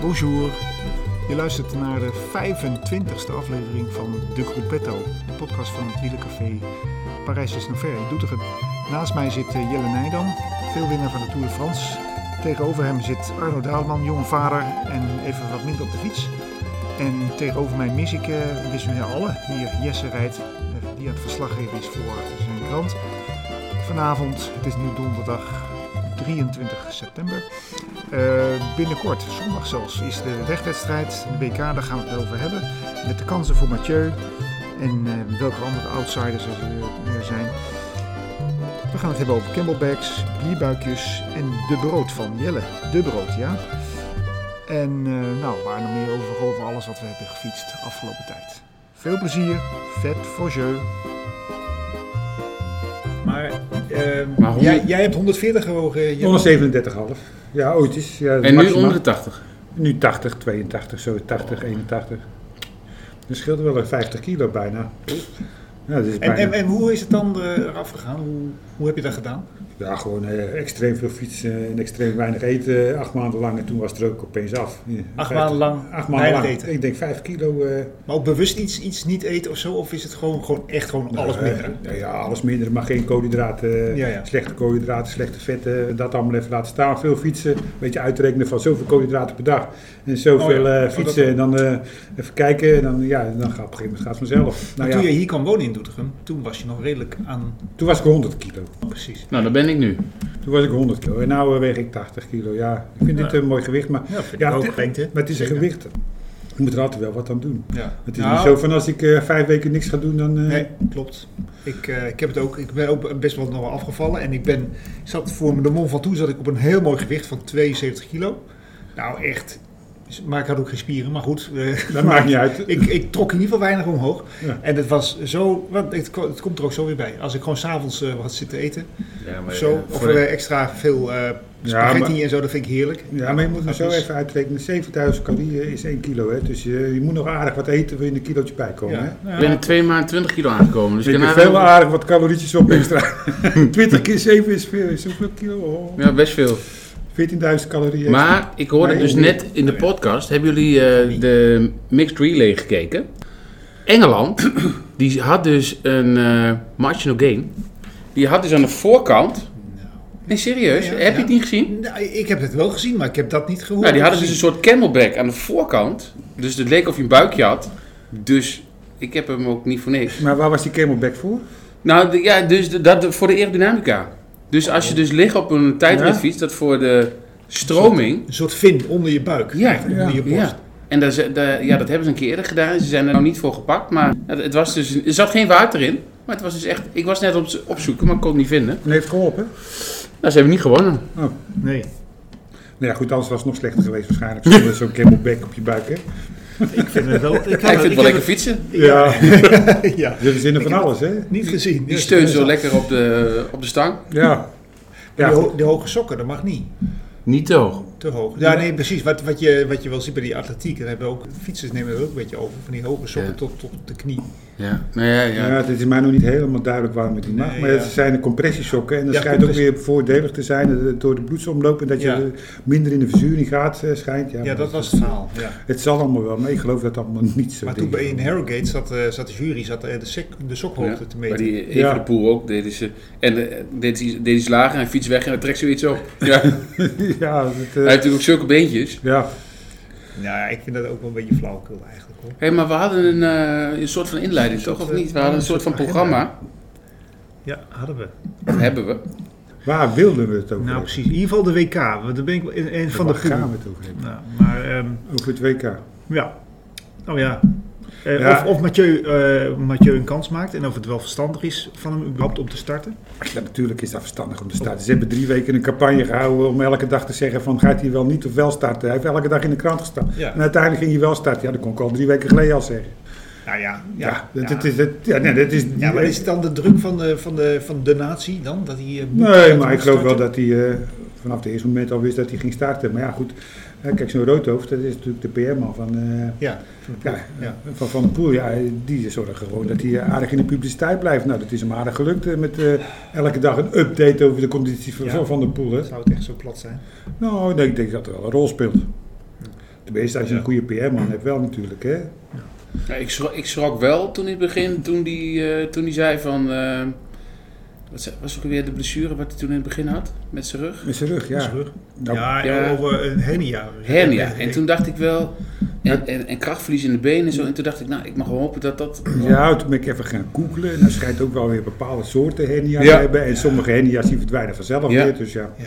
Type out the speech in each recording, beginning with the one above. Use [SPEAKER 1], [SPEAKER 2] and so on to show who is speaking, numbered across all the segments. [SPEAKER 1] Bonjour. Je luistert naar de 25e aflevering van De Gruppetto, de podcast van het wielencafé Parijs is nog ver in Doetinchem. Naast mij zit eh, Jelle Nijdam, veelwinnaar van de Tour de France. Tegenover hem zit Arno Daalman, jonge vader en even wat minder op de fiets. En tegenover mij mis ik eh, Wismina Alle, hier Jesse rijdt, eh, die aan het verslaggeven is voor zijn krant. Vanavond, het is nu donderdag 23 september. Eh, binnenkort, zondag zelfs, is de wegwedstrijd, de WK, daar gaan we het over hebben. Met de kansen voor Mathieu en eh, welke andere outsiders er eh, er zijn. We gaan het hebben over camelbacks, bierbuikjes en de brood van Jelle. De brood, ja. En eh, nou, waar nog meer over, over alles wat we hebben gefietst de afgelopen tijd. Veel plezier, vet voor jeu.
[SPEAKER 2] Maar, eh,
[SPEAKER 3] Maar honderd-
[SPEAKER 2] jij, jij hebt 140 gewogen. Jelle.
[SPEAKER 4] 137,5. Ja, ooit is. Ja,
[SPEAKER 3] En nu
[SPEAKER 4] Eh, maximaal.
[SPEAKER 3] onder de 80.
[SPEAKER 4] Nu 80, 82, zo 80, 81. Dat scheelt wel een 50 kilo bijna. Ja, dat is
[SPEAKER 2] En,
[SPEAKER 4] bijna.
[SPEAKER 2] en, en hoe is het dan eh, eraf gegaan? Hoe, hoe heb je dat gedaan?
[SPEAKER 4] Ja, gewoon eh, extreem veel fietsen en extreem weinig eten. Acht maanden lang en toen was het er ook opeens af. Ja,
[SPEAKER 2] Acht
[SPEAKER 4] vijftig-
[SPEAKER 2] maanden lang
[SPEAKER 4] Acht maanden
[SPEAKER 2] weinig
[SPEAKER 4] lang.
[SPEAKER 2] eten.
[SPEAKER 4] Ik denk 5 kilo. eh,
[SPEAKER 2] Maar ook bewust iets, iets niet eten of zo? Of is het gewoon, gewoon echt gewoon alles
[SPEAKER 4] eh,
[SPEAKER 2] minder?
[SPEAKER 4] nou ja, alles minder, maar geen koolhydraten. eh,
[SPEAKER 2] Ja, ja.
[SPEAKER 4] Slechte koolhydraten, slechte vetten. eh, Dat allemaal even laten staan. Veel fietsen. Een beetje uitrekenen van zoveel koolhydraten per dag. En zoveel
[SPEAKER 2] Oh ja.
[SPEAKER 4] eh,
[SPEAKER 2] Oh,
[SPEAKER 4] fietsen.
[SPEAKER 2] dat-
[SPEAKER 4] En dan eh, even kijken. En dan, ja, dan gaat op een gegeven moment gaat het vanzelf.
[SPEAKER 2] Maar
[SPEAKER 4] Nou ja,
[SPEAKER 2] toen je hier kwam wonen in Doetinchem, toen was je nog redelijk aan...
[SPEAKER 4] toen was ik 100 kilo.
[SPEAKER 2] Precies.
[SPEAKER 3] Nou, daar ben ik nu.
[SPEAKER 4] Toen was ik 100 kilo. En nu weeg ik 80 kilo. Ja, ik vind dit een mooi gewicht. Maar,
[SPEAKER 2] Ja, vind ik
[SPEAKER 4] ja,
[SPEAKER 2] ook
[SPEAKER 4] het-
[SPEAKER 2] gemengd, hè?
[SPEAKER 4] maar het is een
[SPEAKER 2] Zeker.
[SPEAKER 4] gewicht. Je moet er altijd wel wat aan doen.
[SPEAKER 2] Ja.
[SPEAKER 4] Het is
[SPEAKER 2] Nou,
[SPEAKER 4] niet zo van als ik eh, vijf weken niks ga doen, dan... eh,
[SPEAKER 2] Nee, klopt. Ik, eh, ik heb het ook, ik ben ook best wel nog wel afgevallen. En ik ben, ik zat voor de mond van toe zat ik op een heel mooi gewicht van 72 kilo. Nou echt, maar ik had ook geen spieren, maar goed. eh,
[SPEAKER 4] Dat maakt niet uit.
[SPEAKER 2] Ik, ik trok in ieder geval weinig omhoog.
[SPEAKER 4] Ja.
[SPEAKER 2] En het was zo, want het, ko- het komt er ook zo weer bij. Als ik gewoon s'avonds avonds eh, wat zit te eten,
[SPEAKER 3] Ja,
[SPEAKER 2] of zo, of eh, extra veel eh, spaghetti en zo, dat vind ik heerlijk.
[SPEAKER 4] Ja, maar je moet
[SPEAKER 2] me
[SPEAKER 4] nog zo even uitrekenen. 7000 calorieën is 1 kilo, hè. Dus eh, je moet nog aardig wat eten, wil je een kilootje bijkomen, hè.
[SPEAKER 2] Ja.
[SPEAKER 3] Ik ben in twee maanden 20 kilo aangekomen. Dus
[SPEAKER 4] Dus ik heb
[SPEAKER 3] daarna-
[SPEAKER 4] veel aardig wat calorietjes op extra. 20 keer 7 is veel. Is hoeveel kilo? Oh,
[SPEAKER 3] Ja, best veel.
[SPEAKER 4] 14.000 calorieën.
[SPEAKER 3] Maar ik hoorde
[SPEAKER 4] Nee,
[SPEAKER 3] dus
[SPEAKER 4] nee.
[SPEAKER 3] net in de podcast, hebben jullie eh, de Mixed Relay gekeken? Engeland, die had dus een eh marginal gain. Die had dus aan de voorkant... Nee, serieus?
[SPEAKER 2] Ja, ja,
[SPEAKER 3] heb je het
[SPEAKER 2] ja.
[SPEAKER 3] niet gezien?
[SPEAKER 2] Nou, ik heb het wel gezien, maar ik heb dat niet gehoord.
[SPEAKER 3] Nou, die hadden dus een
[SPEAKER 2] Gezien.
[SPEAKER 3] soort camelback aan de voorkant. Dus het leek of je een buikje had. Dus ik heb hem ook niet voor niks.
[SPEAKER 4] Maar waar was die camelback voor?
[SPEAKER 3] Nou de- ja, dus de- dat voor de aerodynamica. Dus als je dus ligt op een tijdritfiets, dat voor de stroming.
[SPEAKER 2] Een soort vin onder je buik,
[SPEAKER 3] Ja,
[SPEAKER 2] eigenlijk, onder je borst.
[SPEAKER 3] Ja. En daar, ze- daar- ja, dat hebben ze een keer eerder gedaan. Ze zijn er nou niet voor gepakt. Maar het, het was dus, er zat geen water in. Maar het was dus echt. Ik was net op het opzoeken, maar ik kon het niet vinden.
[SPEAKER 4] En heeft geholpen?
[SPEAKER 3] Nou, ze hebben niet gewonnen.
[SPEAKER 2] Nee.
[SPEAKER 4] Nou ja, goed, anders was het nog slechter geweest waarschijnlijk. Zonder zo'n camelback op je buik, hè.
[SPEAKER 2] Ik vind het wel... Ik,
[SPEAKER 3] Ja, ik vind het wel lekker
[SPEAKER 2] heb
[SPEAKER 3] fietsen.
[SPEAKER 4] Ja.
[SPEAKER 2] het- ja.
[SPEAKER 4] Er is zin van alles, hè.
[SPEAKER 2] Niet gezien.
[SPEAKER 3] Die steunt zo lekker op de, op de stang.
[SPEAKER 4] Ja.
[SPEAKER 2] De,
[SPEAKER 4] Ja,
[SPEAKER 2] ho- de hoge sokken, dat mag niet.
[SPEAKER 3] Niet te hoog.
[SPEAKER 2] Te hoog. Ja, nee, precies. Wat, wat, je, wat je wel ziet bij die atletiek, en hebben ook, fietsers nemen er ook een beetje over. Van die hoge sokken
[SPEAKER 3] Ja.
[SPEAKER 2] tot, tot de knie.
[SPEAKER 3] Ja. Nou ja,
[SPEAKER 4] Ja,
[SPEAKER 3] ja.
[SPEAKER 4] het is mij nog niet helemaal duidelijk waarom het niet mag.
[SPEAKER 2] Nee,
[SPEAKER 4] maar
[SPEAKER 2] ja.
[SPEAKER 4] het zijn de compressiesokken. En dat
[SPEAKER 2] Ja,
[SPEAKER 4] schijnt ook
[SPEAKER 2] compressie-
[SPEAKER 4] weer voordelig te zijn eh, door de bloedsomloop. En dat je
[SPEAKER 2] Ja.
[SPEAKER 4] eh, minder in de verzuring gaat, eh, schijnt. Ja,
[SPEAKER 2] Ja,
[SPEAKER 4] maar
[SPEAKER 2] dat was het verhaal. Ja.
[SPEAKER 4] Het zal allemaal wel, maar ik geloof dat dat allemaal niet zo
[SPEAKER 2] Maar toen
[SPEAKER 4] ding
[SPEAKER 2] bij
[SPEAKER 4] is.
[SPEAKER 2] in Harrogate zat, eh, zat de jury zat, eh, de, sek, de sokhoogte
[SPEAKER 3] Ja,
[SPEAKER 2] te
[SPEAKER 3] Maar
[SPEAKER 2] meten.
[SPEAKER 3] die even
[SPEAKER 4] Ja.
[SPEAKER 3] de poel ook deden ze. En eh, deed hij deed hij slagen en fiets weg en dan trekt zoiets op. Ja. Hij heeft
[SPEAKER 4] ja, dat, eh,
[SPEAKER 3] natuurlijk ook zulke beentjes.
[SPEAKER 4] ja,
[SPEAKER 2] Nou, ik vind dat ook wel een beetje flauwkul eigenlijk hoor.
[SPEAKER 3] Hé, maar we hadden een, eh, een soort van inleiding,
[SPEAKER 2] Een soort,
[SPEAKER 3] toch? Of
[SPEAKER 2] eh,
[SPEAKER 3] niet? We hadden een
[SPEAKER 2] een
[SPEAKER 3] soort van
[SPEAKER 2] soort
[SPEAKER 3] programma.
[SPEAKER 2] Ja, hadden we.
[SPEAKER 3] Dat hebben we.
[SPEAKER 4] waar wilden we het over
[SPEAKER 2] Nou
[SPEAKER 4] hebben?
[SPEAKER 2] precies, in ieder geval de WK. Want daar ben ik wel in, in van de
[SPEAKER 4] Waar gaan
[SPEAKER 2] groep.
[SPEAKER 4] we het over hebben?
[SPEAKER 2] Nou, maar ehm,
[SPEAKER 4] Over het WK.
[SPEAKER 2] ja, oh ja. Eh,
[SPEAKER 4] Ja.
[SPEAKER 2] Of, of Mathieu, eh, Mathieu een kans maakt en of het wel verstandig is van hem überhaupt om te starten.
[SPEAKER 4] Ja, natuurlijk is dat verstandig om te starten. Ze hebben drie weken een campagne gehouden om elke dag te zeggen van gaat hij wel niet of wel starten. Hij heeft elke dag in de krant gestaan.
[SPEAKER 2] Ja.
[SPEAKER 4] En uiteindelijk ging hij wel starten. Ja, dat kon ik al drie weken geleden al zeggen.
[SPEAKER 2] Nou ja,
[SPEAKER 4] Ja,
[SPEAKER 2] ja.
[SPEAKER 4] dat, dat is, dat, ja, nee, dat is,
[SPEAKER 2] Ja, maar is het dan de druk van de, van de, van de natie dan? Dat hij, eh, moet- dat
[SPEAKER 4] Nee,
[SPEAKER 2] hij
[SPEAKER 4] maar ik
[SPEAKER 2] moet
[SPEAKER 4] geloof wel
[SPEAKER 2] starten?
[SPEAKER 4] dat hij eh, vanaf het eerste moment al wist dat hij ging starten. Maar ja, goed. eh, Kijk, zo'n roodhoofd, dat is natuurlijk de PR-man van, eh,
[SPEAKER 2] Ja, van de ploeg.
[SPEAKER 4] ja,
[SPEAKER 2] ja.
[SPEAKER 4] van Van der Poel. Ja, die zorgen gewoon dat hij eh, aardig in de publiciteit blijft. Nou, dat is hem aardig gelukt eh, met eh, elke dag een update over de conditie van,
[SPEAKER 2] Ja.
[SPEAKER 4] van Van der Poel. Hè.
[SPEAKER 2] Zou het echt zo plat zijn?
[SPEAKER 4] Nou, nee, ik denk dat er wel een rol speelt. De Tenminste, als je een goede PR-man hebt wel natuurlijk, hè.
[SPEAKER 3] Ja, ik, schrok, ik schrok wel toen in het begin, toen die, eh, toen die zei van... eh, wat ze- was ook weer de blessure wat hij toen in het begin had, met zijn rug?
[SPEAKER 4] Met zijn rug, ja.
[SPEAKER 2] Zijn rug.
[SPEAKER 4] Nou,
[SPEAKER 2] ja,
[SPEAKER 3] ja.
[SPEAKER 2] over een hernia.
[SPEAKER 3] Hernia. En toen dacht ik wel... En, en, en krachtverlies in de benen en zo. En toen dacht ik, nou, ik mag wel hopen dat dat...
[SPEAKER 4] Ja, toen ben ik even gaan googlen. En dan schijnt ook wel weer bepaalde soorten hernia's
[SPEAKER 3] Ja.
[SPEAKER 4] te hebben. En sommige hernia's die verdwijnen vanzelf
[SPEAKER 3] Ja.
[SPEAKER 4] weer. Dus ja.
[SPEAKER 2] Ja,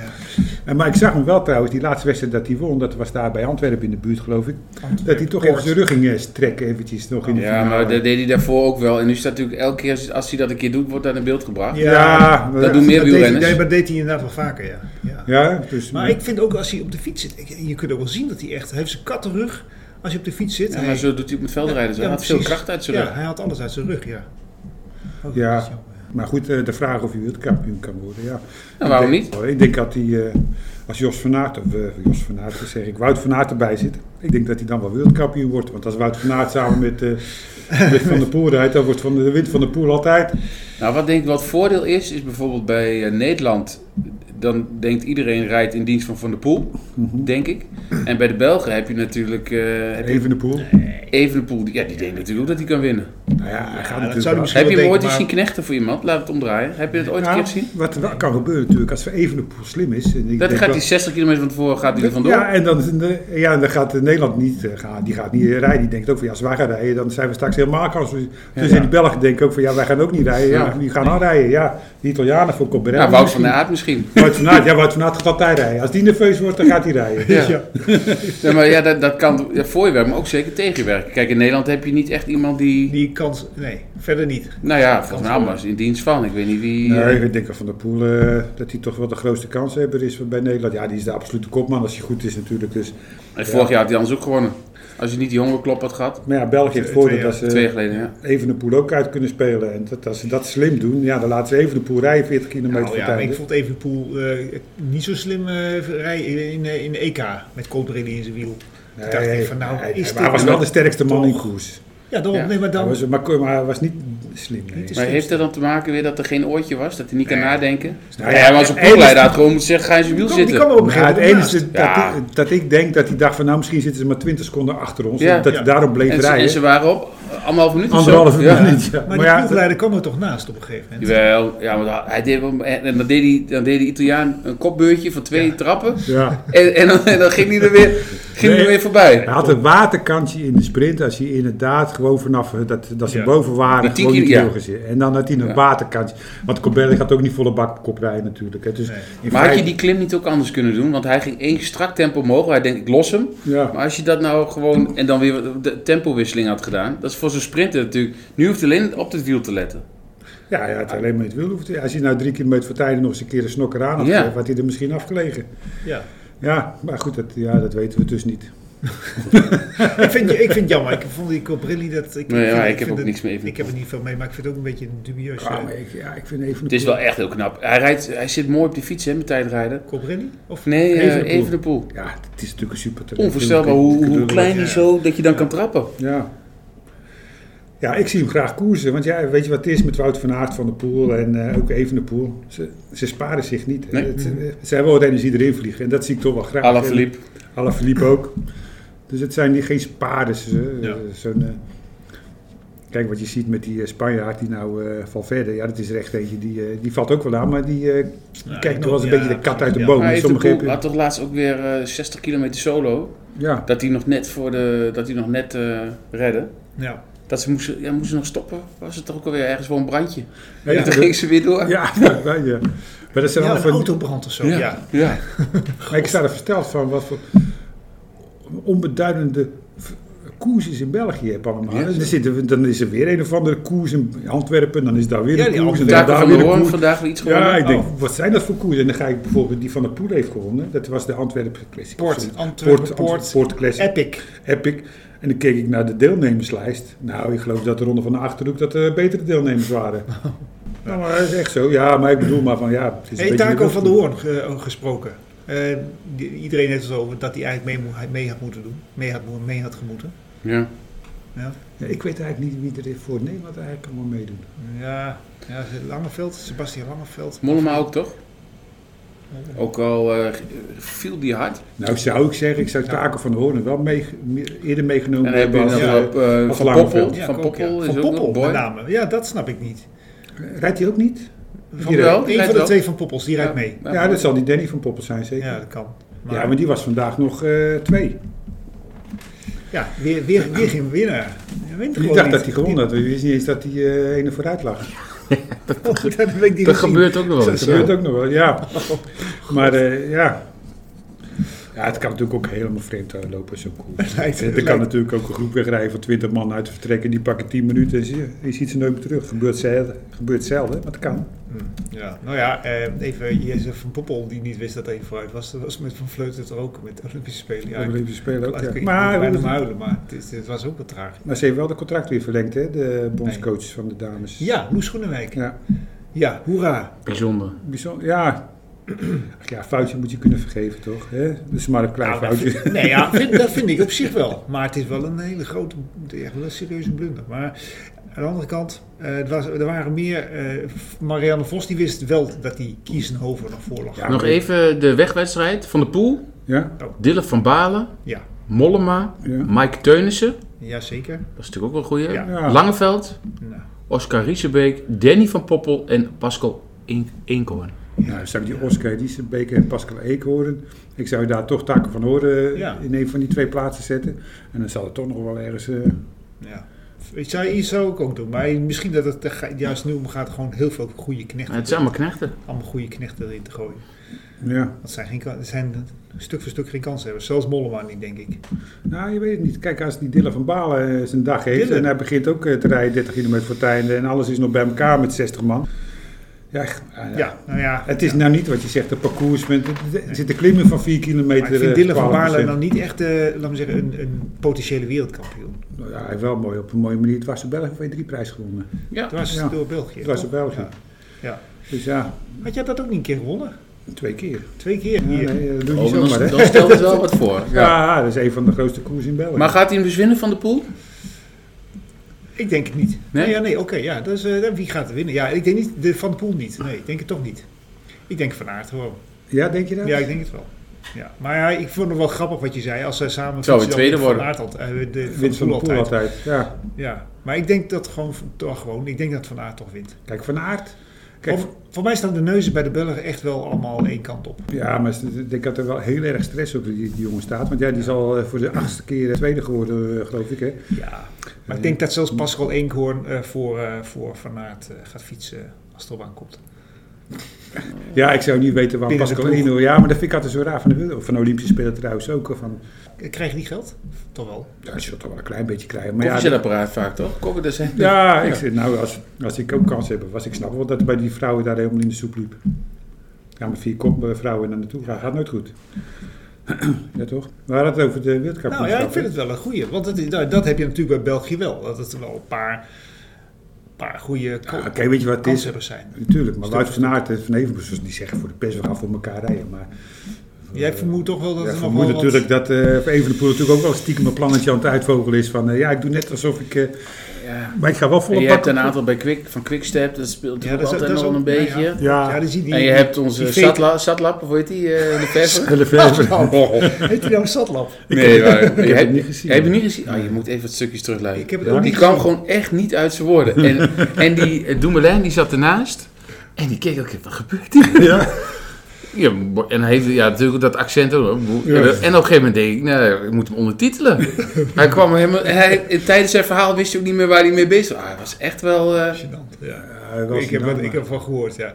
[SPEAKER 4] En, maar ik zag hem wel trouwens, die laatste wedstrijd dat hij won. Dat was daar bij Antwerpen in de buurt, geloof ik. Dat hij toch even zijn rug ging eh, strekken eventjes nog in de
[SPEAKER 3] Ja,
[SPEAKER 4] finale.
[SPEAKER 3] maar dat deed hij daarvoor ook wel. En nu staat natuurlijk elke keer, als- als hij dat een keer doet, wordt dat in beeld gebracht.
[SPEAKER 4] Ja, maar-
[SPEAKER 3] dat doen meer
[SPEAKER 2] dat deed, hij-
[SPEAKER 3] wielrenners.
[SPEAKER 2] nee, maar dat deed hij inderdaad wel vaker, ja. ja.
[SPEAKER 4] Ja, dus...
[SPEAKER 2] Maar ik vind ook als hij op de fiets zit, ik- je kunt ook wel zien dat hij echt, hij heeft zijn kattenrug als je op de fiets zit.
[SPEAKER 3] Ja,
[SPEAKER 2] hij,
[SPEAKER 3] maar zo doet hij het met veldrijden. Hij
[SPEAKER 2] Ja,
[SPEAKER 3] had veel
[SPEAKER 2] precies.
[SPEAKER 3] kracht uit zijn
[SPEAKER 2] ja,
[SPEAKER 3] rug.
[SPEAKER 2] hij had alles uit zijn rug, ja. Oh,
[SPEAKER 4] Ja.
[SPEAKER 2] dat is jammer,
[SPEAKER 4] Maar goed, eh, de vraag of hij wereldkampioen kan worden, ja.
[SPEAKER 3] Nou, waarom
[SPEAKER 4] Ik
[SPEAKER 3] niet?
[SPEAKER 4] denk- Ik denk dat hij, eh, als Jos van Aert, of eh, Jos van Aert, zeg ik, Wout van Aert erbij zit, ik denk dat hij dan wel wereldkampioen wordt. Want als Wout van Aert samen met, eh, met Van der Poel rijdt, dan wordt van de, de wind van de Poel altijd.
[SPEAKER 3] Nou, wat denk ik wat voordeel is, is bijvoorbeeld bij eh, Nederland, dan denkt iedereen rijdt in dienst van Van der Poel,
[SPEAKER 4] Mhm.
[SPEAKER 3] denk ik. En bij de Belgen heb je natuurlijk eh heb je
[SPEAKER 4] Even van de Poel.
[SPEAKER 3] Evenepoel, die- ja, die denkt natuurlijk ook dat hij kan winnen.
[SPEAKER 4] Nou ja, hij
[SPEAKER 2] dat
[SPEAKER 4] gaat natuurlijk
[SPEAKER 2] zou hij
[SPEAKER 4] wel.
[SPEAKER 2] misschien-
[SPEAKER 3] Heb je hem
[SPEAKER 2] denken,
[SPEAKER 3] ooit eens
[SPEAKER 2] maar-
[SPEAKER 3] zien knechten voor iemand? Laat het omdraaien. Heb je dat ooit een
[SPEAKER 4] Nou,
[SPEAKER 3] keer gezien?
[SPEAKER 4] wat er wel kan gebeuren natuurlijk, als Even de Poel slim is. En ik
[SPEAKER 3] Dat
[SPEAKER 4] denk
[SPEAKER 3] gaat
[SPEAKER 4] wel-
[SPEAKER 3] hij 60 kilometer van tevoren gaat hij er vandoor. Nou,
[SPEAKER 4] Ja, en dan, is een- ja, en dan gaat eh, Nederland niet, eh, gaan, die gaat niet rijden. Die denkt ook van ja, als wij gaan rijden, dan zijn we straks helemaal kans. Dus dus in die Belgen denken ook van ja, wij gaan ook niet rijden. Ja,
[SPEAKER 3] Ja.
[SPEAKER 4] wie gaan dan rijden? Ja, die Italianen voor Colbrelli.
[SPEAKER 2] Nou,
[SPEAKER 3] Ja, Wout van
[SPEAKER 4] misschien.
[SPEAKER 3] der Aert misschien.
[SPEAKER 4] Wout van Aert, ja, Wout van Aert gaat altijd rijden. Als die nerveus wordt, dan gaat hij rijden. Dus
[SPEAKER 3] Ja. Ja, maar ja, dat, dat kan ja, voor je werken, maar ook zeker tegen je werken. Kijk, in Nederland heb je niet echt iemand die...
[SPEAKER 2] Die kans, nee, verder niet.
[SPEAKER 3] nou ja, volgens mij allemaal is in dienst van. Ik weet niet wie... eh,
[SPEAKER 4] Nee, ik denk dat Van der Poel eh, dat hij toch wel de grootste kanshebber is bij Nederland. Ja, die is de absolute kopman als hij goed is natuurlijk. Dus,
[SPEAKER 3] en vorig jaar had hij anders ook gewonnen. Als je niet die hongerklop had gehad.
[SPEAKER 4] maar ja, België heeft
[SPEAKER 2] Twee-
[SPEAKER 4] het voordeel
[SPEAKER 2] twee
[SPEAKER 4] dat
[SPEAKER 3] Twee jaar
[SPEAKER 4] ze
[SPEAKER 3] geleden, ja.
[SPEAKER 4] even de Poel ook uit kunnen spelen. En dat, als ze dat slim doen, ja, dan laten ze even de Poel rijden 40 kilometer
[SPEAKER 2] Nou,
[SPEAKER 4] voor
[SPEAKER 2] ja, maar
[SPEAKER 4] tijd.
[SPEAKER 2] ik vond Evenpoel eh niet zo slim eh, rijden in, in, eh, in de EK met Colbrelli in zijn wiel.
[SPEAKER 4] Nee,
[SPEAKER 2] ik dacht echt van, nou,
[SPEAKER 4] hij-
[SPEAKER 2] is
[SPEAKER 4] maar hij
[SPEAKER 2] dit
[SPEAKER 4] was wel de sterkste man in koers.
[SPEAKER 2] Ja, dan,
[SPEAKER 3] Ja.
[SPEAKER 2] nee, maar
[SPEAKER 4] Hij
[SPEAKER 2] dan...
[SPEAKER 4] was, maar, maar hij was niet slim. Nee.
[SPEAKER 2] Niet te
[SPEAKER 3] Maar heeft dat dan te maken weer dat er geen oortje was? Dat hij niet kan nadenken?
[SPEAKER 4] Nou
[SPEAKER 3] ja,
[SPEAKER 4] ja,
[SPEAKER 3] hij was een
[SPEAKER 4] en- en-
[SPEAKER 3] ploegleider, had gewoon moeten zeggen, ga in zijn wiel
[SPEAKER 2] Die kwam- die
[SPEAKER 3] zitten.
[SPEAKER 2] kwam er op een
[SPEAKER 4] Maar
[SPEAKER 2] gegeven
[SPEAKER 4] het
[SPEAKER 2] moment
[SPEAKER 4] enige
[SPEAKER 2] naast.
[SPEAKER 4] dat,
[SPEAKER 3] Ja.
[SPEAKER 4] ik, dat ik denk dat hij dacht van nou misschien zitten ze maar 20 seconden achter ons.
[SPEAKER 3] Ja.
[SPEAKER 4] en Dat
[SPEAKER 2] Ja.
[SPEAKER 4] hij daarom bleef
[SPEAKER 3] en, ze, en
[SPEAKER 4] rijden.
[SPEAKER 3] ze waren op eh, anderhalf minuut of zo.
[SPEAKER 4] Anderhalve
[SPEAKER 3] Ja.
[SPEAKER 4] minuut. Ja.
[SPEAKER 2] Maar,
[SPEAKER 4] Maar,
[SPEAKER 2] die
[SPEAKER 4] ja,
[SPEAKER 2] ploegleider kwam er toch naast op een gegeven moment.
[SPEAKER 3] Jawel, ja, maar hij deed, wel- en dan deed, hij, dan deed de Italiaan een kopbeurtje van twee trappen.
[SPEAKER 4] ja.
[SPEAKER 3] En, en, dan, en dan ging hij er weer, ging hij
[SPEAKER 4] Nee.
[SPEAKER 3] er weer voorbij.
[SPEAKER 4] Hij had een waterkantje in de sprint als hij inderdaad gewoon vanaf eh, dat, dat ze
[SPEAKER 2] Ja.
[SPEAKER 4] boven
[SPEAKER 3] Die
[SPEAKER 4] waren
[SPEAKER 3] tien
[SPEAKER 4] gewoon niet
[SPEAKER 3] kilo,
[SPEAKER 4] heel
[SPEAKER 3] ja.
[SPEAKER 4] gezien. En dan had hij een
[SPEAKER 3] Ja.
[SPEAKER 4] waterkantje. Want Corbelli gaat ook niet volle bak op kop rijden natuurlijk. Hè. Dus
[SPEAKER 2] Nee.
[SPEAKER 4] in
[SPEAKER 3] Maar had je
[SPEAKER 4] feite-
[SPEAKER 3] die klim niet ook anders kunnen doen? Want hij ging één strak tempo omhoog. Hij denkt, ik los hem.
[SPEAKER 4] Ja.
[SPEAKER 3] Maar als je dat nou gewoon en dan weer wat- de tempowisseling had gedaan. Dat is voor zo'n sprinter natuurlijk. Nu hoeft hij alleen op het wiel te letten.
[SPEAKER 4] Ja, ja, het alleen maar in het wiel hoeft. hij- Als hij nou drie kilometer voor tijden nog eens een keer een snokker aan had,
[SPEAKER 3] Ja.
[SPEAKER 4] gegeven, had hij er misschien afgelegen.
[SPEAKER 2] Ja.
[SPEAKER 4] Ja, maar goed, dat, ja, dat weten we dus niet.
[SPEAKER 2] ik, vind, ik vind het jammer. Ik vond die Cobrilli dat... Ik,
[SPEAKER 3] Nee,
[SPEAKER 2] vind-
[SPEAKER 3] maar ik Ah,
[SPEAKER 2] vind
[SPEAKER 3] heb ook
[SPEAKER 2] het-
[SPEAKER 3] niks met Evenepoel.
[SPEAKER 2] Ik heb er niet veel mee, maar ik vind het ook een beetje een dubieus.
[SPEAKER 4] Ja,
[SPEAKER 2] eh,
[SPEAKER 4] maar ik, ja, ik vind even...
[SPEAKER 3] Het is wel echt heel knap. Hij, rijdt, hij zit mooi op die fiets hè, met tijdrijden.
[SPEAKER 2] Cobrilli? Of
[SPEAKER 3] Nee,
[SPEAKER 4] Evenepoel.
[SPEAKER 3] even de poel.
[SPEAKER 4] Ja, het is natuurlijk een super talent.
[SPEAKER 3] Onvoorstelbaar hoe, hoe
[SPEAKER 4] Natuurlijk.
[SPEAKER 3] klein hij zo dat je dan kan trappen.
[SPEAKER 4] Ja. Ja, ik zie hem graag koersen. Want ja, weet je wat het is met Wout van Aert van de Poel en eh, ook even de Poel? Ze, ze sparen zich niet. hè.
[SPEAKER 3] Nee.
[SPEAKER 4] Het- eh, ze hebben wel wat energie erin vliegen. En dat zie ik toch wel graag.
[SPEAKER 3] Alla Philippe.
[SPEAKER 4] Oh, Alaphilippe ook. Dus het zijn die, geen spaarders. hè.
[SPEAKER 2] Ja.
[SPEAKER 4] Zo'n, eh, kijk wat je ziet met die eh, Spanjaard die nou eh, Valverde. Ja, dat is er echt eentje. Die, eh, die valt ook wel aan, maar die eh,
[SPEAKER 2] Ja,
[SPEAKER 4] kijkt
[SPEAKER 2] ik
[SPEAKER 4] nog wel eens een
[SPEAKER 2] ook,
[SPEAKER 4] beetje
[SPEAKER 2] ja,
[SPEAKER 4] de kat uit de
[SPEAKER 2] ja.
[SPEAKER 4] boom.
[SPEAKER 3] Hij heeft de
[SPEAKER 4] Sommige
[SPEAKER 3] poel,
[SPEAKER 4] hebben-
[SPEAKER 3] had toch laatst ook weer eh, 60 kilometer solo.
[SPEAKER 4] ja.
[SPEAKER 3] Dat hij nog net, voor de, dat hij nog net eh, redde.
[SPEAKER 2] ja.
[SPEAKER 3] Dat ze moesten, ja, moesten nog stoppen. Was het toch ook alweer ergens voor een brandje?
[SPEAKER 4] Ja,
[SPEAKER 3] en toen ging ze weer door.
[SPEAKER 4] Ja, ja, ja, ja. Maar dat zijn
[SPEAKER 2] ja,
[SPEAKER 4] allemaal
[SPEAKER 2] een
[SPEAKER 4] van,
[SPEAKER 2] autobrand of zo. Ja.
[SPEAKER 3] ja. ja.
[SPEAKER 4] Maar ik sta er versteld van wat voor onbeduidende v- koersjes in België heb allemaal.
[SPEAKER 3] Ja,
[SPEAKER 4] En dan, zitten we, dan is er weer een of andere koers in Antwerpen, dan is daar weer
[SPEAKER 2] Ja,
[SPEAKER 4] een
[SPEAKER 2] die
[SPEAKER 4] koers en dan
[SPEAKER 3] Taco
[SPEAKER 4] daar
[SPEAKER 3] van de
[SPEAKER 4] weer een
[SPEAKER 3] Hoorn
[SPEAKER 4] koers.
[SPEAKER 3] vandaag weer iets gewonnen.
[SPEAKER 4] Ja, ik denk,
[SPEAKER 2] Oh.
[SPEAKER 4] wat zijn dat voor koersen? En dan ga ik bijvoorbeeld die van de Poel heeft gewonnen. Dat was de Antwerpen Classic.
[SPEAKER 2] Poort,
[SPEAKER 4] Of zoiets.
[SPEAKER 2] Antwerpen Poort,
[SPEAKER 4] Antwerpen Poort Classic.
[SPEAKER 2] Epic.
[SPEAKER 4] Epic. En dan keek ik naar de deelnemerslijst. Nou, ik geloof dat de Ronde van de Achterhoek dat er betere deelnemers waren. Nou, maar dat is echt zo. Ja, maar ik bedoel maar van ja. Het is een
[SPEAKER 2] Hey,
[SPEAKER 4] beetje
[SPEAKER 2] Taco van der
[SPEAKER 4] luchtkoek.
[SPEAKER 2] Hoorn eh, gesproken. Eh, die- iedereen heeft het over dat hij eigenlijk mee, mo- mee had moeten doen. Mee had, mo- mee had gemoeten.
[SPEAKER 3] Ja.
[SPEAKER 2] Ja,
[SPEAKER 4] Ja, ik weet eigenlijk niet wie er voor Nederland eigenlijk allemaal meedoet.
[SPEAKER 2] ja, ja Langeveld, Sebastian Langeveld.
[SPEAKER 3] Mollema ook toch? Ook al eh, viel die hard.
[SPEAKER 4] Nou, zou ik zeggen, ik zou Taco van Hoorn wel mee, meer- eerder meegenomen
[SPEAKER 3] En dan heb je
[SPEAKER 4] hebben.
[SPEAKER 3] nog
[SPEAKER 2] ja,
[SPEAKER 4] als, eh,
[SPEAKER 3] op, eh,
[SPEAKER 4] als
[SPEAKER 3] Van
[SPEAKER 4] Langeveld.
[SPEAKER 3] Poppel.
[SPEAKER 2] Ja,
[SPEAKER 3] van
[SPEAKER 2] ik ook, ja.
[SPEAKER 3] Poppel is
[SPEAKER 2] Van
[SPEAKER 3] ook
[SPEAKER 2] Poppel
[SPEAKER 3] een
[SPEAKER 2] met
[SPEAKER 3] boy.
[SPEAKER 2] name. Ja, dat snap ik niet.
[SPEAKER 4] Rijdt hij ook niet?
[SPEAKER 2] Die
[SPEAKER 3] wel,
[SPEAKER 2] rijdt-
[SPEAKER 3] die
[SPEAKER 2] Een
[SPEAKER 3] rijdt
[SPEAKER 2] van de
[SPEAKER 3] wel.
[SPEAKER 2] twee van Poppels, die rijdt mee.
[SPEAKER 4] Ja,
[SPEAKER 3] dus-
[SPEAKER 4] dat zal die Danny van Poppel zijn, zeker.
[SPEAKER 2] Ja,
[SPEAKER 4] Ja,
[SPEAKER 2] dat kan.
[SPEAKER 4] maar,
[SPEAKER 2] Maar,
[SPEAKER 4] die was vandaag nog eh, twee.
[SPEAKER 2] ja, weer, weer, weer geen winnaar. Je wint
[SPEAKER 4] Ik
[SPEAKER 2] gewoon
[SPEAKER 4] dacht
[SPEAKER 2] niet.
[SPEAKER 4] dat hij gewonnen had. We wisten niet eens dat hij eh ene vooruit lag.
[SPEAKER 2] Oh, goed, dat weet ik niet
[SPEAKER 3] Dat
[SPEAKER 2] gezien.
[SPEAKER 3] gebeurt ook nog wel
[SPEAKER 4] Dat
[SPEAKER 3] eens.
[SPEAKER 4] gebeurt
[SPEAKER 3] ja.
[SPEAKER 4] ook nog wel, ja.
[SPEAKER 2] Oh,
[SPEAKER 4] Maar eh, ja. ja, het kan natuurlijk ook helemaal vreemd eh, lopen, zo'n koers.
[SPEAKER 2] lijkt- het
[SPEAKER 4] Er kan
[SPEAKER 2] lijkt-
[SPEAKER 4] natuurlijk ook een groep wegrijden van 20 man uit te vertrekken. Die pakken 10 minuten en je, je ziet ze nooit meer terug. Gebeurt zelden, gebeurt zelden maar het kan.
[SPEAKER 2] Ja, nou ja, eh, even Jezus van Poppel, die niet wist dat hij vooruit was. Dat was met Van Vleuten toch ook, met de Olympische Spelen. Ja,
[SPEAKER 4] Ja,
[SPEAKER 2] ik-
[SPEAKER 4] spelen ook,
[SPEAKER 2] laat ik-
[SPEAKER 4] ja.
[SPEAKER 2] ik maar,
[SPEAKER 4] Maar, eh,
[SPEAKER 2] bijna maar huilen, maar het, is- het was ook wat traag.
[SPEAKER 4] maar ze heeft wel de contract weer verlengd, hè? De bondscoach van de dames.
[SPEAKER 2] Ja, Loes Groenewijk.
[SPEAKER 4] Ja,
[SPEAKER 2] Ja, hoera.
[SPEAKER 3] Bijzonder.
[SPEAKER 4] bijzonder. Ja. Ach Ja, foutje moet je kunnen vergeven, toch? Hè? Dat is maar een klein
[SPEAKER 2] Nou, dat
[SPEAKER 4] foutje.
[SPEAKER 2] vind, nee, ja, vind- dat vind ik op zich wel. Maar het is wel een hele grote, echt wel een serieuze blunder. Maar aan de andere kant, eh, er, was, er waren meer... eh, Marianne Vos, die wist wel dat die Kiezenhoven nog voor lag.
[SPEAKER 4] Ja.
[SPEAKER 3] Nog even de wegwedstrijd. Van de Poel,
[SPEAKER 4] Ja,
[SPEAKER 3] Dille van Balen,
[SPEAKER 2] Ja,
[SPEAKER 3] Mollema,
[SPEAKER 4] ja.
[SPEAKER 3] Mike Teunissen.
[SPEAKER 2] ja zeker.
[SPEAKER 3] Dat is natuurlijk ook wel een goeie.
[SPEAKER 2] Ja.
[SPEAKER 4] Ja.
[SPEAKER 3] Langeveld,
[SPEAKER 2] Nou,
[SPEAKER 3] Oscar Riesebeek, Danny van Poppel en Pascal In- Inkoorn.
[SPEAKER 4] Nou, zou ik die Oscar Riesenbeek en Pascal Eekhoorn... Ik zou daar toch taken van horen
[SPEAKER 2] Ja.
[SPEAKER 4] in een van die twee plaatsen zetten. En dan zal het toch nog wel ergens... eh,
[SPEAKER 2] Ja. Ik zou, ik zou ik ook doen, maar misschien dat het er ga- juist nu om gaat gewoon heel veel goede knechten.
[SPEAKER 3] het zijn allemaal knechten.
[SPEAKER 2] allemaal goede knechten erin te gooien.
[SPEAKER 4] ja.
[SPEAKER 2] Dat zijn, geen, ka- dat zijn stuk voor stuk geen kansen hebben. Zelfs Mollema niet, denk ik.
[SPEAKER 4] Nou, je weet het niet. Kijk, als die Dylan van Balen eh, zijn dag heeft...
[SPEAKER 2] Dylan.
[SPEAKER 4] en hij begint ook eh, te rijden 30 kilometer voor het einde... en alles is nog bij elkaar met 60 man. Ja, echt, ah, ja.
[SPEAKER 2] Ja, nou ja.
[SPEAKER 4] Het is nou niet wat je zegt, de parcours. Met, er zitten klimmen van 4 kilometer.
[SPEAKER 2] maar ik vind
[SPEAKER 4] eh,
[SPEAKER 2] Dylan van
[SPEAKER 4] 12%.
[SPEAKER 2] Baarle dan niet echt, eh laten we zeggen, een, een potentiële wereldkampioen.
[SPEAKER 4] Nou ja, hij heeft wel mooi op een mooie manier. Het was de België V3 prijs gewonnen.
[SPEAKER 3] Ja.
[SPEAKER 2] Het was
[SPEAKER 4] Ja.
[SPEAKER 2] door België.
[SPEAKER 4] Het was
[SPEAKER 2] toch?
[SPEAKER 4] door België.
[SPEAKER 2] Ja. Ja.
[SPEAKER 4] Dus ja,
[SPEAKER 2] Had jij dat ook niet een keer gewonnen?
[SPEAKER 4] twee keer.
[SPEAKER 2] Twee keer
[SPEAKER 4] Ja,
[SPEAKER 2] hier.
[SPEAKER 4] nee, dat doe je
[SPEAKER 3] Oh,
[SPEAKER 4] niet
[SPEAKER 3] dan,
[SPEAKER 4] zomaar, hè?
[SPEAKER 3] dan stelt het wel wat voor. Ja.
[SPEAKER 4] Ja, Ah, dat is een van de grootste koers in België.
[SPEAKER 3] Maar gaat hij hem dus winnen van de poel?
[SPEAKER 2] Ik denk het niet.
[SPEAKER 3] Nee?
[SPEAKER 2] Nee, ja, nee oké. ja. Dus, eh, dan wie gaat er winnen? Ja, ik denk niet de Van de Poel niet. Nee, ik denk het toch niet. Ik denk Van Aert gewoon.
[SPEAKER 4] ja, denk je dat?
[SPEAKER 2] Ja, ik denk het wel. Ja. Maar ja, ik vond het wel grappig wat je zei. Als zij samen
[SPEAKER 3] Zou
[SPEAKER 2] fietsen,
[SPEAKER 3] weer
[SPEAKER 2] dan
[SPEAKER 3] tweede
[SPEAKER 2] Van Aert altijd, eh, de,
[SPEAKER 4] Wint van de
[SPEAKER 2] altijd.
[SPEAKER 4] Poel altijd. Ja.
[SPEAKER 2] Ja. Maar ik denk dat gewoon, toch gewoon, ik denk dat Van Aert toch wint.
[SPEAKER 4] Kijk, Van Aert. Kijk,
[SPEAKER 2] Of- voor mij staan de neuzen bij de Belgen echt wel allemaal één kant op.
[SPEAKER 4] ja, maar ik denk dat er wel heel erg stress op die, die jongen staat. Want ja, die is al eh, voor de achtste keer eh, tweede geworden, eh, geloof ik. Hè?
[SPEAKER 2] Ja. Maar ik denk dat zelfs Pascal Eenkhoorn eh, voor, eh, voor Van Aert eh, gaat fietsen als het erop aankomt.
[SPEAKER 4] Ja, ik zou niet weten waarom
[SPEAKER 2] Binnen de
[SPEAKER 4] Pascal
[SPEAKER 2] ploeg.
[SPEAKER 4] Eno. Ja, maar dat vind ik altijd zo raar van de Wilde. Van de Olympische Spelen trouwens ook. hoor, Van,
[SPEAKER 2] Eh, Krijg je die geld? Toch wel.
[SPEAKER 4] ja, je zult toch wel een klein beetje krijgen. Maar ja,
[SPEAKER 3] Koffiezetapparaat vaak toch? Koffie,
[SPEAKER 2] dus,
[SPEAKER 3] dat zijn
[SPEAKER 4] ja, ik zeg, nou, als, als ik ook kans hebben was, ik snap wel dat bij die vrouwen daar helemaal in de soep liep. Ja, maar vier kop eh, vrouwen naar naartoe gaan gaat nooit goed. ja, toch? We hadden het over de
[SPEAKER 2] Nou
[SPEAKER 4] wereldkampioenschap.
[SPEAKER 2] ja, ik vind het wel een goeie. Want dat, is- nou, dat heb je natuurlijk bij België wel. Dat het wel een paar, paar goede ko-
[SPEAKER 4] Oké, weet je wat het is?
[SPEAKER 2] kanshebbers zijn.
[SPEAKER 4] Natuurlijk, maar Wout van Aert en Van Evenbos, die zeggen voor de pers, we gaan voor elkaar rijden. Maar
[SPEAKER 2] Jij vermoedt toch wel dat
[SPEAKER 4] Ja,
[SPEAKER 2] er
[SPEAKER 4] ik
[SPEAKER 2] nog
[SPEAKER 4] vermoed
[SPEAKER 2] wel wat...
[SPEAKER 4] natuurlijk dat eh Even de Poel natuurlijk ook wel stiekem een plannetje aan het uitvogelen is. Van eh, ja, ik doe net alsof ik. eh,
[SPEAKER 3] Ja.
[SPEAKER 4] maar ik ga wel volle
[SPEAKER 3] En je
[SPEAKER 4] pak
[SPEAKER 3] hebt eh, een
[SPEAKER 4] op-
[SPEAKER 3] aantal bij Quick, van Quickstep, dat speelt
[SPEAKER 2] Ja,
[SPEAKER 3] ook
[SPEAKER 2] dat is-
[SPEAKER 3] altijd
[SPEAKER 2] dat is
[SPEAKER 3] nog
[SPEAKER 2] ook-
[SPEAKER 3] een beetje.
[SPEAKER 2] ja, Ja,
[SPEAKER 4] Ja,
[SPEAKER 2] dan zie je die,
[SPEAKER 3] En je
[SPEAKER 2] die-
[SPEAKER 3] hebt
[SPEAKER 2] die
[SPEAKER 3] onze
[SPEAKER 2] fake-
[SPEAKER 3] Satla, Satlap, hoe heet die? eh, de verver?
[SPEAKER 4] Hele verven.
[SPEAKER 2] Heet hij nou een satlap?
[SPEAKER 3] Nee, waar- heb
[SPEAKER 4] heb het niet gezien.
[SPEAKER 3] Heb je niet gezien? Ah, je moet even wat stukjes
[SPEAKER 2] Ik
[SPEAKER 3] terugluisteren.
[SPEAKER 2] heb het
[SPEAKER 4] Ja.
[SPEAKER 2] ook
[SPEAKER 4] Die
[SPEAKER 2] niet
[SPEAKER 3] Die kwam gewoon echt niet uit zijn woorden. En, en die eh, Doemelijn, die zat ernaast. En die keek ook, wat gebeurt hier?
[SPEAKER 4] Ja.
[SPEAKER 3] Ja, bo- en hij heeft ja, natuurlijk dat accent ook. hoor. Bo- En op een gegeven moment denk ik, nou, ik moet hem ondertitelen. hij kwam helemaal, en hij, tijdens zijn verhaal wist hij ook niet meer waar hij mee bezig was. Ah, hij was echt wel... eh,
[SPEAKER 2] Gênant, ja.
[SPEAKER 4] hij was
[SPEAKER 2] ik, heb,
[SPEAKER 4] een
[SPEAKER 2] er-
[SPEAKER 4] naam,
[SPEAKER 2] ik heb ervan gehoord, ja.
[SPEAKER 4] Hij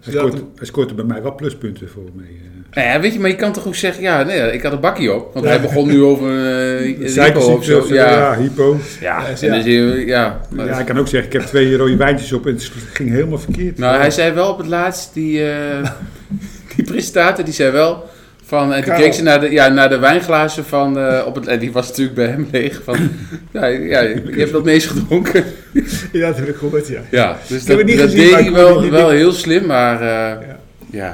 [SPEAKER 2] Ze
[SPEAKER 4] scoort,
[SPEAKER 2] zaten-
[SPEAKER 4] hij scoort er bij mij wel pluspunten voor mee. eh.
[SPEAKER 3] nou ja, weet je, maar je kan toch ook zeggen, ja, nee, ik had een bakkie op. Want hij begon nu over eh Zico of
[SPEAKER 4] Suikerziekte
[SPEAKER 3] zo.
[SPEAKER 4] of zo,
[SPEAKER 3] Ja,
[SPEAKER 4] ja, hypo.
[SPEAKER 3] ja.
[SPEAKER 2] Ja,
[SPEAKER 3] En dus, hij- ja. Maar-
[SPEAKER 4] Ja, ik kan ook zeggen, ik heb twee rode wijntjes op en het ging helemaal verkeerd.
[SPEAKER 3] Nou, hij zei wel op het laatst, die, eh, die presentator, die zei wel van... En toen
[SPEAKER 2] Karel.
[SPEAKER 3] keek ze naar de, ja, naar de wijnglazen van... eh, op het, en die was natuurlijk bij hem leeg. Van, ja, ja, je hebt dat meest gedronken.
[SPEAKER 2] Ja, dat heb ik gehoord, ja.
[SPEAKER 3] Ja, dus
[SPEAKER 2] heb
[SPEAKER 3] dat,
[SPEAKER 2] het niet
[SPEAKER 3] dat
[SPEAKER 2] gezien,
[SPEAKER 3] deed
[SPEAKER 2] maar
[SPEAKER 3] hij
[SPEAKER 2] ik
[SPEAKER 3] wel,
[SPEAKER 2] hoorde die-
[SPEAKER 3] wel heel slim, maar... eh,
[SPEAKER 2] Ja.
[SPEAKER 3] ja.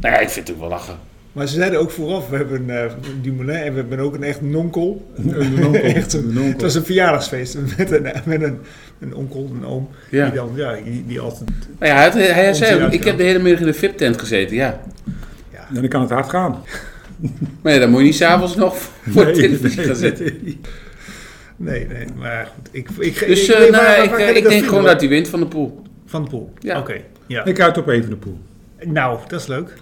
[SPEAKER 3] Nou ja, ik vind het ook wel lachen.
[SPEAKER 2] Maar ze zeiden ook vooraf, we hebben eh, een Dumoulin en we hebben ook een echt nonkel.
[SPEAKER 4] Een onkel,
[SPEAKER 2] Echt een-
[SPEAKER 4] een onkel.
[SPEAKER 2] Het was een verjaardagsfeest met een, met een, een onkel, een oom.
[SPEAKER 3] Ja.
[SPEAKER 2] Die dan, ja, die, die altijd...
[SPEAKER 3] Nou ja, hij, hij
[SPEAKER 2] Onzin
[SPEAKER 3] zei ook,
[SPEAKER 2] uitgaan.
[SPEAKER 3] ik heb de hele middag in de VIP-tent gezeten, ja.
[SPEAKER 2] Ja,
[SPEAKER 4] En dan kan het hard gaan.
[SPEAKER 3] Maar ja, dan moet je niet s'avonds nog voor de televisie gaan zitten.
[SPEAKER 2] Nee, nee, maar goed. Ik, ik,
[SPEAKER 3] Dus eh,
[SPEAKER 2] weet
[SPEAKER 3] nou,
[SPEAKER 2] waar- waar
[SPEAKER 3] ik,
[SPEAKER 2] kan
[SPEAKER 3] eh,
[SPEAKER 2] ik
[SPEAKER 3] ik
[SPEAKER 2] dat
[SPEAKER 3] denk gewoon
[SPEAKER 2] vinden,
[SPEAKER 3] dat hij wint van de pool.
[SPEAKER 2] hoor? Van de Poel.
[SPEAKER 3] Ja.
[SPEAKER 2] Oké. Ja.
[SPEAKER 4] Ik uit op Evenepoel.
[SPEAKER 2] Nou, dat is leuk.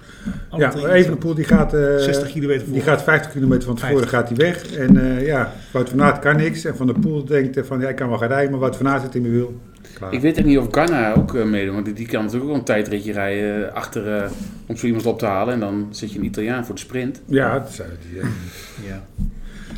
[SPEAKER 2] Alle
[SPEAKER 4] Ja,
[SPEAKER 2] drie
[SPEAKER 4] maar Evenepoel die gaat, eh,
[SPEAKER 2] 60 Oh, kilometer voor.
[SPEAKER 4] die gaat 50 kilometer van tevoren gaat hij weg. En eh, ja, Wout van Aert kan niks. En Van der Poel denkt eh, van, ja, ik kan wel gaan rijden, maar Wout van Aert zit in mijn wiel. Klaar.
[SPEAKER 3] Ik weet echt niet of Ghana ook eh, meedoet, want die kan natuurlijk ook een tijdritje rijden eh, achter eh, om zo iemand op te halen. En dan zit je een Italiaan voor de sprint.
[SPEAKER 4] Ja, dat zou die, eh,
[SPEAKER 2] Ja.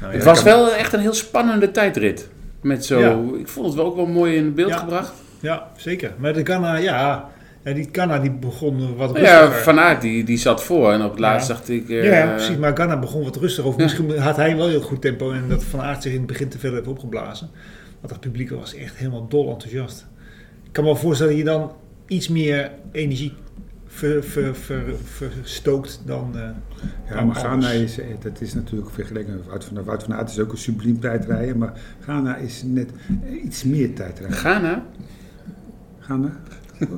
[SPEAKER 2] Nou,
[SPEAKER 3] Het
[SPEAKER 2] ja.
[SPEAKER 3] was wel echt een heel spannende tijdrit. Met zo,
[SPEAKER 2] Ja.
[SPEAKER 3] Ik vond het wel ook wel mooi in beeld
[SPEAKER 2] Ja.
[SPEAKER 3] gebracht.
[SPEAKER 2] Ja, zeker. Maar de Ghana, ja. ja die Ghana die begon eh, wat
[SPEAKER 3] Nou ja,
[SPEAKER 2] rustiger.
[SPEAKER 3] Van Aert die, die zat voor en op het laatst dacht ik... eh,
[SPEAKER 2] Ja, ja, precies. Maar Ghana begon wat rustig. Of
[SPEAKER 3] Ja.
[SPEAKER 2] misschien had hij wel heel goed tempo en dat Van Aert zich in het begin te veel heeft opgeblazen. Want dat publiek was echt helemaal dol enthousiast. Ik kan me wel voorstellen dat je dan iets meer energie ver, ver, ver- verstookt dan... eh,
[SPEAKER 4] Ja,
[SPEAKER 2] dan
[SPEAKER 4] maar Ghana
[SPEAKER 2] anders.
[SPEAKER 4] is, eh, dat is natuurlijk vergeleken met Wout van Aert. Wout van Aert is ook een subliem tijdrijder, maar Ghana is net eh, iets meer tijdrijder.
[SPEAKER 3] Ghana?
[SPEAKER 4] Ghana?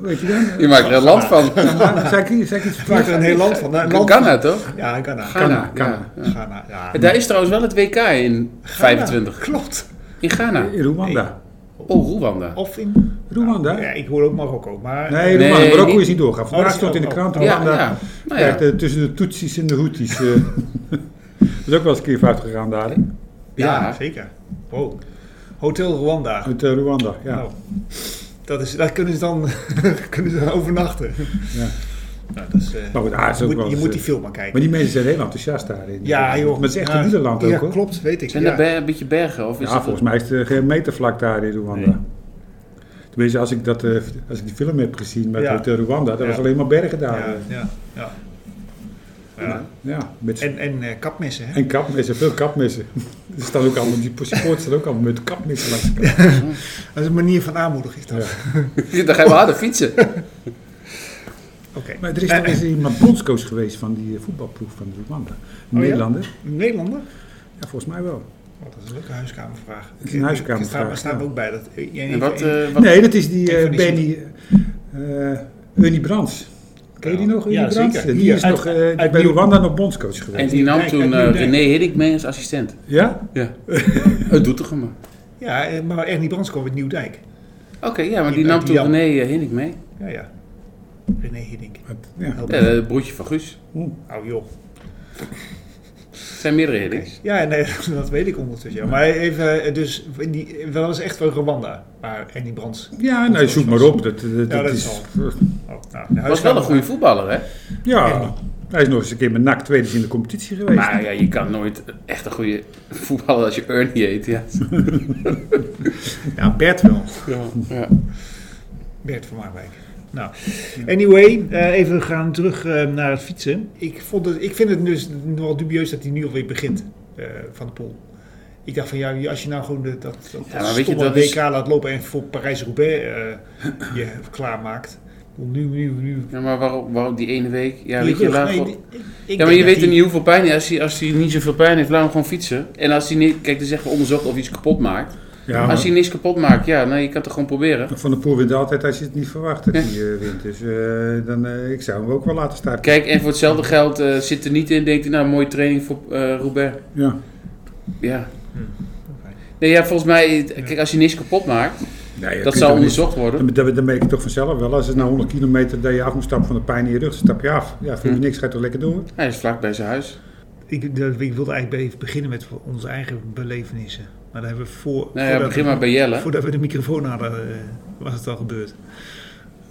[SPEAKER 4] Weet je dan?
[SPEAKER 3] Je maakt er een land van.
[SPEAKER 4] Ghana? Zei ik, zei ik iets
[SPEAKER 2] Het maakt er een heel land van. Nou, een land van-
[SPEAKER 3] Ghana toch?
[SPEAKER 2] Ja, Ghana.
[SPEAKER 3] Ghana,
[SPEAKER 4] Ghana.
[SPEAKER 3] ja.
[SPEAKER 2] Ghana, ja.
[SPEAKER 3] En Daar is trouwens wel het WK in
[SPEAKER 2] Ghana,
[SPEAKER 3] 25.
[SPEAKER 2] Klopt.
[SPEAKER 3] In Ghana.
[SPEAKER 4] In Eh, Rwanda.
[SPEAKER 3] Oh, Rwanda.
[SPEAKER 2] Of in...
[SPEAKER 4] Rwanda?
[SPEAKER 2] Nou, Ja, ik hoor ook Marokko, maar...
[SPEAKER 4] Nee,
[SPEAKER 3] Nee,
[SPEAKER 4] Rwanda. Marokko
[SPEAKER 3] niet-
[SPEAKER 4] is niet doorgaan.
[SPEAKER 2] Oh,
[SPEAKER 4] Vandaag
[SPEAKER 2] dat is
[SPEAKER 4] stond in de
[SPEAKER 2] ook-
[SPEAKER 4] krant
[SPEAKER 2] oh.
[SPEAKER 3] Ja,
[SPEAKER 4] Rwanda.
[SPEAKER 3] ja. Nou ja.
[SPEAKER 4] Echt, eh, tussen de Tutsis en de Houthis. eh. dat is ook wel eens een keer fout gegaan daar. hè?
[SPEAKER 2] Ja,
[SPEAKER 3] Ja.
[SPEAKER 2] zeker. Wow. Hotel Rwanda.
[SPEAKER 4] Uit eh, Rwanda, ja.
[SPEAKER 2] Nou, dat is, daar kunnen ze dan kunnen ze dan overnachten.
[SPEAKER 4] Ja.
[SPEAKER 2] Nou, dat is, eh,
[SPEAKER 4] Maar goed, ah, is ook
[SPEAKER 2] je
[SPEAKER 4] wel
[SPEAKER 2] moet, je
[SPEAKER 4] eens,
[SPEAKER 2] moet
[SPEAKER 4] eh,
[SPEAKER 2] die film maar kijken.
[SPEAKER 4] Maar die mensen zijn heel enthousiast daarin.
[SPEAKER 2] ja, joh.
[SPEAKER 4] Maar het is echt een
[SPEAKER 2] Ja,
[SPEAKER 4] wielerland ook,
[SPEAKER 2] Ja,
[SPEAKER 4] hoor.
[SPEAKER 2] klopt, weet ik.
[SPEAKER 3] Zijn
[SPEAKER 2] ja.
[SPEAKER 3] er be- een beetje bergen? Of is
[SPEAKER 4] Ja,
[SPEAKER 3] dat
[SPEAKER 4] volgens mij is er geen metervlak daar in Rwanda.
[SPEAKER 3] Nee.
[SPEAKER 4] Tenminste, als ik, dat, eh, als ik die film heb gezien met
[SPEAKER 2] Ja.
[SPEAKER 4] Hotel Rwanda, dat
[SPEAKER 2] Ja.
[SPEAKER 4] was alleen maar bergen daar.
[SPEAKER 2] Ja,
[SPEAKER 4] Ja,
[SPEAKER 2] ja, ja. Ja.
[SPEAKER 4] met en,
[SPEAKER 2] En, en eh, kapmessen, hè?
[SPEAKER 4] en kapmessen, veel kapmessen. er staan ook allemaal, die supporters staan ook allemaal met kapmessen langs elkaar.
[SPEAKER 2] Dat is een manier van aanmoedigen, is dat.
[SPEAKER 4] Ja.
[SPEAKER 3] Dan ga je wel harder fietsen.
[SPEAKER 2] Oké.
[SPEAKER 4] Maar er is,
[SPEAKER 2] En-
[SPEAKER 4] toch- is er iemand bondscoach geweest van die eh, voetbalploeg van Rwanda. Een
[SPEAKER 2] Oh, ja?
[SPEAKER 4] Nederlander? Ja?
[SPEAKER 2] Een Nederlander?
[SPEAKER 4] volgens mij wel.
[SPEAKER 2] Oh, dat is een leuke huiskamervraag.
[SPEAKER 4] is een huiskamervraag,
[SPEAKER 2] Ik sta- Daar staan we
[SPEAKER 4] ja.
[SPEAKER 2] ook bij. Dat, jij
[SPEAKER 3] En wat, eh, wat-
[SPEAKER 4] Nee, dat is
[SPEAKER 2] Een
[SPEAKER 4] die eh,
[SPEAKER 2] van die
[SPEAKER 4] Benny, eh Ernie Brands. Ken je die nog, Ernie
[SPEAKER 2] Ja,
[SPEAKER 4] Brands?
[SPEAKER 2] zeker.
[SPEAKER 4] Die
[SPEAKER 2] Hier,
[SPEAKER 4] is
[SPEAKER 2] uit-
[SPEAKER 4] nog, eh,
[SPEAKER 2] uit
[SPEAKER 4] bij
[SPEAKER 2] Nieuw-
[SPEAKER 4] Rwanda nog bondscoach
[SPEAKER 3] En
[SPEAKER 4] geweest.
[SPEAKER 3] die nam
[SPEAKER 2] Kijk,
[SPEAKER 3] toen
[SPEAKER 2] kijk,
[SPEAKER 3] eh,
[SPEAKER 2] kijk.
[SPEAKER 3] René Hiddink mee als assistent.
[SPEAKER 4] Ja?
[SPEAKER 3] Ja. Het doet toch maar.
[SPEAKER 2] Ja, eh, maar Ernie Brands kwam uit Nieuwdijk.
[SPEAKER 3] Oké, ja, maar
[SPEAKER 2] Die-
[SPEAKER 3] die nam
[SPEAKER 2] die
[SPEAKER 3] toen
[SPEAKER 2] Jan.
[SPEAKER 3] René eh, Hiddink mee.
[SPEAKER 2] Ja, ja. René Hiddink.
[SPEAKER 4] Het- ja.
[SPEAKER 3] Ja, het Eh, broertje van Guus.
[SPEAKER 2] Oh joh.
[SPEAKER 3] Er zijn meerdere Hiddink's.
[SPEAKER 2] Ja, nee, dat weet ik ondertussen. Ja. Maar even, eh, dus, die, dat was echt wel Rwanda. Maar Ernie Brands.
[SPEAKER 4] Ja, nou, zoek maar op. Dat, dat, dat
[SPEAKER 2] dat
[SPEAKER 4] is,
[SPEAKER 2] is Oh, nou, de
[SPEAKER 3] Was wel
[SPEAKER 2] huiskamer-
[SPEAKER 3] een goede voetballer, hè?
[SPEAKER 4] ja, hij is nog eens een keer met NAC tweede in de competitie geweest.
[SPEAKER 3] Maar ja, je kan nooit echt een goede voetballer als je Ernie heet. Ja.
[SPEAKER 2] Ja, Nou, Bert wel.
[SPEAKER 3] Ja.
[SPEAKER 2] Bert van Marwijk. Nou, anyway, eh, even gaan terug eh, naar het fietsen. Ik, vond het, ik vind het dus nogal dubieus dat hij nu alweer begint eh, van de pool. Ik dacht van ja, als je nou gewoon de, dat, dat,
[SPEAKER 3] Ja,
[SPEAKER 2] dat
[SPEAKER 3] maar weet je,
[SPEAKER 2] stomme
[SPEAKER 3] dat is-
[SPEAKER 2] WK laat lopen en voor Parijs-Roubaix eh, je klaarmaakt. Nu, nu, nu.
[SPEAKER 3] Ja, maar waarom, waarom die ene week? Ja,
[SPEAKER 2] Die
[SPEAKER 3] weet je,
[SPEAKER 2] rug,
[SPEAKER 3] waar,
[SPEAKER 2] nee,
[SPEAKER 3] voor-
[SPEAKER 2] die- ik- ik
[SPEAKER 3] ja maar
[SPEAKER 2] denk
[SPEAKER 3] je
[SPEAKER 2] dat
[SPEAKER 3] weet er
[SPEAKER 2] die-
[SPEAKER 3] niet hoeveel pijn hij Als hij, als hij niet zoveel pijn heeft, laat hem gewoon fietsen. En als hij niet, kijk, er is echt wel onderzocht of hij iets kapot maakt.
[SPEAKER 4] ja,
[SPEAKER 3] Als hij niks kapot maakt, ja, nou, je kan het toch gewoon proberen.
[SPEAKER 4] Van der Poel wint altijd als je het niet verwacht dat hij eh, wint. Dus eh, dan, eh, ik zou hem ook wel laten starten.
[SPEAKER 3] Kijk, en voor hetzelfde geld eh, zit er niet in, denkt hij, nou, mooie training voor eh Roubaix.
[SPEAKER 4] Ja.
[SPEAKER 3] Ja.
[SPEAKER 2] Hm. Oké.
[SPEAKER 3] Nee, ja, volgens mij, eh, kijk, als je niks kapot maakt,
[SPEAKER 4] Nee,
[SPEAKER 3] dat
[SPEAKER 4] kun je
[SPEAKER 3] zal
[SPEAKER 4] toch niet-
[SPEAKER 3] onderzocht worden.
[SPEAKER 4] Dan, dan, dan merk ik toch vanzelf wel. Als het na 100 kilometer dat je af moet stappen van de pijn in je rug, dan stap je af. Ja, voor
[SPEAKER 3] Hm.
[SPEAKER 4] niks ga je toch lekker door?
[SPEAKER 3] Hij is vlak bij zijn huis. Nou
[SPEAKER 2] Ik, dat- ik wilde eigenlijk even beginnen met onze eigen belevenissen. Maar daar hebben we voor.
[SPEAKER 3] Nou ja,
[SPEAKER 2] voordat-
[SPEAKER 3] begin maar bij Jelle.
[SPEAKER 2] Voordat we de microfoon hadden, eh, was het al gebeurd.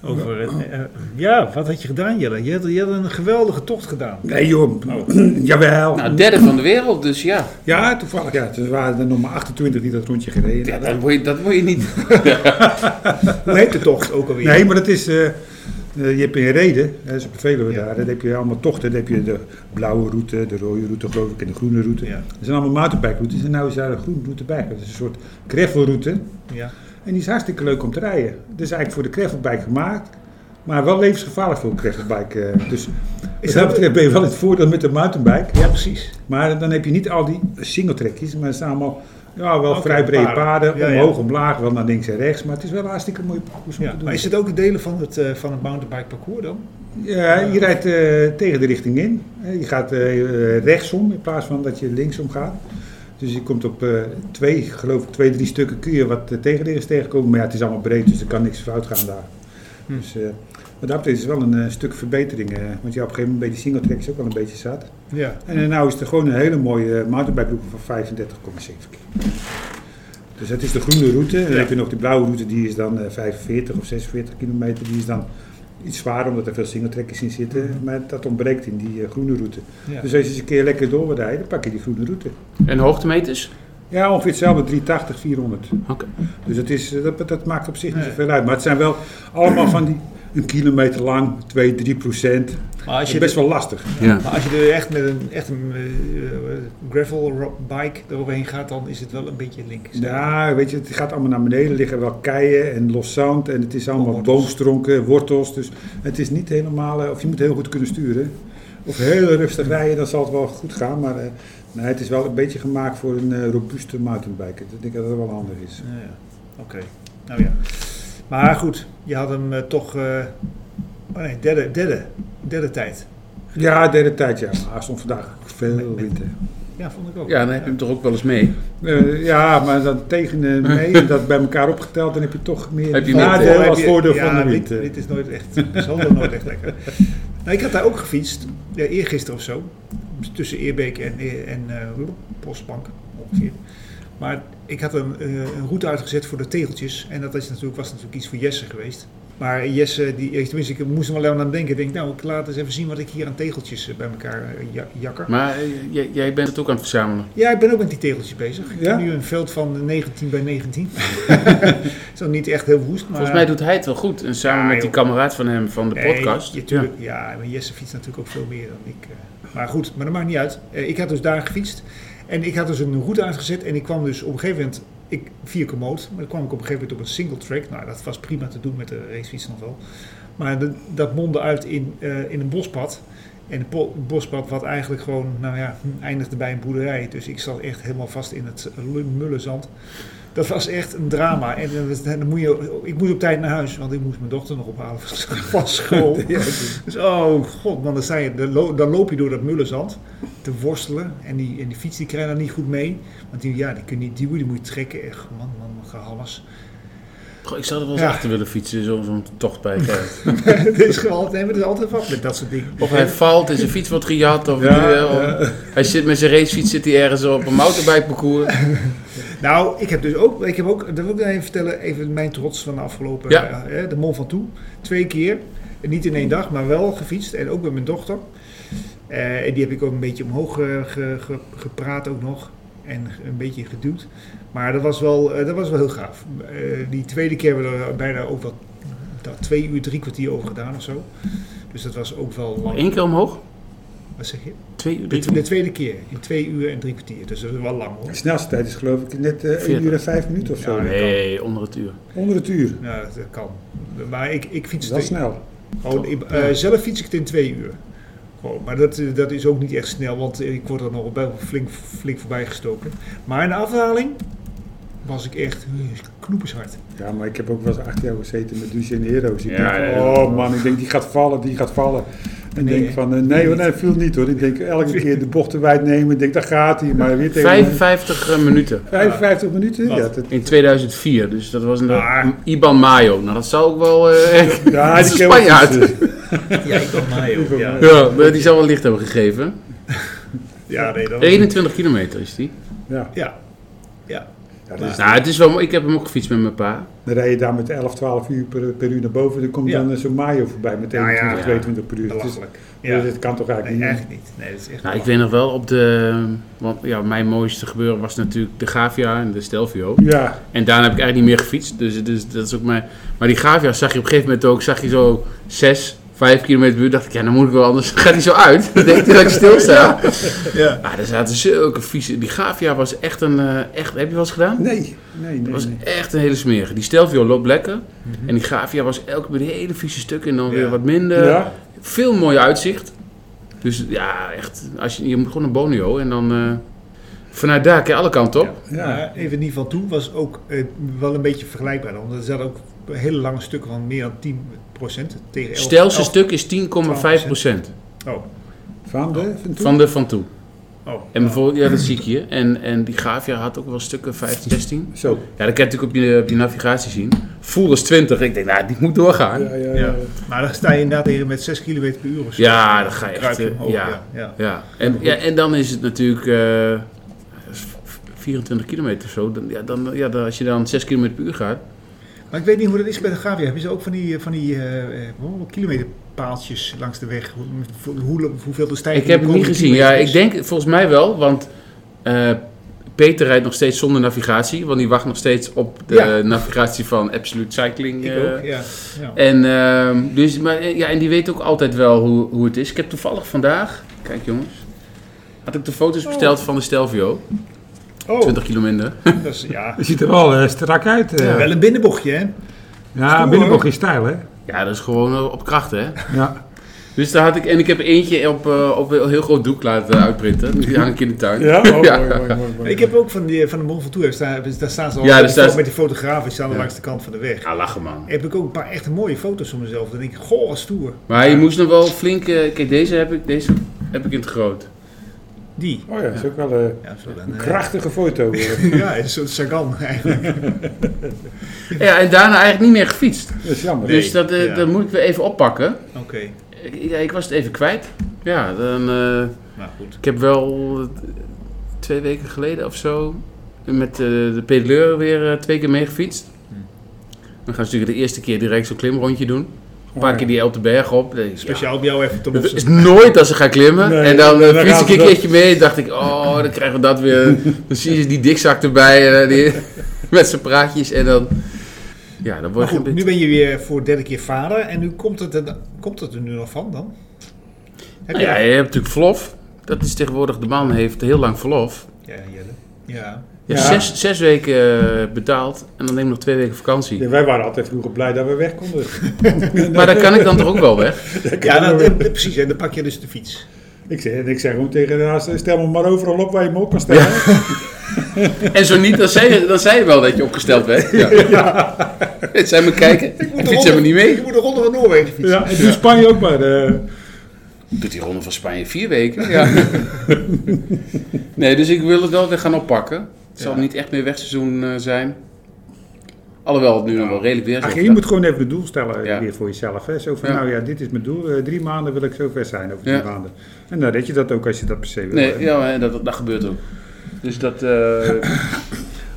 [SPEAKER 2] Over, het, eh, eh, ja, wat had je gedaan, Jelle? Je had, je had een geweldige tocht gedaan.
[SPEAKER 4] Nee joh, Oh. jawel.
[SPEAKER 3] Nou, derde van de wereld, dus ja.
[SPEAKER 4] ja, toevallig. Ja, Dus er waren er nog maar 28 die dat rondje gereden
[SPEAKER 3] Ja,
[SPEAKER 4] hadden.
[SPEAKER 3] dat moet je, dat moet je niet.
[SPEAKER 2] Hoe heet de tocht ook alweer?
[SPEAKER 4] Nee, maar dat is. eh, eh, je hebt in Reden, hè, ze bevelen we
[SPEAKER 2] Ja.
[SPEAKER 4] daar, dan heb je allemaal tochten. Dan heb je de blauwe route, de rode route geloof ik en de groene route.
[SPEAKER 2] Ja,
[SPEAKER 4] Dat zijn allemaal mountainbikeroutes en nou is daar een groene route bij. Dat is een soort gravelroute
[SPEAKER 2] ja.
[SPEAKER 4] en die is hartstikke leuk om te rijden. Het is eigenlijk voor de gravelbike gemaakt, maar wel levensgevaarlijk voor een gravelbike. eh. Dus wat dat
[SPEAKER 2] dat-
[SPEAKER 4] betreft ben je wel in het voordeel met de mountainbike.
[SPEAKER 2] ja precies.
[SPEAKER 4] Maar dan heb je niet al die singletrekjes, maar er staan allemaal Ja, wel
[SPEAKER 2] Oké,
[SPEAKER 4] vrij brede
[SPEAKER 2] paarden.
[SPEAKER 4] paden,
[SPEAKER 2] Ja, ja.
[SPEAKER 4] omhoog, omlaag, wel naar links en rechts. Maar het is wel een hartstikke mooi parcours om
[SPEAKER 2] Ja,
[SPEAKER 4] te doen.
[SPEAKER 2] maar is het ook delen van het, eh, van het mountainbike parcours dan?
[SPEAKER 4] Ja, je rijdt eh, tegen de richting in. Eh, Je gaat eh, rechtsom in plaats van dat je linksom gaat. Dus je komt op eh, twee, geloof ik, twee, drie stukken kun je wat eh, tegenliggers tegenkomen. Maar ja, het is allemaal breed, dus er kan niks fout gaan daar.
[SPEAKER 2] Hm.
[SPEAKER 4] Dus, eh wat dat betreft is het wel een eh, stuk verbetering. eh, want ja, op een gegeven moment bij die singletrack is ook wel een beetje zat.
[SPEAKER 2] Ja.
[SPEAKER 4] En eh, nou is er gewoon een hele mooie eh, mountainbike route van 35,7 km. Dus dat is de groene route. En dan
[SPEAKER 2] Ja.
[SPEAKER 4] heb je nog die blauwe route, die is dan eh, 45 of 46 kilometer. Die is dan iets zwaarder, omdat er veel singletrekkers in zitten. Maar dat ontbreekt in die eh, groene route.
[SPEAKER 2] ja.
[SPEAKER 4] Dus als je eens een keer lekker door wil rijden, dan pak je die groene route.
[SPEAKER 3] En hoogtemeters?
[SPEAKER 4] Ja, ongeveer hetzelfde, 380, 400.
[SPEAKER 3] Oké.
[SPEAKER 4] Dus dat, is, eh, dat, dat maakt op zich niet
[SPEAKER 2] Nee.
[SPEAKER 4] zoveel uit. Maar het zijn wel allemaal van die een kilometer lang, 2, 3 procent.
[SPEAKER 2] maar, als
[SPEAKER 4] Dat
[SPEAKER 2] je
[SPEAKER 4] is best wel lastig.
[SPEAKER 3] Ja.
[SPEAKER 2] maar als je er echt met een, echt een eh, eh, gravel ro- bike eroverheen gaat, dan is het wel een beetje links.
[SPEAKER 4] Ja, weet je, het gaat allemaal naar beneden. Er liggen wel keien en los zand. En het is allemaal
[SPEAKER 2] Wortels.
[SPEAKER 4] boomstronken, wortels. Dus het is niet helemaal... eh, Of je moet heel goed kunnen sturen. Of heel rustig rijden, dan zal het wel goed gaan. Maar eh, nee, het is wel een beetje gemaakt voor een eh, robuuste mountainbiker. Dat denk ik dat dat wel handig is.
[SPEAKER 2] Ja, ja. Oké, nou ja. Maar goed, je had hem eh, toch... eh, oh nee, derde, derde, derde tijd.
[SPEAKER 4] Ja, derde tijd, ja. Maar er stond vandaag veel wind. hè.
[SPEAKER 2] Ja, vond ik ook.
[SPEAKER 3] Ja, dan heb je hem toch ook wel eens mee.
[SPEAKER 4] Eh, ja, maar dan tegen eh, mee en dat bij elkaar opgeteld, dan heb je toch meer
[SPEAKER 3] Heb je meer
[SPEAKER 4] nadeel
[SPEAKER 3] voordeel
[SPEAKER 2] heb
[SPEAKER 4] als
[SPEAKER 2] je- eh,
[SPEAKER 4] voordeel
[SPEAKER 2] ja,
[SPEAKER 4] van de wind. eh.
[SPEAKER 2] Dit, dit is nooit echt, solo nooit echt lekker. Nou, ik had daar ook gefietst, ja, eergisteren of zo. Tussen Eerbeek en, Eer- en eh, Postbank ongeveer. Maar ik had een, eh, een route uitgezet voor de tegeltjes. En dat is natuurlijk, was natuurlijk iets voor Jesse geweest. Maar Jesse, die, eh, tenminste, ik moest er wel aan denken. Ik denk, nou, ik laat eens even zien wat ik hier aan tegeltjes eh, bij elkaar eh, ja- jakker.
[SPEAKER 3] Maar eh, jij- jij bent het ook aan het verzamelen.
[SPEAKER 2] Ja, ik ben ook met die tegeltjes bezig. Ik
[SPEAKER 4] Ja?
[SPEAKER 2] heb nu een veld van 19 bij 19. is dan niet echt heel woest, maar...
[SPEAKER 3] Volgens mij doet hij het wel goed. En samen
[SPEAKER 2] Ja,
[SPEAKER 3] met die
[SPEAKER 2] joh.
[SPEAKER 3] kameraad van hem van de
[SPEAKER 2] Nee,
[SPEAKER 3] podcast.
[SPEAKER 2] Ja, tuurlijk. ja. maar Jesse fietst natuurlijk ook veel meer dan ik. eh. Maar goed, maar dat maakt niet uit. Eh, ik had dus daar gefietst. En ik had dus een route uitgezet. En ik kwam dus op een gegeven moment... Ik, via Komoot. Maar dan kwam ik op een gegeven moment op een single track. Nou, dat was prima te doen met de racefiets nog wel. Maar de- dat mondde uit in, eh, in een bospad. En een po- bospad wat eigenlijk gewoon... Nou ja, hm, eindigde bij een boerderij. Dus ik zat echt helemaal vast in het lu- mulle zand. Dat was echt een drama. En eh, dat- dan moet je, ik moest op tijd naar huis, want ik moest mijn dochter nog ophalen van- van school.
[SPEAKER 4] Ja, het is-
[SPEAKER 2] Dus oh god, man, dan, sta je, dan lo- dan loop je door dat mullenzand te worstelen. En die, en die fiets die krijgt daar niet goed mee. Want die, ja, die, kun je niet duwen, die moet je trekken. Echt, man, man, man gehammers.
[SPEAKER 3] Goh, ik zou er wel eens
[SPEAKER 2] Ja.
[SPEAKER 3] achter willen fietsen, zo- zo'n tocht bij eh, elkaar.
[SPEAKER 2] Het is gewoon, nee, maar er is altijd wat met dat soort dingen.
[SPEAKER 3] Of hij valt en zijn fiets wordt gejat. Of
[SPEAKER 4] Ja,
[SPEAKER 3] die, eh, of- Hij zit met zijn racefiets zit hij ergens op een mountainbikeparcours.
[SPEAKER 2] Nou, ik heb dus ook, ik heb ook, dat wil ik nog even vertellen, even mijn trots van de afgelopen,
[SPEAKER 3] Ja.
[SPEAKER 2] eh, de Mont Ventoux. Twee keer, En niet in één dag, maar wel gefietst en ook met mijn dochter. Eh, en die heb ik ook een beetje omhoog eh, ge- ge- gepraat ook nog en een beetje geduwd. Maar dat was wel, eh, dat was wel heel gaaf. Eh, die tweede keer hebben we er bijna ook wel dat twee uur, drie kwartier over gedaan of zo. Dus dat was ook wel lang.
[SPEAKER 3] Eén Oh, keer omhoog,
[SPEAKER 2] Wat zeg je?
[SPEAKER 3] twee uur,
[SPEAKER 2] De,
[SPEAKER 3] drie
[SPEAKER 2] tw- de
[SPEAKER 3] uur.
[SPEAKER 2] tweede keer, in twee uur en drie kwartier. Dus dat is wel lang hoor.
[SPEAKER 4] De snelste tijd is geloof ik net eh 1 uur en 5 minuten of zo.
[SPEAKER 2] Ja,
[SPEAKER 3] Nee, onder het uur.
[SPEAKER 4] Onder het uur.
[SPEAKER 2] Nou, dat kan. Maar ik, ik
[SPEAKER 4] Dat
[SPEAKER 2] fiets
[SPEAKER 4] is wel
[SPEAKER 2] de-
[SPEAKER 4] snel.
[SPEAKER 2] Gewoon, ik- eh, zelf fiets ik het in twee uur. Gewoon, maar dat, eh, dat is ook niet echt snel, want eh, ik word er nog wel flink, flink voorbij gestoken. Maar in de afdaling was ik echt eh, knoepershard.
[SPEAKER 4] Ja, maar ik heb ook wel eens achter jou gezeten met Lucien Heroes. Ik
[SPEAKER 3] Ja,
[SPEAKER 4] denk,
[SPEAKER 3] ja, ja.
[SPEAKER 4] oh man, ik denk die gaat vallen, die gaat vallen. En
[SPEAKER 2] Nee,
[SPEAKER 4] denk
[SPEAKER 2] hè?
[SPEAKER 4] van, eh, nee hoor, nee, viel niet hoor. Ik denk elke keer de bochten wijd nemen. Ik denk, daar gaat hij, maar weer tegen...
[SPEAKER 3] 55 eh, minuten.
[SPEAKER 4] 55 minuten?
[SPEAKER 2] Wat?
[SPEAKER 4] Ja, dat,
[SPEAKER 3] In 2004, dus dat was een
[SPEAKER 2] Ah.
[SPEAKER 3] een Iban Mayo. Nou, dat zou ook wel... eh,
[SPEAKER 4] ja,
[SPEAKER 3] Dat is
[SPEAKER 4] ken
[SPEAKER 3] een
[SPEAKER 4] wel
[SPEAKER 3] Spanjaard.
[SPEAKER 4] precies.
[SPEAKER 2] Ja, ik kan mij
[SPEAKER 4] ook, ja.
[SPEAKER 3] ja, maar die zou wel licht hebben gegeven.
[SPEAKER 2] Ja, nee, dat was-
[SPEAKER 3] 21 kilometer is die.
[SPEAKER 4] Ja,
[SPEAKER 2] Ja. Ja.
[SPEAKER 4] ja dat is-
[SPEAKER 3] Nou, het is wel mooi. Ik heb hem ook gefietst met mijn pa.
[SPEAKER 4] dan rij je daar met 11, 12 uur per, per uur naar boven. Dan komt
[SPEAKER 2] Ja.
[SPEAKER 4] dan eh, zo'n Mayo voorbij met
[SPEAKER 2] Ja, ja,
[SPEAKER 4] 21,
[SPEAKER 3] ja.
[SPEAKER 4] 22 per uur. Dat, is,
[SPEAKER 2] belachelijk. Ja.
[SPEAKER 4] dat kan toch eigenlijk
[SPEAKER 2] Nee,
[SPEAKER 4] niet?
[SPEAKER 2] echt niet. Nee, dat is echt
[SPEAKER 3] Nou, ik
[SPEAKER 2] belachelijk.
[SPEAKER 3] weet nog wel op de... Want ja, mijn mooiste gebeuren was natuurlijk de Gavia en de Stelvio.
[SPEAKER 4] Ja,
[SPEAKER 3] En daarna heb ik eigenlijk niet meer gefietst. Dus, het is- dat is ook mijn... Maar die Gavia zag je op een gegeven moment ook... Zag je zo 6, 5 kilometer buurt. dacht ik, ja, dan moet ik wel anders. Gaat hij zo uit? Dan denkt hij dat ik stilsta.
[SPEAKER 2] Ja.
[SPEAKER 3] Maar er zaten zulke vieze... Die Gavia was echt een... eh, echt, heb je wel eens gedaan?
[SPEAKER 4] nee, nee, nee.
[SPEAKER 3] Dat was
[SPEAKER 4] nee.
[SPEAKER 3] echt een hele smerige. Die Stelvio loopt lekker. En die Gavia was elke keer een hele vieze stuk en dan
[SPEAKER 2] Ja.
[SPEAKER 3] weer wat minder.
[SPEAKER 4] Ja,
[SPEAKER 3] Veel mooi uitzicht. Dus ja, echt. Als je, je moet gewoon naar Bonio en dan. eh, Vanuit daar kan je alle kanten op.
[SPEAKER 4] Ja.
[SPEAKER 2] Maar even niet van toe was ook eh, wel een beetje vergelijkbaar. Omdat er zaten ook hele lange stukken van meer dan 10 tegen 11.
[SPEAKER 3] Stelste
[SPEAKER 2] 11.
[SPEAKER 3] stuk is 10,5 procent
[SPEAKER 2] Oh,
[SPEAKER 4] Van de? Van toen?
[SPEAKER 3] van de van toe.
[SPEAKER 2] oh.
[SPEAKER 3] En bijvoorbeeld, ja, dat zie ik hier. En, en die Gavia had ook wel stukken 15, 16.
[SPEAKER 4] Zo.
[SPEAKER 3] Ja, dat kan je natuurlijk op je, op je navigatie zien. Voel is 20. Ik denk, nou, die moet doorgaan.
[SPEAKER 4] Ja,
[SPEAKER 3] Ja,
[SPEAKER 4] ja,
[SPEAKER 2] Ja.
[SPEAKER 4] ja.
[SPEAKER 2] Eh, Maar dan sta je inderdaad tegen met 6 km per uur of zo.
[SPEAKER 3] dan ga je
[SPEAKER 2] Kruip
[SPEAKER 3] echt...
[SPEAKER 2] je
[SPEAKER 3] eh,
[SPEAKER 2] omhoog,
[SPEAKER 3] ja.
[SPEAKER 2] ja. ja.
[SPEAKER 3] Ja, en, ja, en dan is het natuurlijk eh, 24 kilometer of zo. Dan, ja, dan, ja, dan, als je dan 6 kilometer per uur gaat.
[SPEAKER 2] Maar ik weet niet hoe dat is bij de Gavia. Hebben ze ook van die, eh, van die eh, eh, hoeveel kilometerpaaltjes langs de weg? Hoe, hoe- hoe- hoeveel de stijging
[SPEAKER 3] ik heb het
[SPEAKER 2] de
[SPEAKER 3] niet
[SPEAKER 2] komende
[SPEAKER 3] gezien. Ja,
[SPEAKER 2] kilometers
[SPEAKER 3] ik
[SPEAKER 2] is?
[SPEAKER 3] denk volgens mij wel, want eh, Peter rijdt nog steeds zonder navigatie. Want die wacht nog steeds op de
[SPEAKER 2] Ja.
[SPEAKER 3] navigatie van Absolute Cycling. eh.
[SPEAKER 2] Ik ook, ja. ja.
[SPEAKER 3] En, ehm, dus, maar, eh, ja, en die weet ook altijd wel hoe, hoe het is. Ik heb toevallig vandaag, kijk jongens, had ik de foto's besteld van de Stelvio.
[SPEAKER 2] Oh,
[SPEAKER 3] 20 kilometer.
[SPEAKER 2] dat is, ja.
[SPEAKER 4] Je ziet er wel eh, strak uit. eh.
[SPEAKER 2] Wel een binnenbochtje, hè?
[SPEAKER 4] Ja,
[SPEAKER 2] Stoer,
[SPEAKER 4] binnenbocht is stijl, hè?
[SPEAKER 3] Ja, dat is gewoon eh, op kracht hè.
[SPEAKER 4] Ja.
[SPEAKER 3] Dus daar had ik, en ik heb eentje op, eh, op een heel groot doek laten uitprinten. Die hang ik in de tuin. Ja,
[SPEAKER 4] oh,
[SPEAKER 3] Ja. mooi,
[SPEAKER 2] Ik heb ook van, die, eh, van de Mont Ventoux, daar, daar staan ze al met
[SPEAKER 3] Ja, daar
[SPEAKER 2] die
[SPEAKER 3] staan
[SPEAKER 2] fo-
[SPEAKER 3] ze-
[SPEAKER 2] met die fotografen, die staan er
[SPEAKER 3] Ja.
[SPEAKER 2] langs de kant van de weg.
[SPEAKER 3] lachen man.
[SPEAKER 2] Heb ik ook een paar echt mooie foto's van mezelf. Dan denk ik, goh, wat stoer.
[SPEAKER 3] Maar je moest nog wel flink, eh, kijk deze heb ik, deze heb ik in het groot.
[SPEAKER 2] Die.
[SPEAKER 4] Oh ja, dat is ook wel eh,
[SPEAKER 2] Ja, zo dan.
[SPEAKER 4] een
[SPEAKER 2] eh,
[SPEAKER 4] krachtige foto. eh.
[SPEAKER 2] ja, een soort Sagan eigenlijk.
[SPEAKER 3] Ja, en daarna eigenlijk niet meer gefietst.
[SPEAKER 4] Dat is jammer.
[SPEAKER 2] Nee,
[SPEAKER 3] dus dat, eh,
[SPEAKER 2] ja.
[SPEAKER 3] dat moet ik weer even oppakken.
[SPEAKER 2] Oké,
[SPEAKER 3] Ik, ja, ik was het even kwijt. Ja, dan, eh,
[SPEAKER 2] nou goed.
[SPEAKER 3] ik heb wel eh, twee weken geleden of zo met eh, de pedaleur weer eh, twee keer mee gefietst.
[SPEAKER 4] Hmm.
[SPEAKER 3] Dan gaan ze natuurlijk de eerste keer direct zo'n klimrondje doen. Een
[SPEAKER 4] Oh,
[SPEAKER 3] paar keer die Eltenberg op. Dan denk ik, ja,
[SPEAKER 2] Speciaal op jou even te
[SPEAKER 3] Het is
[SPEAKER 2] lossen.
[SPEAKER 3] nooit dat ze gaan klimmen.
[SPEAKER 4] Nee,
[SPEAKER 3] en dan
[SPEAKER 4] nee,
[SPEAKER 3] eh,
[SPEAKER 4] dan
[SPEAKER 3] fiets
[SPEAKER 4] gaan
[SPEAKER 3] ik
[SPEAKER 4] ze
[SPEAKER 3] een
[SPEAKER 4] dat-
[SPEAKER 3] keertje mee. dacht ik, oh, dan krijgen we dat weer. Dan zie je die dikzak erbij. En, eh, die, met zijn praatjes. En dan. Ja, dan
[SPEAKER 2] Maar
[SPEAKER 3] word je.
[SPEAKER 2] goed,
[SPEAKER 3] een
[SPEAKER 2] nu
[SPEAKER 3] beetje-
[SPEAKER 2] ben je weer voor de derde keer vader. En nu komt het er, komt het er nu nog van dan? Heb
[SPEAKER 3] Nou ja, je hebt natuurlijk verlof. Dat is tegenwoordig. De man heeft heel lang verlof.
[SPEAKER 2] Ja, Jelle. Ja.
[SPEAKER 3] Je
[SPEAKER 4] Ja.
[SPEAKER 3] hebt zes, zes weken eh, betaald. En dan neem je nog twee weken vakantie.
[SPEAKER 4] Ja, wij waren altijd vroeger blij dat we weg konden.
[SPEAKER 3] Maar dan kan ik dan toch ook wel weg.
[SPEAKER 2] Ja, dat, eh, precies. En dan pak je dus de fiets.
[SPEAKER 4] Ik zeg, en ik zeg gewoon tegen de haast, stel me maar overal op waar je me op kan stellen.
[SPEAKER 3] En zo niet, dan zei je, dan zei je wel dat je opgesteld bent. Ja. Het zijn me kijken. Ik fiets helemaal niet mee.
[SPEAKER 2] Ik moet de ronde van Noorwegen fietsen.
[SPEAKER 4] Ja, en doe Spanje ook maar. eh.
[SPEAKER 3] Doet die ronde van Spanje vier weken? nee, dus ik wil het wel weer gaan oppakken. Het zal
[SPEAKER 2] Ja.
[SPEAKER 3] niet echt meer wegseizoen eh, zijn. Alhoewel het nu nog wel redelijk weer is.
[SPEAKER 4] Ach, Ah, je moet gewoon even het doel stellen eh,
[SPEAKER 3] Ja.
[SPEAKER 4] weer voor jezelf. Hè? Zo van,
[SPEAKER 3] Ja.
[SPEAKER 4] nou ja, dit is mijn doel. eh, drie maanden wil ik zo ver zijn over drie
[SPEAKER 3] Ja.
[SPEAKER 4] maanden. En dan red je dat ook als je dat per se wil. eh.
[SPEAKER 3] Nee,
[SPEAKER 4] hè.
[SPEAKER 3] ja, maar dat, dat gebeurt ook. Dus dat... eh,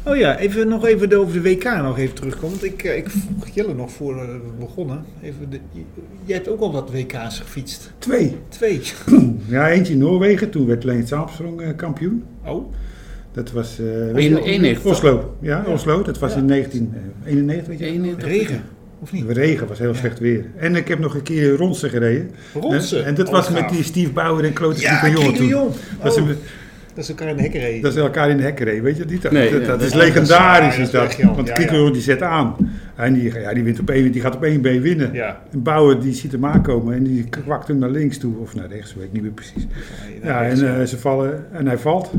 [SPEAKER 2] Oh ja, even nog even de- over de WK nog even terugkomen. Want ik, eh, ik vroeg Jelle nog voor eh, we begonnen. Even de, j- jij hebt ook al wat WK's gefietst.
[SPEAKER 4] Twee.
[SPEAKER 2] Twee.
[SPEAKER 4] Ja, eentje in Noorwegen. Toen werd Lance Armstrong eh, kampioen.
[SPEAKER 2] Oh,
[SPEAKER 4] Dat was... eh, weet
[SPEAKER 3] In
[SPEAKER 4] je wel,
[SPEAKER 3] 91.
[SPEAKER 4] Oslo. Ja, Oslo. Dat was
[SPEAKER 2] Ja.
[SPEAKER 4] in 1991, weet je.
[SPEAKER 3] één-
[SPEAKER 2] regen. Of niet?
[SPEAKER 4] De regen was heel slecht weer. En ik heb nog een keer Ronsen gereden. Eh,
[SPEAKER 2] Ronsen.
[SPEAKER 4] En dat
[SPEAKER 2] Oh,
[SPEAKER 4] was
[SPEAKER 2] gaaf.
[SPEAKER 4] met die Steve Bauer en Klote
[SPEAKER 2] Ja,
[SPEAKER 4] Jongen
[SPEAKER 2] Kik de
[SPEAKER 4] toen.
[SPEAKER 2] Jong.
[SPEAKER 4] Dat
[SPEAKER 2] Oh,
[SPEAKER 4] ze,
[SPEAKER 2] dat ze elkaar in de hekken reden.
[SPEAKER 4] dat ze elkaar in de hek reden, weet je niet? Dat,
[SPEAKER 3] Nee,
[SPEAKER 4] dat,
[SPEAKER 3] ja,
[SPEAKER 4] dat
[SPEAKER 3] dat
[SPEAKER 4] is
[SPEAKER 2] is-
[SPEAKER 4] legendarisch,
[SPEAKER 2] ja, dat
[SPEAKER 4] is
[SPEAKER 2] is
[SPEAKER 4] dat.
[SPEAKER 2] echt, ja.
[SPEAKER 4] Want
[SPEAKER 2] Ja,
[SPEAKER 4] Kik de
[SPEAKER 2] ja.
[SPEAKER 4] Jong, die zet aan. En die, ja, die, wint op één, die gaat op één been winnen.
[SPEAKER 2] Ja.
[SPEAKER 4] En Bauer die ziet hem aankomen en die kwakt hem naar links toe. Of naar rechts, weet ik niet meer precies. Ja, en eh, ze vallen en hij valt.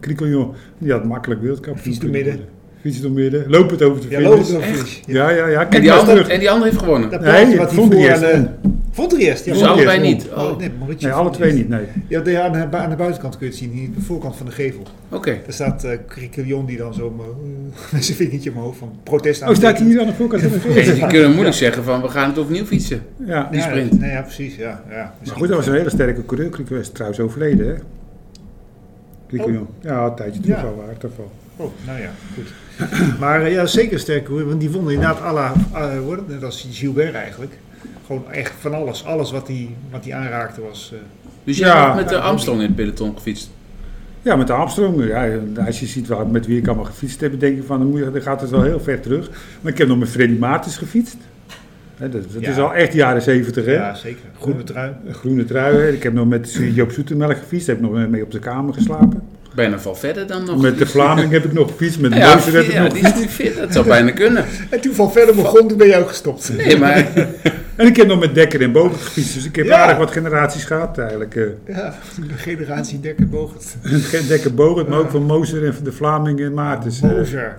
[SPEAKER 4] Krikkeljon, die had makkelijk wereldkampioen.
[SPEAKER 2] Fiets door midden.
[SPEAKER 4] Fiets door midden. Loop het over de
[SPEAKER 2] ja,
[SPEAKER 4] finish.
[SPEAKER 2] logisch nog eens.
[SPEAKER 4] Ja, ja, ja.
[SPEAKER 3] En
[SPEAKER 4] Kijk
[SPEAKER 3] die,
[SPEAKER 4] maar
[SPEAKER 3] andere,
[SPEAKER 4] terug.
[SPEAKER 3] en die andere heeft gewonnen.
[SPEAKER 2] Dat
[SPEAKER 4] Nee,
[SPEAKER 2] plaatje wat hij
[SPEAKER 4] vond
[SPEAKER 2] voor
[SPEAKER 4] hij
[SPEAKER 2] aan
[SPEAKER 4] eerst.
[SPEAKER 2] de... Vond er eerst? Ja,
[SPEAKER 4] Dus
[SPEAKER 2] vond
[SPEAKER 3] allebei
[SPEAKER 2] eerst.
[SPEAKER 3] niet. Oh.
[SPEAKER 2] nee, Mauritius
[SPEAKER 4] Nee, alle
[SPEAKER 2] vond
[SPEAKER 4] twee
[SPEAKER 2] eerst.
[SPEAKER 4] niet, nee.
[SPEAKER 2] Ja, de- aan, de, bu- aan de buitenkant kun je het zien, hier, de voorkant van de gevel.
[SPEAKER 3] Oké.
[SPEAKER 2] Daar staat eh Criquillon die dan zo eh, met zijn vingertje omhoog van protest aan.
[SPEAKER 4] Oh, staat hij hier aan de voorkant van de
[SPEAKER 3] Nee,
[SPEAKER 4] fiets?
[SPEAKER 3] die kunnen moeilijk zeggen van we gaan het opnieuw fietsen.
[SPEAKER 4] Ja.
[SPEAKER 2] Ja,
[SPEAKER 3] sprint.
[SPEAKER 2] dat- nee, ja, precies. Ja, ja,
[SPEAKER 4] Maar
[SPEAKER 2] misschien.
[SPEAKER 4] goed, dat was een hele sterke coureur. Kriek is trouwens overleden, hè? Krikkeljon. Ja, een tijdje terug
[SPEAKER 2] Ja.
[SPEAKER 4] al, waar, toch wel.
[SPEAKER 2] Oh, nou ja, goed. Maar eh, ja, zeker sterk hoor, want die won inderdaad à la, eh, hoor, net als Gilbert eigenlijk. Gewoon echt van alles. Alles wat hij wat die aanraakte was... eh,
[SPEAKER 3] Dus jij
[SPEAKER 4] Ja.
[SPEAKER 3] hebt met de Armstrong in het peloton gefietst.
[SPEAKER 4] Ja, met de Armstrong. Ja, als je ziet waar, met wie ik allemaal gefietst heb, denk je van, dan, moet je- dan gaat het wel heel ver terug. Maar ik heb nog met Freddy Maartens gefietst. Hè, dat dat
[SPEAKER 2] Ja.
[SPEAKER 4] is al echt jaren zeventig, hè?
[SPEAKER 2] ja, zeker. Groene trui.
[SPEAKER 4] Groene trui. hè. Ik heb nog met Joop Zoetemelk gefietst. Daar heb ik nog mee op de kamer geslapen.
[SPEAKER 3] Bijna val verder dan nog.
[SPEAKER 4] Met de Vlaming heb ik nog gefietst. Met de
[SPEAKER 3] ja,
[SPEAKER 4] Neuser heb ik
[SPEAKER 3] ja,
[SPEAKER 4] nog
[SPEAKER 3] die is nu fit. Dat zou bijna kunnen.
[SPEAKER 2] En toen van verder begon, toen ben je ook gestopt.
[SPEAKER 3] Nee, maar
[SPEAKER 4] En ik heb nog met Dekker en Bogert gefietst, dus ik heb
[SPEAKER 2] Ja.
[SPEAKER 4] aardig wat generaties gehad eigenlijk. eh.
[SPEAKER 2] Ja, de generatie Dekker Bogert.
[SPEAKER 4] Dekker Bogert, maar ook van Mozer en van de Vlamingen en Maartens. eh.
[SPEAKER 2] Bozer.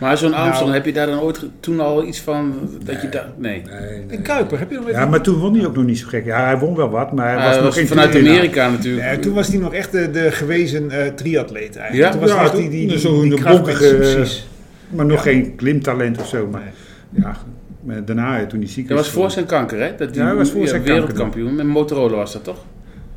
[SPEAKER 3] Maar zo'n Armstrong,
[SPEAKER 2] Nou.
[SPEAKER 3] heb je daar dan ooit ge- toen al iets van dat je daar... Nee.
[SPEAKER 4] Nee, nee.
[SPEAKER 2] En Kuiper, heb je nog even...
[SPEAKER 4] Ja, maar toen won hij ook nog niet zo gek. Ja, hij won wel wat, maar hij
[SPEAKER 3] Maar
[SPEAKER 4] was
[SPEAKER 3] Eh, dat
[SPEAKER 4] nog
[SPEAKER 3] was
[SPEAKER 4] geen
[SPEAKER 3] vanuit
[SPEAKER 4] trainer.
[SPEAKER 3] Amerika natuurlijk.
[SPEAKER 2] Nee, toen was hij nog echt de, de gewezen eh, triatleet eigenlijk.
[SPEAKER 3] Ja?
[SPEAKER 2] toen was
[SPEAKER 4] Ja,
[SPEAKER 2] hij echt
[SPEAKER 4] toen-
[SPEAKER 2] die, die, die,
[SPEAKER 4] zo'n
[SPEAKER 2] die
[SPEAKER 4] de
[SPEAKER 2] krachtmens,
[SPEAKER 4] bonkige-
[SPEAKER 2] precies.
[SPEAKER 4] Maar nog
[SPEAKER 2] Ja.
[SPEAKER 4] geen klimtalent of zo. Maar
[SPEAKER 2] Nee.
[SPEAKER 4] ja, maar daarna eh, toen hij ziek
[SPEAKER 3] Dat was voor zijn kanker, hè? Dat die,
[SPEAKER 4] Ja, hij was voor zijn kanker.
[SPEAKER 3] wereldkampioen. Met Motorola was dat toch?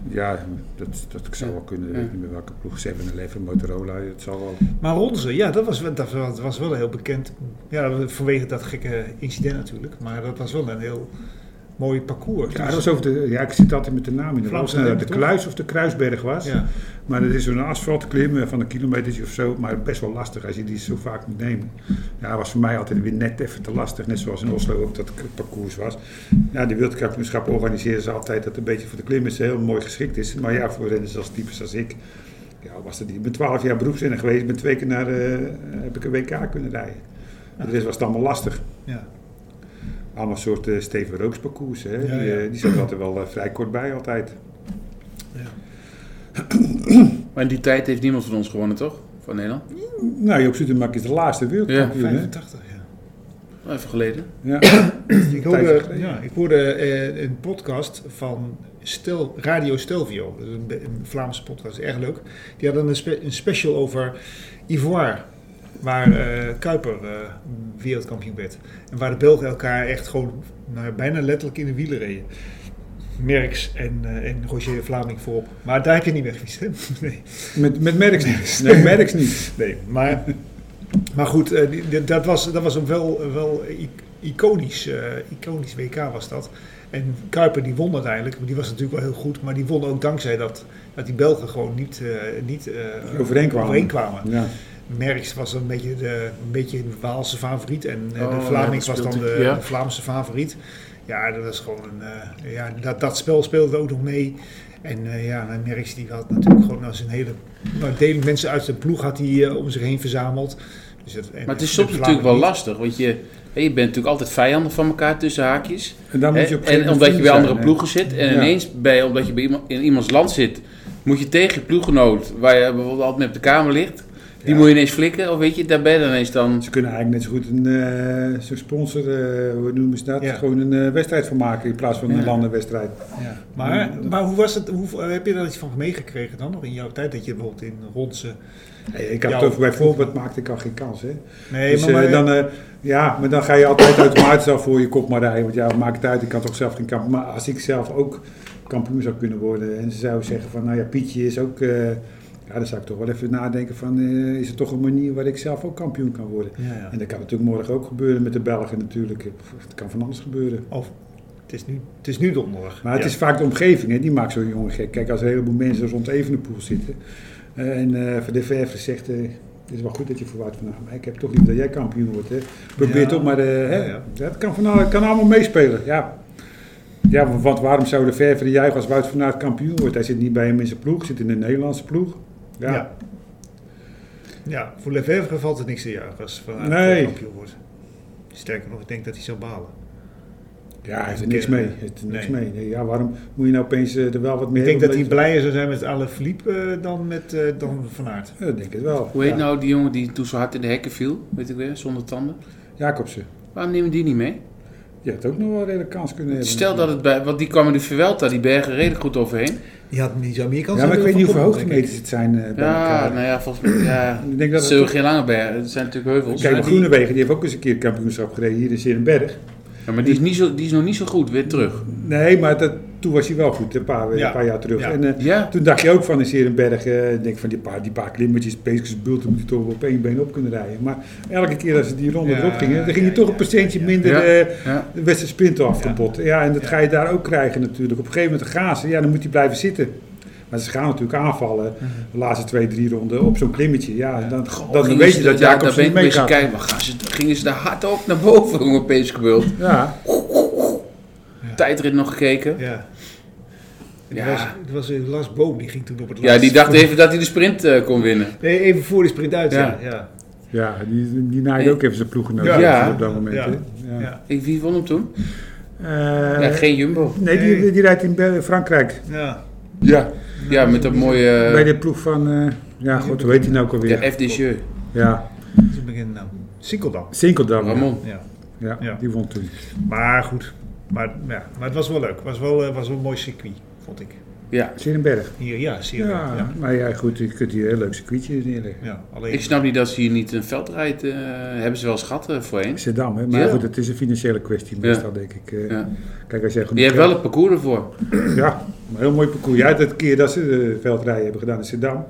[SPEAKER 4] Ja, dat, dat zou wel kunnen. Ik
[SPEAKER 3] Ja.
[SPEAKER 4] weet niet meer welke ploeg. 7-Eleven, Motorola, het zal wel.
[SPEAKER 2] Maar Ronze, ja, dat was, wel- dat, was- dat was wel heel bekend. Ja, vanwege dat gekke incident natuurlijk. Maar dat was wel een heel mooi parcours.
[SPEAKER 4] Ja, dat was over de, ja, ik zit altijd met de naam in de
[SPEAKER 2] Vlaamse
[SPEAKER 4] Vlaamse nou, De
[SPEAKER 2] Alpen,
[SPEAKER 4] Kluis of de Kruisberg was.
[SPEAKER 2] Ja.
[SPEAKER 4] Maar dat is zo'n asfaltklim eh, van een kilometertje of zo. Maar best wel lastig als je die zo vaak moet nemen. Ja, was voor mij altijd weer net even te lastig. Net zoals in Oslo ook dat k- parcours was. Ja, de wereldkampioenschap organiseren ze altijd dat een beetje voor de klimmers heel mooi geschikt is. Maar ja, voor renners als types als ik. Ja, was dat niet. Ik ben twaalf jaar beroepsrenner geweest. Ik ben twee keer naar, eh, heb ik een WK kunnen rijden. De rest was het allemaal lastig.
[SPEAKER 2] Ja.
[SPEAKER 4] Allemaal soort eh Steven Rooks parcours. Hè?
[SPEAKER 2] Ja,
[SPEAKER 4] die,
[SPEAKER 2] ja.
[SPEAKER 4] eh, die zat er altijd wel eh, vrij kort bij altijd.
[SPEAKER 3] Maar in die tijd heeft niemand van ons gewonnen, toch? Van Nederland?
[SPEAKER 4] Nou, Joop Zoetemak is de laatste wereldkampioen. hè?
[SPEAKER 2] 85, ja.
[SPEAKER 3] Even geleden.
[SPEAKER 4] Ja.
[SPEAKER 2] Ik
[SPEAKER 4] Tijdje
[SPEAKER 2] hoorde,
[SPEAKER 4] geleden.
[SPEAKER 2] ja, ik hoorde eh, een podcast van Stel, Radio Stelvio, dat is een, be- een Vlaamse podcast, erg leuk. Die hadden een, spe- een special over Ivoire, waar eh, Kuiper eh, wereldkampioen werd. En waar de Belgen elkaar echt gewoon nou, ja, bijna letterlijk in de wielen reden. Merks en, eh, en Roger Vlaming voorop. Maar daar heb je niet mee gefietst, hè? Nee.
[SPEAKER 4] Met, met Merks niet. Nee, Merks niet.
[SPEAKER 2] Nee, maar, maar goed, eh, die- die- dat was, dat was een wel, wel i- iconisch, eh, iconisch WK was dat. En Kuiper die won uiteindelijk, maar die was natuurlijk wel heel goed. Maar die won ook dankzij dat, dat die Belgen gewoon niet, eh, niet eh,
[SPEAKER 4] Overeenkwamen.
[SPEAKER 2] overeenkwamen.
[SPEAKER 4] Ja.
[SPEAKER 2] Merks was een beetje de, een beetje de Waalse favoriet en eh,
[SPEAKER 3] Oh,
[SPEAKER 2] de Vlaming
[SPEAKER 3] ja,
[SPEAKER 2] was
[SPEAKER 3] dat
[SPEAKER 2] dan
[SPEAKER 3] speelt-
[SPEAKER 2] de,
[SPEAKER 3] ja.
[SPEAKER 2] de Vlaamse favoriet. Ja, dat was gewoon een, eh, ja, dat, dat spel speelde ook nog mee. En eh, ja, en Merks die had natuurlijk gewoon als een hele nou, delen mensen uit de ploeg had hij eh, om zich heen verzameld. Dus dat, en-
[SPEAKER 3] Maar het is
[SPEAKER 2] en
[SPEAKER 3] soms
[SPEAKER 2] de
[SPEAKER 3] natuurlijk wel
[SPEAKER 2] Vlaming
[SPEAKER 3] lastig, want je, hè, je bent natuurlijk altijd vijanden van elkaar tussen haakjes.
[SPEAKER 4] En dan moet je
[SPEAKER 3] Hè,
[SPEAKER 4] op een gegeven
[SPEAKER 3] en
[SPEAKER 4] moment
[SPEAKER 3] omdat je bij
[SPEAKER 4] vrienden
[SPEAKER 3] andere
[SPEAKER 4] zijn, hè.
[SPEAKER 3] ploegen zit en
[SPEAKER 4] Ja.
[SPEAKER 3] ineens bij, omdat je bij iemand, in iemands land zit, moet je tegen je ploeggenoot, waar je bijvoorbeeld altijd mee op de kamer ligt, die
[SPEAKER 4] Ja.
[SPEAKER 3] moet je ineens flikken, of weet je, daar ben je dan ineens dan.
[SPEAKER 4] Ze kunnen eigenlijk net zo goed een, eh, zo'n sponsor, eh, hoe noemen ze dat,
[SPEAKER 2] Ja.
[SPEAKER 4] gewoon een eh, wedstrijd van maken in plaats van een
[SPEAKER 2] Ja.
[SPEAKER 4] landenwedstrijd.
[SPEAKER 2] niet. Ja. Maar,
[SPEAKER 3] Mm.
[SPEAKER 2] maar hoe was het, hoe, heb je daar iets van meegekregen dan nog in jouw tijd? Dat je bijvoorbeeld in Ronse...
[SPEAKER 4] Hey, ik had
[SPEAKER 2] Ja,
[SPEAKER 4] het over, bij voorbeeld maakte ik al geen kans. Hè?
[SPEAKER 2] Nee,
[SPEAKER 4] dus,
[SPEAKER 2] maar, maar-
[SPEAKER 4] eh, dan, eh, ja, maar dan ga je altijd automatisch al voor je kop maar rijden. Want ja, maakt het uit, ik kan toch zelf geen kampioen. Maar als ik zelf ook kampioen zou kunnen worden en ze zou zeggen van, nou ja, Pietje is ook... eh, ja, dan zou ik toch wel even nadenken van, eh, is er toch een manier waar ik zelf ook kampioen kan worden?
[SPEAKER 2] ja, ja.
[SPEAKER 4] En dat kan natuurlijk morgen ook gebeuren met de Belgen natuurlijk. Het kan van alles gebeuren.
[SPEAKER 2] Of, Oh, het, is nu, het is nu donderdag.
[SPEAKER 4] Maar het
[SPEAKER 2] Ja.
[SPEAKER 4] is vaak de omgeving, hè, die maakt zo'n jongen gek. Kijk, als een heleboel mensen rond Evenepoel zitten eh, en eh, Van de Verve zegt... eh, het is wel goed dat je vooruit vandaag, maar ik heb toch liever dat jij kampioen wordt. Hè. Probeer
[SPEAKER 2] Ja.
[SPEAKER 4] toch maar, eh, hè,
[SPEAKER 2] Ja, ja.
[SPEAKER 4] dat kan, van, al- kan allemaal meespelen. Ja. ja, want waarom zou de Verve juichen als Wout van Aert kampioen wordt? Hij zit niet bij hem in zijn ploeg, zit in de Nederlandse ploeg. Ja,
[SPEAKER 2] Ja. Ja, voor Lefebvre valt er niks te juichen als vanuit
[SPEAKER 4] Nee.
[SPEAKER 2] de kampioen wordt. Sterker nog, ik denk dat hij zou balen.
[SPEAKER 4] ja hij heeft er niks mee. Hij heeft er niks
[SPEAKER 2] Nee.
[SPEAKER 4] mee. Nee, ja, waarom moet je nou opeens eh, er wel wat meer...
[SPEAKER 2] ik denk dat hij
[SPEAKER 4] mee-
[SPEAKER 2] blijer zou zijn met Alain Philippe eh, dan met eh, dan Van Aert.
[SPEAKER 4] Ja, dat denk ik wel.
[SPEAKER 3] Hoe heet
[SPEAKER 4] ja.
[SPEAKER 3] nou die jongen die toen zo hard in de hekken viel, weet ik weer, zonder tanden?
[SPEAKER 4] Jacobsen.
[SPEAKER 3] Waarom nemen die niet mee?
[SPEAKER 4] Je had ook nog wel een redelijk kans kunnen hebben.
[SPEAKER 3] Stel dat het bij, want die kwamen de Vuelta, die bergen redelijk goed overheen.
[SPEAKER 2] Die had niet zo meer kans.
[SPEAKER 4] Ja, maar ik weet niet hoeveel hoogtemeters het zijn eh, bij
[SPEAKER 3] Ja,
[SPEAKER 4] elkaar.
[SPEAKER 3] nou ja, volgens mij, ja,
[SPEAKER 4] Ik denk dat
[SPEAKER 3] dat
[SPEAKER 4] het
[SPEAKER 3] zullen
[SPEAKER 4] toch-
[SPEAKER 3] geen lange bergen, het zijn natuurlijk heuvels.
[SPEAKER 4] Kijk,
[SPEAKER 3] maar,
[SPEAKER 4] maar
[SPEAKER 3] die,
[SPEAKER 4] Groenewegen, die heeft ook eens een keer het kampioenschap gereden hier in Zerenberg.
[SPEAKER 3] ja, maar die, is niet zo, die is nog niet zo goed, weer terug.
[SPEAKER 4] Nee, maar dat, toen was hij wel goed, een paar, een
[SPEAKER 2] Ja.
[SPEAKER 4] paar jaar terug.
[SPEAKER 2] Ja.
[SPEAKER 4] En eh,
[SPEAKER 3] Ja,
[SPEAKER 4] toen dacht je ook van in Zerenberg, eh, denk van die paar, die paar klimmetjes, Peeskens, Bulten, moet hij toch wel op één been op kunnen rijden. Maar elke keer als ze die ronde
[SPEAKER 2] Ja,
[SPEAKER 4] erop gingen, dan ging je
[SPEAKER 2] ja,
[SPEAKER 4] toch
[SPEAKER 2] ja,
[SPEAKER 4] een percentje
[SPEAKER 2] ja.
[SPEAKER 4] minder...
[SPEAKER 3] Ja.
[SPEAKER 4] eh,
[SPEAKER 3] ja.
[SPEAKER 4] de wedstrijd sprint al afgebot. Ja. en dat
[SPEAKER 2] Ja.
[SPEAKER 4] ga je daar ook krijgen natuurlijk. Op een gegeven moment gaan ze, ja, dan moet hij blijven zitten. Maar ze gaan natuurlijk aanvallen, de laatste twee, drie ronden, op zo'n klimmetje. Mhm. Ja, en dan, dan
[SPEAKER 3] Gingen
[SPEAKER 4] weet
[SPEAKER 3] ze
[SPEAKER 4] je dat
[SPEAKER 3] daar- daar
[SPEAKER 4] Jacobs
[SPEAKER 3] ben
[SPEAKER 4] niet
[SPEAKER 3] ik
[SPEAKER 4] mee
[SPEAKER 3] eens
[SPEAKER 4] gaat.
[SPEAKER 3] kijken, maar gaan ze, gingen ze daar hard op naar boven, jongen, opeens gebeurd.
[SPEAKER 4] Ja,
[SPEAKER 3] Tijdrit nog gekeken.
[SPEAKER 2] Ja. Het
[SPEAKER 3] Ja.
[SPEAKER 2] was, het was eh, Lars Boom, die ging toen op het
[SPEAKER 3] Ja,
[SPEAKER 2] laatst.
[SPEAKER 3] die dacht even dat hij de sprint eh, kon winnen.
[SPEAKER 2] Nee, even voor de sprint uit, ja.
[SPEAKER 3] Ja.
[SPEAKER 2] ja.
[SPEAKER 4] ja die, die naait ook even zijn ploeggenoot
[SPEAKER 2] Ja.
[SPEAKER 4] ja. op dat moment.
[SPEAKER 2] Ja.
[SPEAKER 4] hè. Ja.
[SPEAKER 2] Ja.
[SPEAKER 3] Ik, wie won hem toen?
[SPEAKER 4] Eh,
[SPEAKER 3] ja, geen Jumbo.
[SPEAKER 4] Nee, die, die rijdt in Bel- Frankrijk.
[SPEAKER 2] Ja.
[SPEAKER 3] Ja. Ja, met dat mooie... eh,
[SPEAKER 4] bij de ploeg van... eh, ja, god, hoe heet die nou ook alweer?
[SPEAKER 3] de FDJ.
[SPEAKER 4] Ja,
[SPEAKER 2] Dat is een begin nou. Sinkeldam.
[SPEAKER 4] Sinkeldam. ja.
[SPEAKER 3] Ramon.
[SPEAKER 2] Ja.
[SPEAKER 4] Ja,
[SPEAKER 2] Ja.
[SPEAKER 4] die won toen.
[SPEAKER 2] Maar goed. Maar, ja. maar het was wel leuk. Het was wel, eh, was wel een mooi circuit, vond ik.
[SPEAKER 3] Ja.
[SPEAKER 4] Zinnenberg.
[SPEAKER 2] Hier, ja, zie je
[SPEAKER 4] Ja,
[SPEAKER 2] wel. ja. ja.
[SPEAKER 4] maar ja, goed, je kunt hier een heel leuk circuitje neerleggen.
[SPEAKER 2] alleen...
[SPEAKER 3] Ik snap niet dat ze hier niet een veldrijd eh, hebben ze wel eens gehad eh, voorheen.
[SPEAKER 4] Amsterdam, hè? maar
[SPEAKER 3] Ja.
[SPEAKER 4] goed, het is een financiële kwestie meestal, denk ik. Eh,
[SPEAKER 3] Ja.
[SPEAKER 4] Kijk, als jij
[SPEAKER 3] Je
[SPEAKER 4] genoeg
[SPEAKER 3] hebt wel het parcours ervoor.
[SPEAKER 4] Ja, een heel mooi parcours. Ja, dat keer dat ze de veldrijden hebben gedaan in Amsterdam,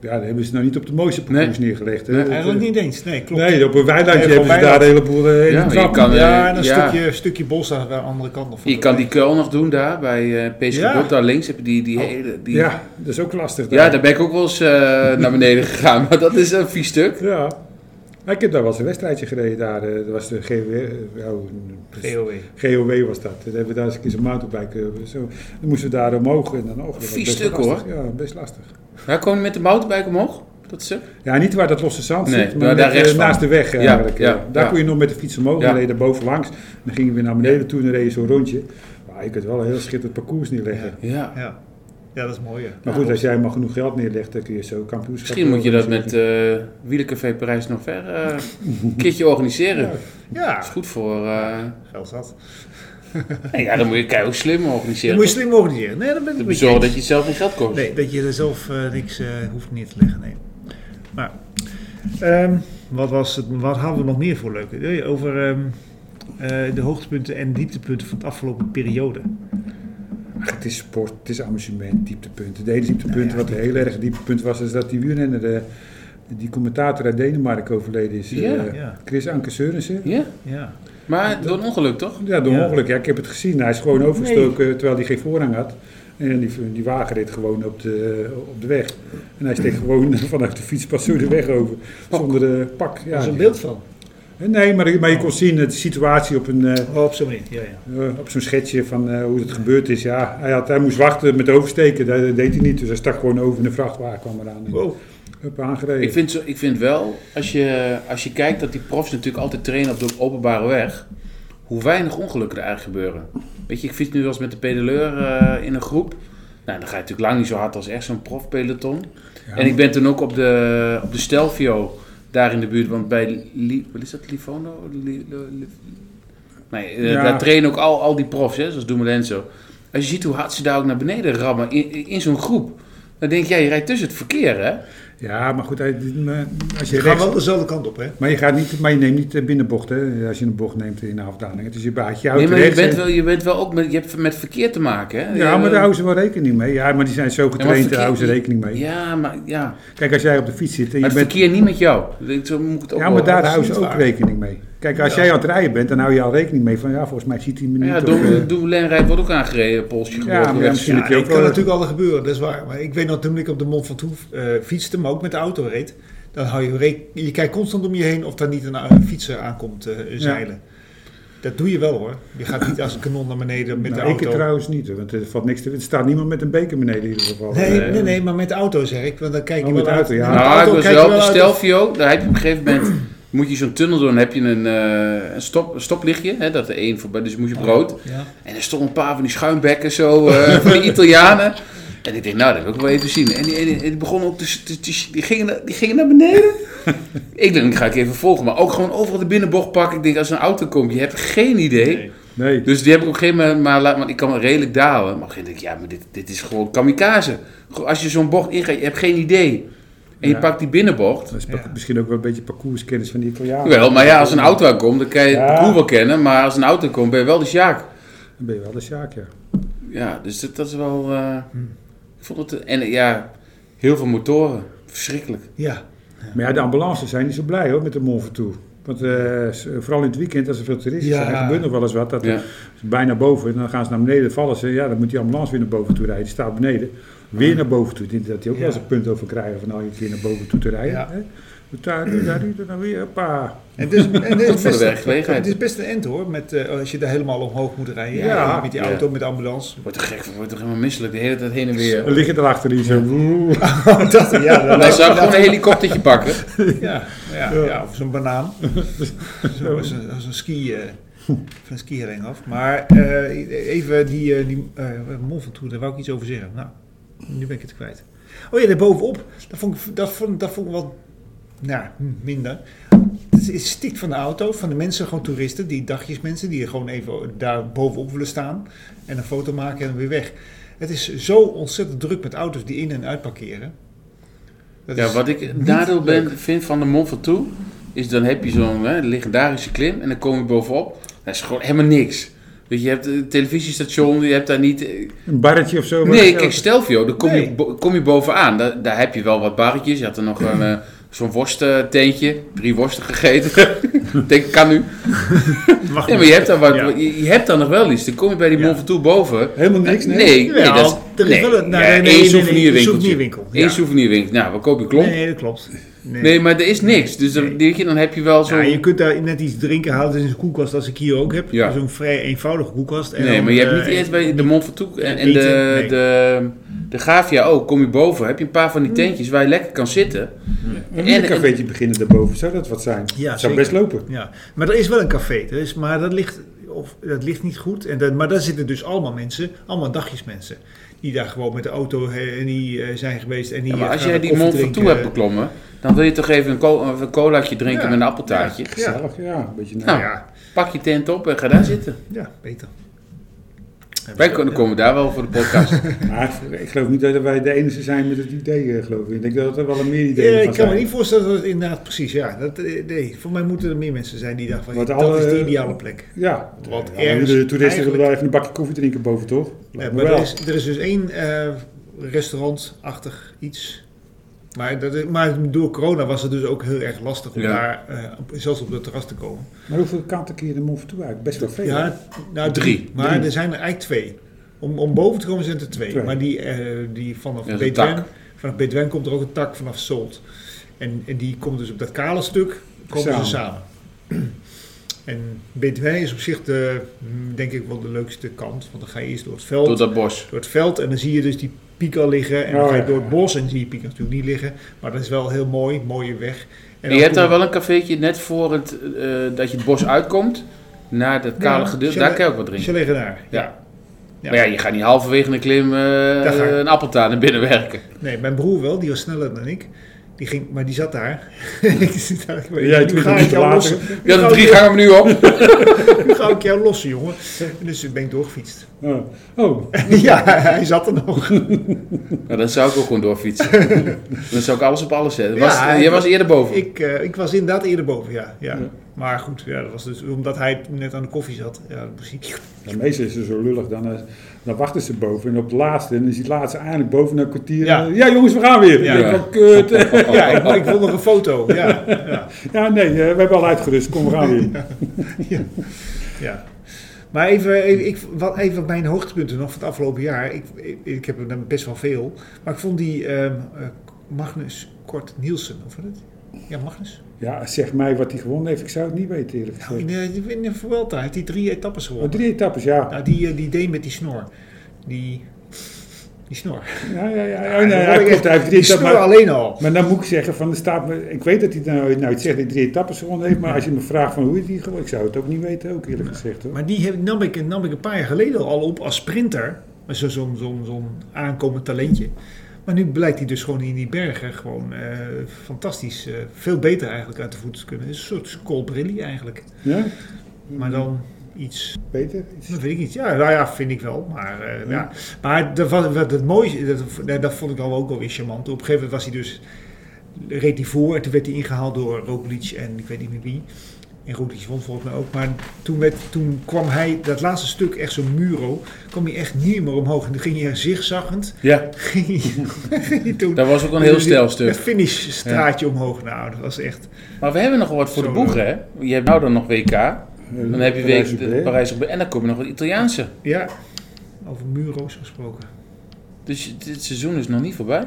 [SPEAKER 4] ja, dan hebben ze nou niet op de mooiste parcours neergelegd. hè.
[SPEAKER 3] Nee.
[SPEAKER 4] Dat, eh,
[SPEAKER 2] Eigenlijk niet eens. Nee, klopt.
[SPEAKER 4] Nee, op een weilandje
[SPEAKER 2] Nee, op
[SPEAKER 4] hebben ze
[SPEAKER 2] een
[SPEAKER 4] daar een heleboel eh, hele
[SPEAKER 3] Ja, maar je
[SPEAKER 4] trappen.
[SPEAKER 3] kan, eh,
[SPEAKER 2] ja, en een
[SPEAKER 3] ja.
[SPEAKER 2] stukje, stukje bos aan de andere kant. nog van
[SPEAKER 3] Je
[SPEAKER 2] de
[SPEAKER 3] kan die
[SPEAKER 2] weg.
[SPEAKER 3] kuil nog doen daar, bij eh PSG
[SPEAKER 2] Ja.
[SPEAKER 3] Bot. Daar links heb je die, die hele... Die...
[SPEAKER 4] Oh. Ja, dat is ook lastig.
[SPEAKER 3] Ja, daar ben ik ook wel eens eh, naar beneden gegaan, maar dat is een vies stuk.
[SPEAKER 4] Ja. Maar Ik heb daar wel eens een wedstrijdje gereden. Daar eh, dat was de GW, eh, oh, een-
[SPEAKER 2] GOE.
[SPEAKER 4] GOW was dat. Daar hebben we daar eens een keer zo'n mountainbike. eh, Zo. Dan moesten we daar omhoog en dan over.
[SPEAKER 3] Vies stuk, hoor.
[SPEAKER 4] Ja, best lastig.
[SPEAKER 3] Daar kom je met de mountainbike omhoog, dat stuk.
[SPEAKER 4] Ja, niet waar dat losse zand
[SPEAKER 3] Nee,
[SPEAKER 4] zit, maar
[SPEAKER 3] daar-
[SPEAKER 4] net,
[SPEAKER 3] daar
[SPEAKER 4] eh,
[SPEAKER 3] rechts van.
[SPEAKER 4] naast de weg eh,
[SPEAKER 3] Ja,
[SPEAKER 4] eigenlijk. eh.
[SPEAKER 3] ja,
[SPEAKER 4] daar
[SPEAKER 3] ja.
[SPEAKER 4] kon je nog met de fiets omhoog
[SPEAKER 3] Ja.
[SPEAKER 4] en reden boven langs. Dan gingen we naar beneden toe en dan reden zo'n rondje. Maar je kunt wel een heel schitterend parcours neerleggen.
[SPEAKER 3] Ja.
[SPEAKER 2] Ja. ja, dat is mooi. Ja.
[SPEAKER 4] Maar goed, als jij maar genoeg geld neerlegt, dan kun je zo kampioenschap...
[SPEAKER 3] Misschien moet je dat met
[SPEAKER 4] organiseren.
[SPEAKER 3] eh Wielencafé Parijs nog ver eh, een keertje organiseren. Dat
[SPEAKER 2] Ja,
[SPEAKER 3] is goed voor... eh,
[SPEAKER 2] geld zat.
[SPEAKER 3] nou ja, dan moet je keihard slim
[SPEAKER 2] Je
[SPEAKER 3] organiseren.
[SPEAKER 2] moet je slim organiseren. Nee, dan ben ik
[SPEAKER 3] Om
[SPEAKER 2] met
[SPEAKER 3] te
[SPEAKER 2] je
[SPEAKER 3] zorgen
[SPEAKER 2] eens.
[SPEAKER 3] dat je het zelf geen geld kost.
[SPEAKER 2] Nee, dat je er zelf eh, niks eh, hoeft neer te leggen, nee. Maar, ehm, wat, was het, wat hadden we nog meer voor leuke? Eh, Over ehm, eh, de hoogtepunten en dieptepunten van de afgelopen periode.
[SPEAKER 4] Ach, het is sport, het is amusement, dieptepunten. De hele
[SPEAKER 3] Nou
[SPEAKER 4] dieptepunt, wat een heel erg dieptepunt was, is dat die wielrenner, eh, die commentator uit Denemarken overleden is.
[SPEAKER 3] Ja,
[SPEAKER 4] eh,
[SPEAKER 2] ja.
[SPEAKER 4] Chris Anker Sørensen.
[SPEAKER 3] Ja,
[SPEAKER 2] Ja,
[SPEAKER 3] maar door een ongeluk toch?
[SPEAKER 4] Ja, door
[SPEAKER 2] Ja.
[SPEAKER 4] ongeluk. Ja, ik heb het gezien. Hij is gewoon overgestoken terwijl hij geen voorrang had. En die, die wagen reed gewoon op de, op de weg. En hij steekt gewoon vanuit de fiets pas zo de weg over. Zonder eh, pak.
[SPEAKER 2] daar
[SPEAKER 4] Ja. Eh,
[SPEAKER 2] is een beeld van.
[SPEAKER 4] Nee, maar, maar je kon zien eh, de situatie op, een, eh,
[SPEAKER 2] Oh, op zo'n manier, ja, ja.
[SPEAKER 4] eh, op zo'n schetsje van eh, hoe het gebeurd is. Ja, hij, had, hij moest wachten met oversteken. Dat dat deed hij niet. Dus hij stak gewoon over en de vrachtwagen kwam eraan. En,
[SPEAKER 2] Wow.
[SPEAKER 4] hup, aangereden.
[SPEAKER 3] Ik vind, zo, ik vind wel, als je, als je kijkt dat die profs natuurlijk altijd trainen op de openbare weg, hoe weinig ongelukken er eigenlijk gebeuren. Weet je, ik fiets nu wel eens met de pedaleur eh, in een groep. Nou, dan ga je natuurlijk lang niet zo hard als echt zo'n profpeloton.
[SPEAKER 4] Ja.
[SPEAKER 3] En ik ben toen ook op de, op de Stelvio, daar in de buurt, want bij, Li, wat is dat, Livono? Li- Lo- Li- nee, eh,
[SPEAKER 4] Ja.
[SPEAKER 3] daar trainen ook al, al die profs, hè, zoals Doemelenzo. Als je ziet hoe hard ze daar ook naar beneden rammen, in, in- in zo'n groep, dan denk jij, je rijdt tussen het verkeer, hè?
[SPEAKER 4] Ja, maar goed. Hij, als je
[SPEAKER 2] We gaan
[SPEAKER 4] rechts
[SPEAKER 2] wel dezelfde kant op, hè?
[SPEAKER 4] Maar je, gaat niet, maar je neemt niet de binnenbocht, hè, als je een bocht neemt in de afdaling. Het is je baatje.
[SPEAKER 3] Nee,
[SPEAKER 4] Je houdt
[SPEAKER 3] maar je
[SPEAKER 4] rechts
[SPEAKER 3] bent,
[SPEAKER 4] en-
[SPEAKER 3] wel, je bent wel ook met, je hebt met verkeer te maken, hè? Eh,
[SPEAKER 4] Ja,
[SPEAKER 3] Je-
[SPEAKER 4] maar daar houden ze wel rekening mee. Ja, maar die zijn zo
[SPEAKER 3] Ja, maar
[SPEAKER 4] getraind, daar houden ze
[SPEAKER 3] verkeer-
[SPEAKER 4] rekening mee.
[SPEAKER 3] Ja, maar, ja.
[SPEAKER 4] Kijk, als jij op de fiets zit
[SPEAKER 3] maar
[SPEAKER 4] en je
[SPEAKER 3] het
[SPEAKER 4] bent...
[SPEAKER 3] verkeer niet met jou. Zo moet ik het ook
[SPEAKER 4] Ja, maar
[SPEAKER 3] horen.
[SPEAKER 4] daar houden ze
[SPEAKER 2] niet
[SPEAKER 4] ook
[SPEAKER 2] waar.
[SPEAKER 4] rekening mee. Kijk, als
[SPEAKER 2] Ja.
[SPEAKER 4] jij aan het rijden bent, dan hou je al rekening mee van... Ja, volgens mij ziet hij me niet.
[SPEAKER 3] Ja,
[SPEAKER 4] of,
[SPEAKER 3] Doe-
[SPEAKER 4] eh,
[SPEAKER 3] Doemelijn rijdt wordt ook aangereden, polsje geboren.
[SPEAKER 4] maar
[SPEAKER 3] werd.
[SPEAKER 4] misschien-
[SPEAKER 2] Ja,
[SPEAKER 4] Natuurlijk
[SPEAKER 2] dat
[SPEAKER 4] ook
[SPEAKER 2] kan
[SPEAKER 4] wel-
[SPEAKER 2] natuurlijk altijd gebeuren, dat is waar. Maar ik weet nog, toen ik op de Mont Ventoux eh fietste, maar ook met de auto reed, dan hou je rek- je kijkt constant om je heen of daar niet een eh, fietser aankomt eh, zeilen. Dat doe je wel hoor. Je gaat niet als een kanon naar beneden met
[SPEAKER 4] nou,
[SPEAKER 2] de
[SPEAKER 4] ik het
[SPEAKER 2] auto.
[SPEAKER 4] trouwens niet, hoor, want er valt niks te... Er staat niemand met een beker beneden in ieder geval. Eh,
[SPEAKER 2] nee,
[SPEAKER 3] Nee.
[SPEAKER 2] nee, nee, maar met de auto zeg ik, want dan kijk
[SPEAKER 4] Oh,
[SPEAKER 2] je
[SPEAKER 4] met
[SPEAKER 2] wel
[SPEAKER 4] de auto,
[SPEAKER 2] uit.
[SPEAKER 4] ja.
[SPEAKER 2] Met de
[SPEAKER 3] Nou, ik
[SPEAKER 2] auto
[SPEAKER 3] was
[SPEAKER 2] kijk
[SPEAKER 3] wel
[SPEAKER 2] je
[SPEAKER 3] op de
[SPEAKER 2] uit of-
[SPEAKER 3] Stelvio. Daar heb je op een gegeven moment... Moet je zo'n tunnel door, dan heb je een, eh, een, stop, een stoplichtje. Hè, dat er één voorbij, dus moet je brood.
[SPEAKER 2] Ja.
[SPEAKER 3] En er stonden een paar van die schuimbekken zo, eh, van die Italianen. En ik denk, nou, dat wil ik wel even zien. En die, en die, en die begonnen ook te, te- te- die, gingen, naar- die gingen naar beneden. ik denk, ik ga ik even volgen. Maar ook gewoon overal de binnenbocht pakken. Ik denk, als er een auto komt, je hebt geen idee.
[SPEAKER 4] Nee.
[SPEAKER 3] Dus die heb ik op een gegeven moment maar laten, want ik kan redelijk dalen. Maar op een gegeven moment denk ik, ja, maar dit, dit is gewoon kamikaze. Gewoon, Als je zo'n bocht ingaat, je hebt geen idee. En je
[SPEAKER 4] Ja.
[SPEAKER 3] pakt die binnenbocht.
[SPEAKER 4] Dat is pa-
[SPEAKER 2] Ja.
[SPEAKER 4] misschien ook wel een beetje parcourskennis van die Italianen.
[SPEAKER 3] Wel, maar ja, als een auto aankomt, dan kan je het
[SPEAKER 4] Ja.
[SPEAKER 3] parcours wel kennen. Maar als een auto komt, ben je wel de Sjaak.
[SPEAKER 4] Dan ben je wel de Sjaak, ja.
[SPEAKER 3] Ja, dus dat, dat is wel... eh,
[SPEAKER 4] Hm.
[SPEAKER 3] ik vond het... En eh, ja, heel veel motoren. Verschrikkelijk.
[SPEAKER 2] Ja.
[SPEAKER 4] Maar ja, de ambulances zijn niet zo blij hoor met de Mont Ventoux. Want eh, s- vooral in het weekend, als er veel toeristen
[SPEAKER 2] Ja.
[SPEAKER 4] zijn, er gebeurt nog wel eens wat. Dat
[SPEAKER 3] Ja.
[SPEAKER 4] er bijna boven, en dan gaan ze naar beneden, vallen ze. Ja, dan moet die ambulance weer naar boven toe rijden. Die staat beneden, weer naar boven toe. Ik denk dat die ook
[SPEAKER 2] Ja.
[SPEAKER 4] wel eens een punt over krijgen van nou, je keer naar boven toe te rijden.
[SPEAKER 2] Ja.
[SPEAKER 4] hè. Doe Daar, doe daar, doe daar, nou weer, hoppa.
[SPEAKER 2] En het is, en het,
[SPEAKER 3] Goed
[SPEAKER 2] is
[SPEAKER 3] voor de
[SPEAKER 2] best,
[SPEAKER 3] werkgelegenheid.
[SPEAKER 2] het is best een end hoor, met, eh, als je daar helemaal omhoog moet rijden. Ja,
[SPEAKER 4] Ja.
[SPEAKER 2] met die
[SPEAKER 3] Ja.
[SPEAKER 2] auto, met de ambulance.
[SPEAKER 3] Wordt er gek van, wordt er helemaal misselijk. De hele tijd heen en
[SPEAKER 4] Dan
[SPEAKER 3] weer.
[SPEAKER 4] liggen er achter die zo.
[SPEAKER 2] dat, ja, dat
[SPEAKER 3] Hij
[SPEAKER 2] lijkt-
[SPEAKER 3] zou gewoon een helikoptertje pakken.
[SPEAKER 2] Ja, ja, ja, of zo'n banaan. Zo, als, een, als een ski. eh. van een skierring af. Maar eh, even die, eh die eh mol van toe, daar wou ik iets over zeggen. Nou, nu ben ik het kwijt. Oh ja, daarbovenop. Dat vond ik, dat vond, dat vond ik wat nou, hm, minder. Het is- het stikt van de auto, van de mensen, gewoon toeristen, die dagjesmensen, die gewoon even daar bovenop willen staan en een foto maken en weer weg. Het is zo ontzettend druk met auto's die in en uit parkeren. Dat
[SPEAKER 3] Ja,
[SPEAKER 2] is-
[SPEAKER 3] wat ik daardoor ben, vind van de Mont Ventoux, is dan heb je zo'n hè, legendarische klim en dan kom je bovenop. Dat is gewoon helemaal niks. Weet je, je hebt een televisiestation, je hebt daar niet... eh,
[SPEAKER 4] Een barretje of zo. waar
[SPEAKER 3] Nee,
[SPEAKER 4] je-
[SPEAKER 3] kijk, Stelvio, daar kom,
[SPEAKER 2] Nee.
[SPEAKER 3] je, bo- kom je bovenaan. Daar, daar heb je wel wat barretjes. Je had er nog een, eh, zo'n worstenteentje, drie worsten gegeten. Ik Denk, kan nu.
[SPEAKER 2] Wacht,
[SPEAKER 3] Nee, maar je hebt, daar wat,
[SPEAKER 2] Ja.
[SPEAKER 3] je, je hebt daar nog wel iets. Dan kom je bij die Mont Ventoux boven.
[SPEAKER 4] Helemaal niks, nee.
[SPEAKER 3] nee. Nee,
[SPEAKER 2] Jawel,
[SPEAKER 3] dat is-
[SPEAKER 2] er is
[SPEAKER 3] nee.
[SPEAKER 2] wel een- nee, nee,
[SPEAKER 3] Ja,
[SPEAKER 2] nee,
[SPEAKER 3] één
[SPEAKER 2] nee, nee, nee,
[SPEAKER 3] souvenirwinkeltje.
[SPEAKER 2] souvenirwinkel, ja.
[SPEAKER 3] Eén souvenirwinkel. Nou, we kopen een klomp.
[SPEAKER 2] nee, dat klopt.
[SPEAKER 3] Nee, maar er is niks. Dus dan, weet je, dan heb je wel zo'n...
[SPEAKER 2] Ja, je kunt daar net iets drinken halen. Het is een koelkast als ik hier ook heb.
[SPEAKER 3] Ja.
[SPEAKER 2] Zo'n vrij eenvoudige koelkast. En
[SPEAKER 3] Nee,
[SPEAKER 2] dan,
[SPEAKER 3] maar je hebt
[SPEAKER 2] eh,
[SPEAKER 3] niet eerst bij de Mont Ventoux en, en
[SPEAKER 2] eten,
[SPEAKER 3] de,
[SPEAKER 2] nee.
[SPEAKER 3] de, de Gavia ook, kom je boven, heb je een paar van die tentjes waar je lekker kan zitten.
[SPEAKER 2] Mm.
[SPEAKER 4] Een en, cafeetje beginnen daarboven, zou dat wat zijn?
[SPEAKER 2] Ja,
[SPEAKER 4] zou
[SPEAKER 2] zeker.
[SPEAKER 4] best lopen.
[SPEAKER 2] Ja, maar er is wel een café. Er is, maar dat ligt, of, dat ligt niet goed. En dat, maar daar zitten dus allemaal mensen, allemaal dagjesmensen. Die daar gewoon met de auto eh, en die, eh, zijn geweest. En die,
[SPEAKER 3] Ja, maar
[SPEAKER 2] eh,
[SPEAKER 3] als
[SPEAKER 2] gaan
[SPEAKER 3] jij
[SPEAKER 2] wat
[SPEAKER 3] die Mont
[SPEAKER 2] koffie
[SPEAKER 3] Ventoux hebt
[SPEAKER 2] drinken.
[SPEAKER 3] beklommen, dan wil je toch even een, co- een colaatje drinken
[SPEAKER 2] Ja.
[SPEAKER 3] met een appeltaartje.
[SPEAKER 4] Gezellig, ja. een beetje naar.
[SPEAKER 3] Nou,
[SPEAKER 2] Ja,
[SPEAKER 3] pak je tent op en ga daar zitten.
[SPEAKER 2] ja, beter.
[SPEAKER 3] Wij kunnen, komen daar wel voor de podcast.
[SPEAKER 4] Maar ik geloof niet dat wij de enige zijn met het idee, eh, geloof ik. Ik denk dat er wel een meer
[SPEAKER 2] Ja,
[SPEAKER 4] ideeën
[SPEAKER 2] Eh, ik
[SPEAKER 4] van
[SPEAKER 2] kan me
[SPEAKER 4] zijn.
[SPEAKER 2] niet voorstellen dat het inderdaad precies, ja. Dat, eh, nee, voor mij moeten er meer mensen zijn die dachten van,
[SPEAKER 4] Want
[SPEAKER 2] dat
[SPEAKER 4] alle-
[SPEAKER 2] is de ideale plek.
[SPEAKER 4] Ja,
[SPEAKER 2] Want
[SPEAKER 4] ja,
[SPEAKER 2] ergens
[SPEAKER 4] de toeristen
[SPEAKER 2] dus eigenlijk-
[SPEAKER 4] willen wel even een bakje koffie drinken boven, toch?
[SPEAKER 2] Nee,
[SPEAKER 4] Lijkt me
[SPEAKER 2] maar er
[SPEAKER 4] wel.
[SPEAKER 2] is, er is dus één eh, restaurantachtig iets. Maar, dat is- maar door corona was het dus ook heel erg lastig om
[SPEAKER 3] Ja.
[SPEAKER 2] daar eh, op- zelfs op dat terras te komen.
[SPEAKER 4] Maar hoeveel kanten kun je de Mont Ventoux eigenlijk? Best wel veel. hè?
[SPEAKER 2] Ja, nou,
[SPEAKER 3] Drie.
[SPEAKER 2] drie. Maar er zijn er eigenlijk twee. Om, om boven te komen zijn er twee.
[SPEAKER 4] Twee.
[SPEAKER 2] Maar die, eh, die vanaf
[SPEAKER 3] Ja, dat is een
[SPEAKER 2] Bedouin,
[SPEAKER 3] tak.
[SPEAKER 2] vanaf Bedouin komt er ook een tak vanaf Solt. En, en die komt dus op dat kale stuk, komen
[SPEAKER 4] Samen.
[SPEAKER 2] ze samen. En Bedouin is op zich de, mm, denk ik wel de leukste kant. Want dan ga je eerst door het veld
[SPEAKER 3] Door dat bos.
[SPEAKER 2] door het veld en dan zie je dus die piek al liggen. En dan
[SPEAKER 4] Oh,
[SPEAKER 2] ga je
[SPEAKER 4] ja.
[SPEAKER 2] door het bos en zie je piek natuurlijk niet liggen. Maar dat is wel heel mooi, mooie weg.
[SPEAKER 3] En
[SPEAKER 2] dan
[SPEAKER 3] je hebt
[SPEAKER 2] kom
[SPEAKER 3] daar wel een cafeetje net voor het, eh, dat je het bos uitkomt, naar dat kale
[SPEAKER 2] Ja,
[SPEAKER 3] gedeelte.
[SPEAKER 2] zullen-
[SPEAKER 3] Daar kan je ook wat drinken.
[SPEAKER 2] Ze liggen daar.
[SPEAKER 3] Ja.
[SPEAKER 2] Ja.
[SPEAKER 3] Maar ja, je gaat niet halverwege een klim eh,
[SPEAKER 2] ga ik.
[SPEAKER 3] een appeltaart naar binnen werken.
[SPEAKER 2] Nee, mijn broer wel, die was sneller dan ik. Die ging, maar die zat daar. ik zit daar
[SPEAKER 4] Jij twintig
[SPEAKER 2] nu ga ik
[SPEAKER 4] minuten
[SPEAKER 2] jou
[SPEAKER 4] later.
[SPEAKER 2] lossen.
[SPEAKER 3] Je had
[SPEAKER 2] Nu
[SPEAKER 3] een
[SPEAKER 2] ga ik
[SPEAKER 3] drie gangen menu op.
[SPEAKER 2] jou- Nu ga ik jou lossen, jongen. En dus ben ik doorgefietst.
[SPEAKER 4] Oh. oh,
[SPEAKER 2] ja, hij zat er nog.
[SPEAKER 3] Nou, dan zou ik ook gewoon doorfietsen. dan zou ik alles op alles zetten.
[SPEAKER 2] Ja,
[SPEAKER 3] Was,
[SPEAKER 2] ik was-
[SPEAKER 3] jij was eerder boven.
[SPEAKER 2] Ik, eh, ik was inderdaad eerder boven, ja. ja.
[SPEAKER 4] Ja.
[SPEAKER 2] Maar goed, ja, dat was dus omdat hij net aan de koffie zat. Ja, precies.
[SPEAKER 4] ja, meestal is ze zo lullig. Dan, eh, dan wachten ze boven en op de laatste. En dan is die laatste eindelijk boven naar een kwartier.
[SPEAKER 2] Ja.
[SPEAKER 4] Ja. ja, jongens, we gaan weer.
[SPEAKER 2] Ja.
[SPEAKER 4] Ja, ik denk, oh, kut.
[SPEAKER 2] Ja, ik, ik vond nog een foto. Ja, ja.
[SPEAKER 4] ja nee, eh, we hebben al uitgerust. Kom, we gaan weer.
[SPEAKER 2] Ja. Maar even, even, ik, wat, even mijn hoogtepunten nog van het afgelopen jaar. Ik, ik, ik heb er dan best wel veel. Maar ik vond die ehm, eh, Magnus Kort Nielsen, of wat het? Ja, Magnus.
[SPEAKER 4] Ja, zeg mij wat hij gewonnen heeft. Ik zou het niet weten, eerlijk
[SPEAKER 2] Nou,
[SPEAKER 4] gezegd.
[SPEAKER 2] in, de, in de Vuelta heeft hij drie etappes
[SPEAKER 4] Oh,
[SPEAKER 2] gewonnen.
[SPEAKER 4] drie etappes, ja.
[SPEAKER 2] Nou, die, eh, die deed met die snor. Die, die snor.
[SPEAKER 4] Ja, ja, ja.
[SPEAKER 2] Ja,
[SPEAKER 4] Oh, nee,
[SPEAKER 2] dan
[SPEAKER 4] hij
[SPEAKER 2] word ik
[SPEAKER 4] klopt, hij heeft
[SPEAKER 2] echt-
[SPEAKER 4] drie
[SPEAKER 2] die snor
[SPEAKER 4] etappes. Maar,
[SPEAKER 2] alleen al.
[SPEAKER 4] maar dan moet ik zeggen, van de staat, me- ik weet dat hij nou, nou het zegt dat hij drie etappes gewonnen heeft. Maar als je me vraagt van hoe is die gewonnen, ik zou het ook niet weten, ook eerlijk gezegd. Hoor.
[SPEAKER 2] Maar die heb, nam, ik, nam ik een paar jaar geleden al op als sprinter. Maar zo- Zo'n zo'n zo'n aankomend talentje. Maar nu blijkt hij dus gewoon in die bergen gewoon eh, fantastisch. eh, veel beter eigenlijk uit de voeten te kunnen. Het is een soort Colbrilli eigenlijk.
[SPEAKER 4] Ja?
[SPEAKER 2] Maar dan iets.
[SPEAKER 4] Peter?
[SPEAKER 2] Dat weet ik niet. Ja, nou ja, vind ik wel. Maar, eh, ja. maar dat, was, wat het mooiste, dat, nee, dat vond ik al ook wel weer charmant. Op een gegeven moment was hij dus, reed hij voor en toen werd hij ingehaald door Roglic en ik weet niet meer wie. En Roglic won volgens mij ook. Maar toen, werd, toen kwam hij, dat laatste stuk, echt zo'n muro, kwam hij echt niet meer omhoog. En toen ging hij zigzaggend.
[SPEAKER 3] ja,
[SPEAKER 2] Ging hij, ging hij toen
[SPEAKER 3] dat was ook een heel stijl
[SPEAKER 2] het
[SPEAKER 3] stuk.
[SPEAKER 2] finishstraatje omhoog. Nou, dat was echt...
[SPEAKER 3] Maar we hebben nog wat voor de
[SPEAKER 2] Zo
[SPEAKER 3] boeg, hè? Je hebt nou dan nog WK.
[SPEAKER 4] eh,
[SPEAKER 3] Dan heb je
[SPEAKER 4] Parijs-
[SPEAKER 3] week de- Parijs op en dan kom je nog wat Italiaanse.
[SPEAKER 2] Ja, over muro's gesproken.
[SPEAKER 3] Dus dit seizoen is nog niet voorbij.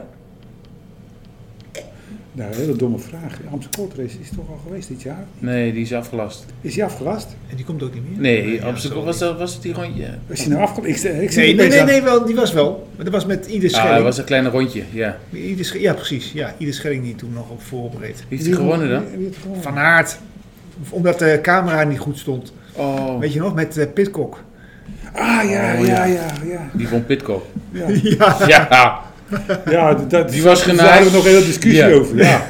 [SPEAKER 4] Nou, een hele domme vraag. De Amsterdam Gold Race is toch al geweest dit jaar?
[SPEAKER 3] Nee, die is afgelast.
[SPEAKER 4] Is hij afgelast?
[SPEAKER 2] En die komt ook niet meer.
[SPEAKER 3] Nee,
[SPEAKER 2] Ja,
[SPEAKER 3] Amsterdam
[SPEAKER 2] zo
[SPEAKER 3] was, dat, was het die rondje. Ah,
[SPEAKER 4] Is hij nou afgelast? Ik, ik zit
[SPEAKER 2] Nee, nee,
[SPEAKER 4] opeens
[SPEAKER 2] nee,
[SPEAKER 4] aan-
[SPEAKER 2] nee, wel, die was wel. Maar dat was met ieder
[SPEAKER 3] Ah, dat
[SPEAKER 2] schelling.
[SPEAKER 3] was een kleine rondje, ja.
[SPEAKER 2] Ieder sche- ja, precies. Ja, ieder schelling die toen nog op voorbereid.
[SPEAKER 3] Wie heeft die gewonnen dan?
[SPEAKER 4] Wie heeft gewonnen?
[SPEAKER 2] Van Aert. Omdat de camera niet goed stond.
[SPEAKER 3] Oh, Oh.
[SPEAKER 2] Weet je nog, met eh, Pitcock.
[SPEAKER 4] Ah, ja,
[SPEAKER 3] Oh, ja.
[SPEAKER 4] ja, ja, ja.
[SPEAKER 3] Die vond Pitcock.
[SPEAKER 4] Ja,
[SPEAKER 2] Ja.
[SPEAKER 3] Ja.
[SPEAKER 4] ja d- dat,
[SPEAKER 3] Die was
[SPEAKER 4] daar
[SPEAKER 3] genaaid.
[SPEAKER 4] hadden we nog een hele discussie
[SPEAKER 3] Ja.
[SPEAKER 4] over. Ja.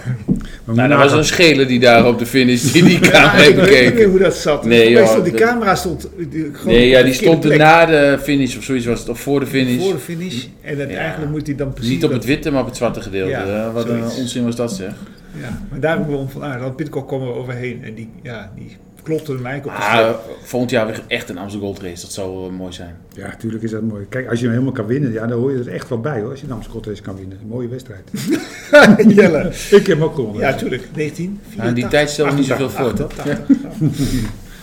[SPEAKER 3] Nou, dat was een schele die daar op de finish die die
[SPEAKER 2] Ja,
[SPEAKER 3] camera
[SPEAKER 2] ik
[SPEAKER 3] heeft
[SPEAKER 2] weet niet
[SPEAKER 3] bekeken.
[SPEAKER 2] hoe dat zat.
[SPEAKER 3] Nee,
[SPEAKER 2] Nee,
[SPEAKER 3] joh,
[SPEAKER 2] stond die
[SPEAKER 3] dat-
[SPEAKER 2] camera stond. eh, die- gewoon
[SPEAKER 3] Nee, ja,
[SPEAKER 2] op verkeerde
[SPEAKER 3] die stond er
[SPEAKER 2] plek.
[SPEAKER 3] na de finish of zoiets was het, of voor de finish.
[SPEAKER 2] Voor de finish. En dat,
[SPEAKER 3] Ja.
[SPEAKER 2] eigenlijk moet hij dan precies.
[SPEAKER 3] Niet op het
[SPEAKER 2] dat-
[SPEAKER 3] witte, maar op het zwarte gedeelte.
[SPEAKER 2] Ja,
[SPEAKER 3] Ja, Wat een
[SPEAKER 2] zoiets.
[SPEAKER 3] onzin was dat zeg.
[SPEAKER 2] Ja, maar daar hebben we om van aard. Dan Pitcock kwam er overheen. En die, ja, die klopte hem eigenlijk op de
[SPEAKER 3] Ah,
[SPEAKER 2] schouder.
[SPEAKER 3] volgend jaar weer echt een Amsterdam Gold Race. Dat zou wel mooi zijn.
[SPEAKER 4] Ja, natuurlijk is dat mooi. Kijk, als je hem helemaal kan winnen, ja, dan hoor je er echt wel bij hoor. Als je namens Scotland kan winnen. Een mooie wedstrijd.
[SPEAKER 2] Jelle.
[SPEAKER 4] Ik heb hem ook gewonnen.
[SPEAKER 2] Ja, tuurlijk. 19.
[SPEAKER 3] Maar in die tijd stelde niet zoveel voor. toch?
[SPEAKER 2] 88, 88.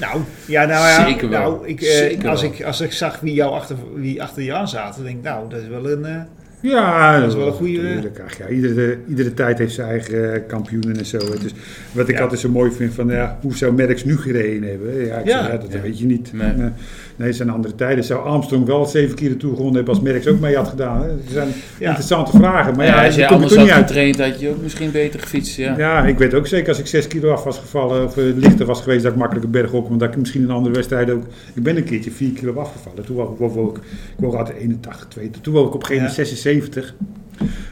[SPEAKER 2] Nou, ja, nou ja.
[SPEAKER 3] Zeker wel.
[SPEAKER 2] Nou, ik, eh,
[SPEAKER 3] Zeker
[SPEAKER 2] als,
[SPEAKER 3] wel.
[SPEAKER 2] Ik, als ik zag wie, jou achter, wie achter je aan zaten, denk ik, nou, dat is wel een... eh,
[SPEAKER 4] Ja, dat
[SPEAKER 2] is wel een goede-
[SPEAKER 4] Tuurlijk, ach ja, iedere, iedere tijd heeft zijn eigen eh, kampioenen en zo. Dus wat ik
[SPEAKER 2] Ja.
[SPEAKER 4] altijd zo mooi vind van, ja, hoe zou Merckx nu gereden hebben? Ja, ik
[SPEAKER 2] Ja.
[SPEAKER 4] Zeg, ja, dat
[SPEAKER 3] Ja.
[SPEAKER 4] weet je niet.
[SPEAKER 3] Nee.
[SPEAKER 4] Nee, nee, het zijn andere tijden. Zou Armstrong wel zeven keer de Tour gewonnen hebben als Merckx ook mee had gedaan? hè? Dat zijn
[SPEAKER 2] Ja.
[SPEAKER 4] interessante vragen, maar ja,
[SPEAKER 3] als
[SPEAKER 4] daar
[SPEAKER 3] je
[SPEAKER 4] kom ik
[SPEAKER 3] anders
[SPEAKER 4] er
[SPEAKER 3] had
[SPEAKER 4] niet uit.
[SPEAKER 3] getraind, had je ook misschien beter gefietst. Ja.
[SPEAKER 4] Ja, ik weet ook zeker als ik 6 kilo af was gevallen of eh, lichter was geweest, dat ik makkelijk een berg op, want dat ik misschien een andere wedstrijd ook. Ik ben een keertje 4 kilo afgevallen. Toen was ik, woog ik, ik woog altijd 81, 82. Toen woog ik op een gegeven
[SPEAKER 2] Ja.
[SPEAKER 4] moment 76.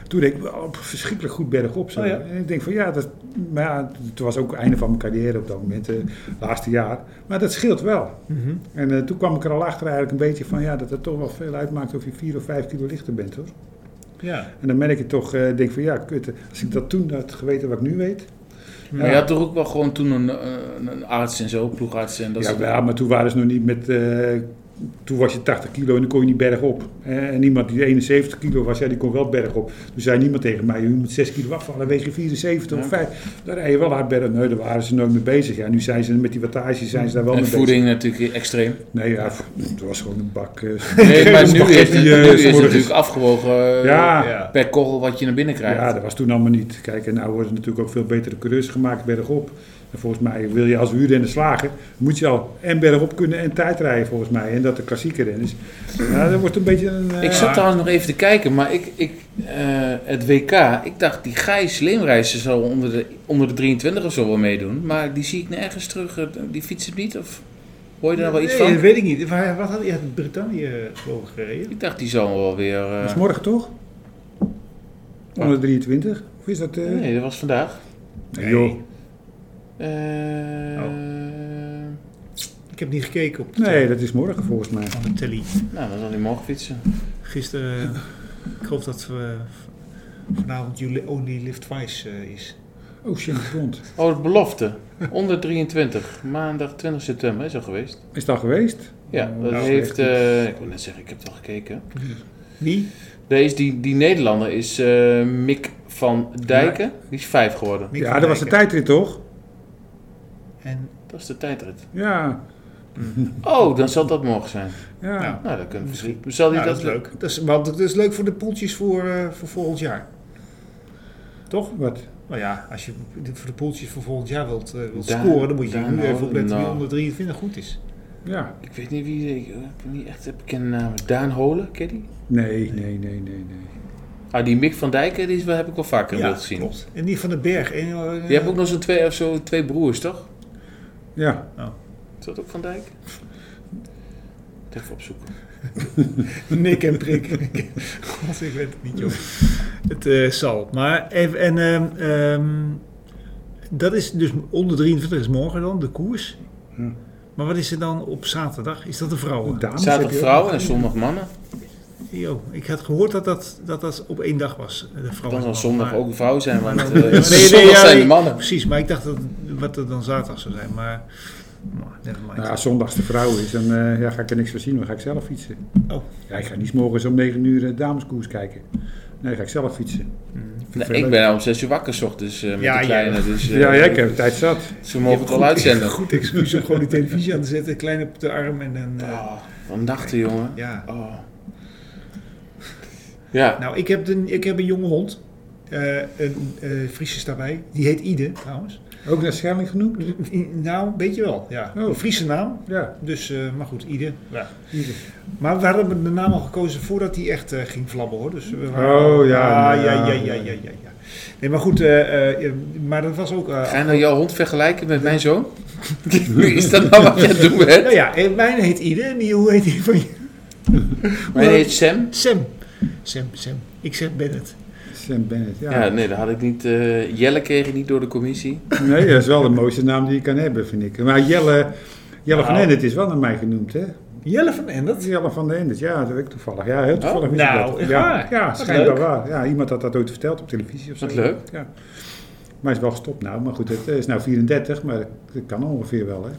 [SPEAKER 4] Toen deed ik wel verschrikkelijk goed berg op. Zo.
[SPEAKER 2] Oh ja.
[SPEAKER 4] En ik denk van ja, dat, maar ja, het was ook het einde van mijn carrière op dat moment, eh laatste jaar. Maar dat scheelt wel. En eh, toen kwam ik er al achter eigenlijk een beetje van ja, dat het toch wel veel uitmaakt of je 4 of 5 kilo lichter bent hoor.
[SPEAKER 2] Ja.
[SPEAKER 4] En dan merk je toch, eh denk van ja, kut, als ik dat toen had geweten wat ik nu weet.
[SPEAKER 3] Maar je had toch ook wel gewoon toen een, eh, een, een arts en zo, ploegarts en dat
[SPEAKER 4] ja,
[SPEAKER 3] soort
[SPEAKER 4] wel, maar toen waren ze nog niet met. eh, toen was je 80 kilo en dan kon je niet berg op. en iemand die 71 kilo was, ja, die kon wel berg op. Toen zei niemand tegen mij: je moet 6 kilo afvallen, weeg je 74 of
[SPEAKER 3] Ja.
[SPEAKER 4] 5. Daar rij je wel hard berg. Nee, daar waren ze nooit mee bezig. Ja, nu zijn ze met die wattage zijn ze daar wel
[SPEAKER 3] En
[SPEAKER 4] mee
[SPEAKER 3] voeding natuurlijk extreem.
[SPEAKER 4] bezig. Nee, ja, pff, het was gewoon een bak. eh,
[SPEAKER 3] Nee, maar nu is het,
[SPEAKER 4] spaghetti,
[SPEAKER 3] nu
[SPEAKER 4] eh,
[SPEAKER 3] is het
[SPEAKER 4] s'morgens.
[SPEAKER 3] natuurlijk afgewogen eh,
[SPEAKER 4] Ja.
[SPEAKER 2] Ja.
[SPEAKER 3] per korrel wat je naar binnen krijgt.
[SPEAKER 4] Ja, dat was toen allemaal niet. Kijk, en nou worden natuurlijk ook veel betere coureurs gemaakt bergop. En volgens mij wil je als wielrenner slagen, moet je al en bergop kunnen en tijd rijden volgens mij. En dat de klassieke renners. Ja, dat wordt een beetje een... eh,
[SPEAKER 3] Ik zat trouwens nog even te kijken, maar ik, ik, eh, het WK, ik dacht die Gijs Leemreizen zou onder de, onder de 23 of zo wel meedoen. Maar die zie ik nergens terug. eh, Die fietsen niet? Of hoor je daar wel iets
[SPEAKER 2] nee,
[SPEAKER 3] van?
[SPEAKER 2] dat weet ik niet. Waar- Wat had hij uit Brittannië geloof ik, gereden?
[SPEAKER 3] Ik dacht die zou wel weer... eh,
[SPEAKER 4] Dat is morgen toch? Onder de 23? Of is dat... eh,
[SPEAKER 3] nee, dat was vandaag.
[SPEAKER 4] nee, joh.
[SPEAKER 3] Eh,
[SPEAKER 2] Ik heb niet gekeken op de,
[SPEAKER 4] Nee, dat is morgen volgens mij.
[SPEAKER 2] van de telly.
[SPEAKER 3] Nou, dan zal hij morgen fietsen.
[SPEAKER 2] Gisteren, eh, ik geloof dat we vanavond You Li- Only Live Twice eh, is.
[SPEAKER 4] Oh, James Bond.
[SPEAKER 3] Oh, het belofte. Onder 23. Maandag 20 september is al geweest.
[SPEAKER 4] Is dat geweest?
[SPEAKER 3] Ja, dat
[SPEAKER 4] Nou,
[SPEAKER 3] heeft...
[SPEAKER 4] echt.
[SPEAKER 3] eh, ik wil net zeggen, ik heb het al gekeken.
[SPEAKER 2] Wie?
[SPEAKER 3] Deze, die, die Nederlander is eh, Mick van Dijken. Die is vijf geworden.
[SPEAKER 2] Mick
[SPEAKER 4] ja,
[SPEAKER 2] van
[SPEAKER 4] dat was de
[SPEAKER 2] Dijken.
[SPEAKER 4] tijdrit toch?
[SPEAKER 2] En
[SPEAKER 3] Dat is de tijdrit.
[SPEAKER 4] Ja.
[SPEAKER 3] Oh, dan zal dat morgen zijn.
[SPEAKER 4] Ja.
[SPEAKER 2] Nou,
[SPEAKER 3] Nou, dan kunnen we Zal die
[SPEAKER 2] nou, dat,
[SPEAKER 3] dat,
[SPEAKER 2] is leuk. Dat is, want dat is leuk voor de poeltjes voor, eh, voor volgend jaar. Toch?
[SPEAKER 4] Wat?
[SPEAKER 2] Nou ja, als je voor de poeltjes voor volgend jaar wilt, eh, wilt
[SPEAKER 3] Daar-
[SPEAKER 2] scoren, dan moet je
[SPEAKER 3] daar
[SPEAKER 2] nu
[SPEAKER 3] nou,
[SPEAKER 2] even opletten wie
[SPEAKER 3] nou.
[SPEAKER 2] onder 23 goed is.
[SPEAKER 4] Ja.
[SPEAKER 3] Ik weet niet wie... eh, Ik heb niet echt een bekende naam. Daan Holen, ken je die?
[SPEAKER 4] Nee, nee, nee, nee, nee.
[SPEAKER 3] Ah, die Mick van Dijken die is, wel- heb ik wel vaker in beeld gezien.
[SPEAKER 2] klopt. En die van den Berg. En, eh,
[SPEAKER 3] Die hebt ook nog zo'n twee, of zo, twee broers, toch?
[SPEAKER 4] Ja.
[SPEAKER 3] Is dat ook van Dijk? Het Even opzoeken.
[SPEAKER 2] Nick en prik. God, ik weet het niet, joh. Het eh, zal. Maar even, en ehm, ehm, dat is dus onder 23 is morgen dan, de koers.
[SPEAKER 3] Hm.
[SPEAKER 4] Ja.
[SPEAKER 2] Maar wat is er dan op zaterdag? Is dat de
[SPEAKER 3] Oh.
[SPEAKER 2] vrouwen?
[SPEAKER 4] Dames heb
[SPEAKER 3] Zaterdag
[SPEAKER 4] je ook
[SPEAKER 3] vrouwen en
[SPEAKER 4] nog-
[SPEAKER 3] zondag mannen.
[SPEAKER 2] Jo, ik had gehoord dat dat, dat dat op één dag was. De vrouwen.
[SPEAKER 3] Dan zal zondag
[SPEAKER 2] Maar-
[SPEAKER 3] ook een vrouw zijn, want eh,
[SPEAKER 2] Oh, nee,
[SPEAKER 3] zondag
[SPEAKER 2] ja,
[SPEAKER 3] zijn de
[SPEAKER 2] ik-
[SPEAKER 3] mannen.
[SPEAKER 2] Precies, maar ik dacht dat wat er dan zaterdag zou zijn. Maar, nou, never mind.
[SPEAKER 4] Nou, als zondags de vrouw is, dan eh, ja, ga ik er niks van zien, dan ga ik zelf fietsen.
[SPEAKER 2] Oh.
[SPEAKER 4] Ja, ik ga niet 's morgens om 9 uur eh, dameskoers kijken. Nee, ga ik zelf fietsen.
[SPEAKER 3] Nou, ik ben om zes uur wakker 's ochtends eh, met
[SPEAKER 2] Ja,
[SPEAKER 3] de
[SPEAKER 2] ja.
[SPEAKER 3] kleine. Dus, eh,
[SPEAKER 4] Ja, ja, ik heb de tijd zat.
[SPEAKER 3] Ze mogen het al uitzenden.
[SPEAKER 2] Goed excuus om gewoon die televisie aan te zetten, klein op de arm en dan... eh,
[SPEAKER 4] Ah.
[SPEAKER 3] Oh, wat nachten, jongen.
[SPEAKER 2] Ja.
[SPEAKER 3] Oh. Ja,
[SPEAKER 2] Nou, ik heb, een, ik heb een jonge hond. Eh, een eh Fries is daarbij. Die heet Ide, trouwens.
[SPEAKER 4] Ook naar Schelling genoemd?
[SPEAKER 2] Nou, weet je wel. Ja.
[SPEAKER 4] Oh.
[SPEAKER 2] Een Friese naam.
[SPEAKER 4] Ja.
[SPEAKER 2] Dus, eh, maar goed, Ide. Ja.
[SPEAKER 4] Ide.
[SPEAKER 2] Maar we hadden de naam al gekozen voordat hij echt eh, ging vlabben, hoor. Dus we
[SPEAKER 4] Oh, ja,
[SPEAKER 2] Ah, ja, ja, ja,
[SPEAKER 4] ja,
[SPEAKER 2] ja,
[SPEAKER 4] ja.
[SPEAKER 2] ja, ja. Nee, maar goed. eh, eh, maar dat was ook... eh,
[SPEAKER 3] ga je nou jouw hond vergelijken met mijn zoon? Is dat nou wat je aan het doen bent?
[SPEAKER 2] Nou ja, eh, mijn heet Ide en die, hoe heet die van je?
[SPEAKER 3] Mijn heet Sam.
[SPEAKER 2] Sam. Sam, Sam. Ik zeg Bennett.
[SPEAKER 4] Sam Bennett, ja.
[SPEAKER 3] Ja, nee, dat had ik niet. eh, Jelle kreeg ik niet door de commissie.
[SPEAKER 4] Nee, dat is wel de mooiste naam die je kan hebben, vind ik. Maar Jelle, Jelle van
[SPEAKER 2] Nou.
[SPEAKER 4] Endert is wel naar mij genoemd, hè?
[SPEAKER 2] Jelle van Endert.
[SPEAKER 4] Jelle van de Endert, ja, dat weet ik toevallig. Ja, heel toevallig
[SPEAKER 2] Oh,
[SPEAKER 4] wist ik
[SPEAKER 2] nou,
[SPEAKER 4] dat.
[SPEAKER 2] echt
[SPEAKER 4] ja,
[SPEAKER 2] waar?
[SPEAKER 4] Ja,
[SPEAKER 2] Wat
[SPEAKER 4] schijnbaar
[SPEAKER 2] leuk.
[SPEAKER 4] waar. Ja, iemand had dat ooit verteld op televisie of zo.
[SPEAKER 3] Wat leuk.
[SPEAKER 4] Ja. Maar hij is wel gestopt nou. Maar goed, het is nou 34, maar dat- dat kan ongeveer wel, hè?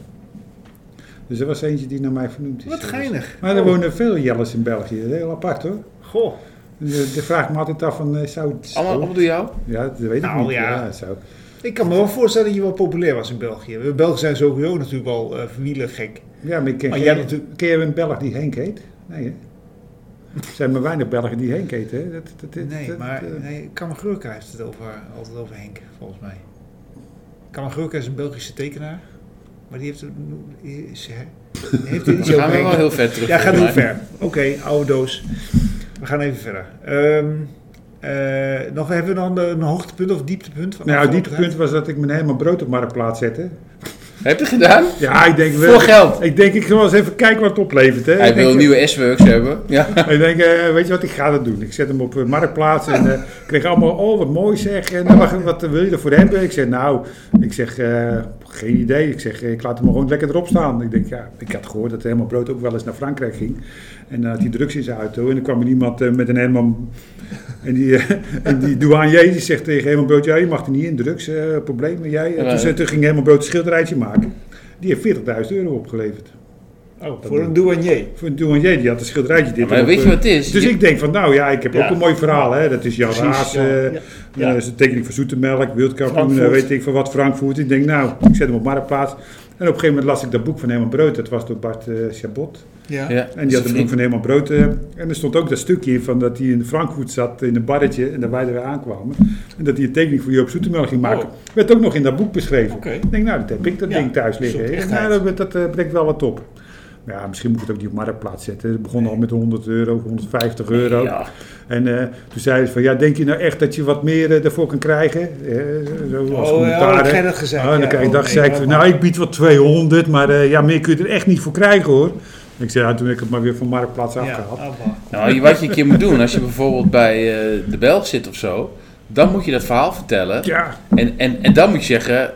[SPEAKER 4] Dus er was eentje die naar mij vernoemd is. Dus-
[SPEAKER 2] Wat geinig.
[SPEAKER 4] Maar er
[SPEAKER 2] Oh.
[SPEAKER 4] wonen veel Jelles in België. Dat is heel apart, hoor.
[SPEAKER 2] Goh.
[SPEAKER 4] De, de vraag me altijd af van, eh, zou het...
[SPEAKER 3] Allemaal, allemaal door jou?
[SPEAKER 4] Ja, dat weet ik
[SPEAKER 2] Nou,
[SPEAKER 4] niet.
[SPEAKER 2] ja.
[SPEAKER 4] Ja, het zou-
[SPEAKER 2] Ik kan me wel voorstellen dat je wel populair was in België. We Belgen zijn sowieso natuurlijk wel eh wielergek.
[SPEAKER 4] Ja, maar ik ken,
[SPEAKER 2] Maar
[SPEAKER 4] geen-
[SPEAKER 2] jij hebt natuurlijk-
[SPEAKER 4] ken je een Belg die Henk heet? Nee, hè? Er zijn maar weinig Belgen die Henk heten, hè? Dat, dat, dat-
[SPEAKER 2] Nee,
[SPEAKER 4] dat,
[SPEAKER 2] maar
[SPEAKER 4] eh,
[SPEAKER 2] nee, Kammergeurka heeft het over, altijd over Henk, volgens mij. Kammergeurka is een Belgische tekenaar. Maar die heeft, een- is, heeft er
[SPEAKER 3] Dan
[SPEAKER 2] iets
[SPEAKER 3] gaan
[SPEAKER 2] over
[SPEAKER 3] we wel
[SPEAKER 2] Henk.
[SPEAKER 3] heel ver terug.
[SPEAKER 2] Ja, gaat heel
[SPEAKER 3] volgens mij.
[SPEAKER 2] ver. Oké, oude doos. We gaan even verder. Ehm, eh, nog, hebben we dan een hoogtepunt of dieptepunt? Van
[SPEAKER 4] Nou, het
[SPEAKER 2] afgelopen
[SPEAKER 4] dieptepunt was dat ik mijn helemaal brood op marktplaats zette.
[SPEAKER 3] Heb je het gedaan?
[SPEAKER 4] Ja, ik denk wel.
[SPEAKER 3] Voor geld.
[SPEAKER 4] Ik denk, ik ga wel eens even kijken wat het oplevert. Hè.
[SPEAKER 3] Hij
[SPEAKER 4] ik
[SPEAKER 3] wil
[SPEAKER 4] denk,
[SPEAKER 3] nieuwe S-Works hebben. Ja.
[SPEAKER 4] Ik denk, eh, weet je wat, ik ga dat doen. Ik zet hem op eh, marktplaats en eh, kreeg allemaal, oh wat mooi zeg. En dan mag ik, wat wil je ervoor hebben? Ik zeg, nou, ik zeg, eh, geen idee. Ik zeg, eh, ik laat hem gewoon lekker erop staan. Ik denk, ja, ik had gehoord dat helemaal brood ook wel eens naar Frankrijk ging. En dan had hij drugs in zijn auto en dan kwam er iemand eh, met een helemaal... En die, eh, en die douanier die zegt tegen Herman Brood, ja, je mag er niet in, drugs, eh, probleem met jij. En toen,
[SPEAKER 3] Ja.
[SPEAKER 4] zei- toen ging Herman Brood een schilderijtje maken. Die heeft 40.000 euro opgeleverd.
[SPEAKER 2] Oh, voor een douanier.
[SPEAKER 4] Voor een douanier, die had een schilderijtje. Dit
[SPEAKER 3] Maar
[SPEAKER 4] erop,
[SPEAKER 3] weet je
[SPEAKER 4] eh,
[SPEAKER 3] wat het is?
[SPEAKER 4] dus
[SPEAKER 3] Je-
[SPEAKER 4] ik denk van, nou ja, ik heb
[SPEAKER 2] Ja.
[SPEAKER 4] ook een mooi verhaal. Hè? Dat is Jan
[SPEAKER 2] Precies,
[SPEAKER 4] Raas,
[SPEAKER 2] ja.
[SPEAKER 4] eh,
[SPEAKER 2] Ja.
[SPEAKER 4] eh, is een tekening van Zoetemelk, wereldkampioen,
[SPEAKER 2] Frankfurt.
[SPEAKER 4] eh, weet ik van wat, Frankfurt. Ik denk, nou, ik zet hem op Marktplaats. En op een gegeven moment las ik dat boek van Herman Brood. Dat was door Bart eh, Chabot.
[SPEAKER 2] Ja.
[SPEAKER 3] Ja,
[SPEAKER 4] En die had een boek van Herman Brood. eh, en er stond ook dat stukje in van dat hij in Frankfurt zat, in een barretje, en dat wij er weer aankwamen. En dat hij een tekening voor Joop Zoetemelk ging maken.
[SPEAKER 2] Oh.
[SPEAKER 4] Werd ook nog in dat boek beschreven.
[SPEAKER 2] Oké.
[SPEAKER 4] Ik denk, nou, dat heb ik dat
[SPEAKER 2] Ja,
[SPEAKER 4] ding thuis liggen.
[SPEAKER 2] zoek
[SPEAKER 4] Ik denk,
[SPEAKER 2] echtheid.
[SPEAKER 4] nou, dat, dat eh, brengt wel wat op. Maar Ja, misschien moet ik het ook niet op marktplaats zetten. Het begon al met 100 euro, 150 euro.
[SPEAKER 3] Ja.
[SPEAKER 4] En eh, toen zei ze van, ja, denk je nou echt dat je wat meer eh, daarvoor kan krijgen? Eh, zo als
[SPEAKER 2] Oh, ja,
[SPEAKER 4] commentaar.
[SPEAKER 2] had
[SPEAKER 4] hè.
[SPEAKER 2] jij dat gezegd?
[SPEAKER 4] Oh, en
[SPEAKER 2] Ja,
[SPEAKER 4] dan kijk,
[SPEAKER 2] oh,
[SPEAKER 4] dacht,
[SPEAKER 2] nee,
[SPEAKER 4] zei ik,
[SPEAKER 2] ja,
[SPEAKER 4] van,
[SPEAKER 2] maar-
[SPEAKER 4] nou, ik bied wel 200, maar eh, ja, meer kun je er echt niet voor krijgen, hoor. En ik zei, ja, toen heb ik het maar weer van marktplaats
[SPEAKER 2] Ja,
[SPEAKER 4] afgehaald.
[SPEAKER 2] abba.
[SPEAKER 3] Nou, je- wat je een keer moet doen, als je bijvoorbeeld bij eh, de Belg zit of zo, dan moet je dat verhaal vertellen.
[SPEAKER 4] Ja,
[SPEAKER 3] En, en, en dan moet je zeggen,